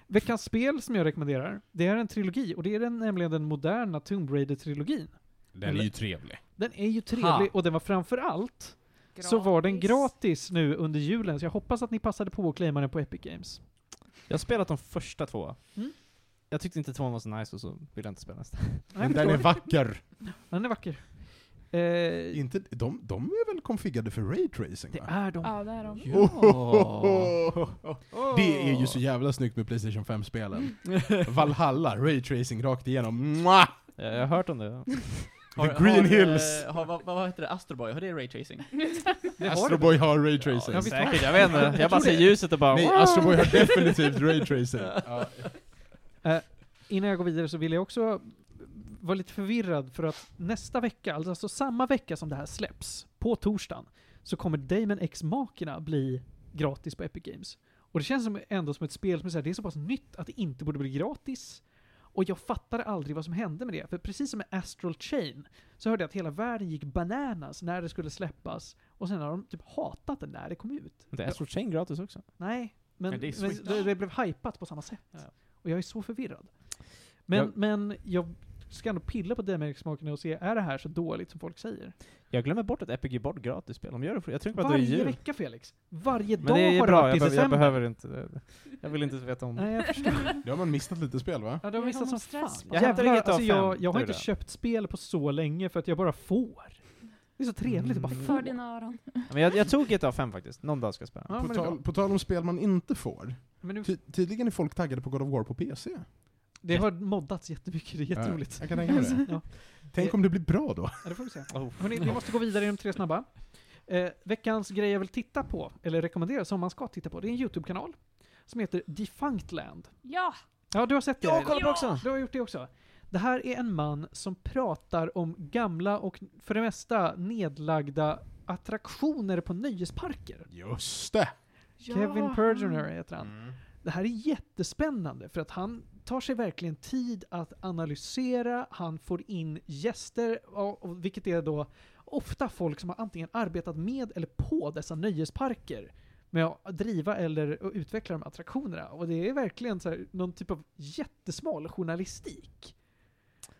Veckans spel som jag rekommenderar, det är en trilogi och det är den, nämligen den moderna Tomb Raider-trilogin.
Den är ju trevlig.
Den är ju trevlig
Ha.
och den var framförallt så var den gratis nu under julen så jag hoppas att ni passade på att claima den på Epic Games.
Jag har spelat de första två.
Mm.
Jag tyckte inte tvåan var så nice och så ville jag inte spela nästa.
Nej, jag
Men den är
förstår.
vacker.
den är vacker. Eh,
Inte, de, de är väl konfigade för raytracing
det
va?
är de.
Ja, det är de.
Det är ju så jävla snyggt med Playstation 5-spelen. Valhalla, raytracing rakt igenom. Mwah!
Jag, jag har hört om det.
The Green Hills.
eh, Har, vad, vad heter det? Astroboy? Har det raytracing?
Det har
Astroboy har raytracing.
Ja, visst har
Säkert, jag vet inte. Jag bara ser ljuset och bara
Nej,
"Wow."
Astroboy har definitivt raytracing. ja.
Innan jag går vidare så vill jag också vara lite förvirrad för att nästa vecka, alltså samma vecka som det här släpps, på torsdagen, så kommer Damon X Makerna bli gratis på Epic Games. Och det känns som, ändå som ett spel som är, så här, det är så pass nytt att det inte borde bli gratis. Och jag fattade aldrig vad som hände med det. För precis som med Astral Chain så hörde jag att hela världen gick bananas när det skulle släppas. Och sen har de typ hatat det när det kom ut.
Det är Astro Chain gratis också.
Nej, men,
Men det
men
är Switch.
det, det blev hypat på samma sätt.
Ja.
Och jag är så förvirrad. Men jag,
Jag-
men jag ska ändå pilla på DMX-smakerna och se, är det här så dåligt som folk säger?
Jag glömmer bort att Epic ger bort gratis spel. De gör det för, jag tror bara att det är
Varje
jul.
vecka Felix! Varje
Men
dag
det är
har
bra,
varit
jag,
i
behöver, jag
december.
behöver inte det. Jag vill inte veta om det.
Nej, jag förstår.
Då har man missat lite spel va?
Ja, det har
Jag
missat
har
som
någon stress
fan.
på
Jag hämtar
Jävlar,
inget av
alltså jag,
fem,
jag har
det är
inte
det.
köpt spel på så länge för att jag bara får. Det är så trevligt att bara
Mm.
få.
För dina öron.
Men jag, jag tog ett av fem faktiskt. Någon dag ska jag spela.
Ja, men,
på,
det är bra.
tal, på tal om spel man inte får.
men nu,
Ty, tydligen är folk taggade på God of War på PC.
det har moddats jättemycket, det är jätteroligt.
Ja, jag kan tänka mig det.
Ja.
Tänk om det blir bra då?
Ja, det får vi se.
Oh.
Hörrni, vi måste gå vidare i de tre snabba. Eh, veckans grej jag vill titta på, eller rekommendera som man ska titta på, det är en YouTube-kanal som heter Defunct Land.
Ja!
Ja, du har sett det?
Jag
Aida.
kollar på också!
Du har gjort det också. Det här är en man som pratar om gamla och för det mesta nedlagda attraktioner på nöjesparker.
Just det!
Kevin Pergener heter han.
Mm.
Det här är jättespännande för att han tar sig verkligen tid att analysera, han får in gäster, och- och vilket är då ofta folk som har antingen arbetat med eller på dessa nöjesparker med att driva eller att utveckla de här attraktionerna. Och det är verkligen så här, någon typ av jättesmal journalistik.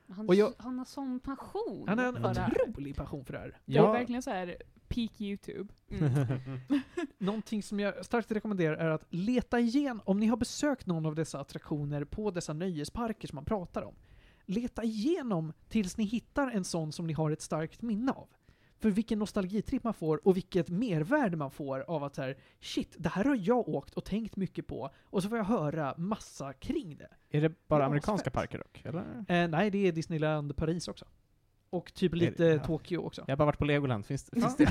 Han,
Och jag-
han har sån passion.
Han har en
för det här.
otrolig passion för det här.
Det är
Ja,
verkligen så här peak YouTube.
Mm.
Någonting som jag starkt rekommenderar är att leta igen, om ni har besökt någon av dessa attraktioner på dessa nöjesparker som man pratar om. Leta igenom tills ni hittar en sån som ni har ett starkt minne av. För vilken nostalgitripp man får och vilket mervärde man får av att så här, shit, det här har jag åkt och tänkt mycket på och så får jag höra massa kring det.
är det bara
Ja,
amerikanska
fett.
parker dock? Eller?
Eh, nej, det är Disneyland Paris också. Och typ
det-
lite
ja.
Tokyo också.
Jag har bara varit på Legoland. Finns det? Finns det?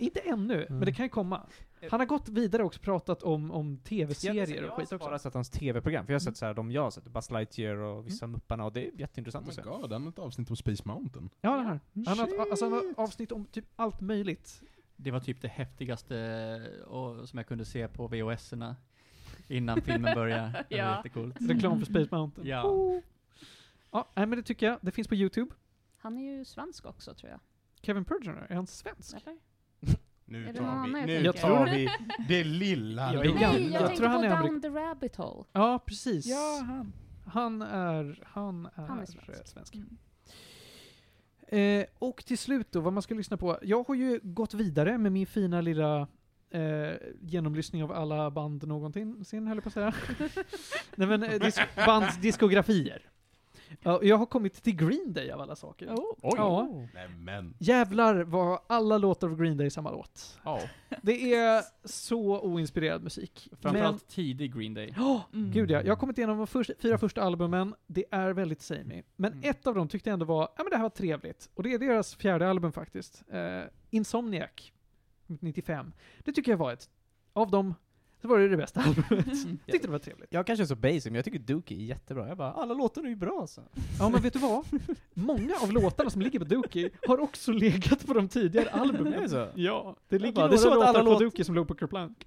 Inte ännu, men det kan ju komma. Han har gått vidare och också pratat om, om tv-serier
jag
och
har
skit också. Mm.
bara sett hans tv-program, för jag har sett så här, de jag har sett, Buzz Lightyear och vissa Mupparna, och det är jätteintressant att se.
Oh my god, han har ett avsnitt om Space Mountain.
Ja, det här. Han har,
Shit.
ett- alltså, han har avsnitt om typ allt möjligt.
Det var typ det häftigaste eh, och, som jag kunde se på VHS-erna innan filmen började. Det var
Ja.
jättecoolt.
Reklam för Space Mountain.
Ja.
Ja, nej, men det tycker jag. Det finns på YouTube.
Han är ju svensk också tror jag.
Kevin Pergener, är han svensk?
Eller?
Nu
Är det någon
tar vi,
annan
nu
jag tänker?
tar vi det lilla.
Jag är
lilla.
gammal.
Nej, jag,
jag
tänkte
tror han
på
är
Down
amerikan-
the Rabbit Hole.
Ja, precis.
han.
Han är... Han är,
Han är svensk.
Mm.
Eh, och till slut då, vad man ska lyssna på. Jag har ju gått vidare med min fina lilla eh, genomlyssning av alla band någonsin, sin höll jag på att säga. Nej men, eh, dis bands diskografier. Ja, och jag har kommit till Green Day av alla saker.
Oh.
Oh.
Oj!
Ja.
Nej men.
Jävlar vad alla låtar av Green Day är samma låt.
Ja.
Det är så oinspirerad musik. Men,
Framförallt tidig Green Day.
oh,
Mm.
gud ja, jag har kommit igenom de förs- fyra första albumen, det är väldigt samey. Men
Mm.
ett av dem tyckte jag ändå var, ja men det här var trevligt. Och det är deras fjärde album faktiskt. Eh, Insomniac, 95. Det tycker jag var ett, av dem, så var det det bästa albumet. tyckte det var trevligt.
Jag kanske är så basic, men jag tycker Dookie är jättebra. Jag bara, alla låtar är ju bra alltså.
Ja men vet du vad? Många av låtarna som ligger på Dookie har också legat på de tidigare
Är det
albumen.
så?
Ja, det ligger
bara, det är
några
som att
låtar
alla
på
låt-
Dookie som låg på Kerplunk.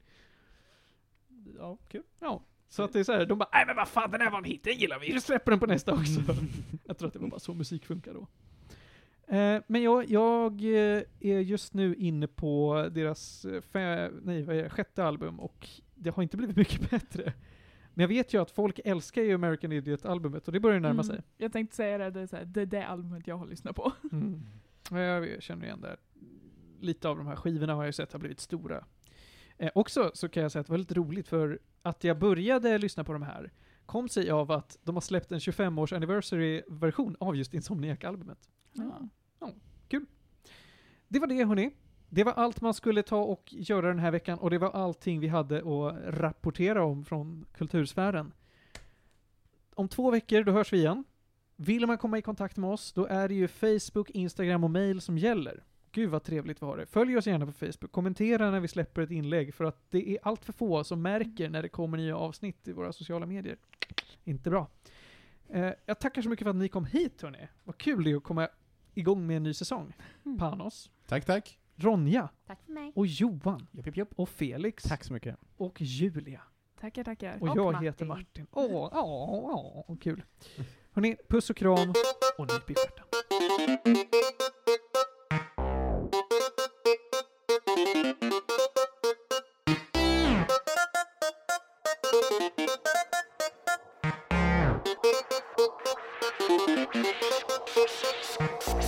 Ja, kul.
Ja. Så att det är så här, de bara nej men vad fan den här var en hit, den gillar vi, vi släpper den på nästa också. jag tror att det var bara så musik funkar då. Eh, men jag, jag eh, är just nu inne på deras eh, fe, nej, vad är det, sjätte album och det har inte blivit mycket bättre. Men jag vet ju att folk älskar ju American Idiot-albumet och det börjar ju närma sig.
Mm. Jag tänkte säga det, det är, så här, det är det albumet jag har lyssnat på.
Mm. Ja, Jag känner igen det. här. Lite av de här skivorna har jag ju sett har blivit stora. Eh, också så kan jag säga att det var lite roligt för att jag började lyssna på de här kom sig av att de har släppt en 25-års anniversary-version av just Insomniac-albumet.
Ja.
Det var det hörni. Det var allt man skulle ta och göra den här veckan och det var allting vi hade att rapportera om från kultursfären. Om två veckor, då hörs vi igen. Vill man komma i kontakt med oss, då är det ju Facebook, Instagram och mail som gäller. Gud vad trevligt vi har det. Följ oss gärna på Facebook, kommentera när vi släpper ett inlägg för att det är allt för få som märker när det kommer nya avsnitt i våra sociala medier. Inte bra. Eh, jag tackar så mycket för att ni kom hit hörni. Vad kul det är att komma igång med en ny säsong.
Mm.
Panos,
Tack tack.
Ronja
Tack för mig.
och Johan
Jupp, jupp, jupp.
och Felix
Tack så mycket.
och Julia.
Tackar, tackar.
Och,
Och
jag
Martin.
heter Martin. Åh, åh, åh, åh, kul. Hörni, puss och kram och nyp i stjärten.
Thank you.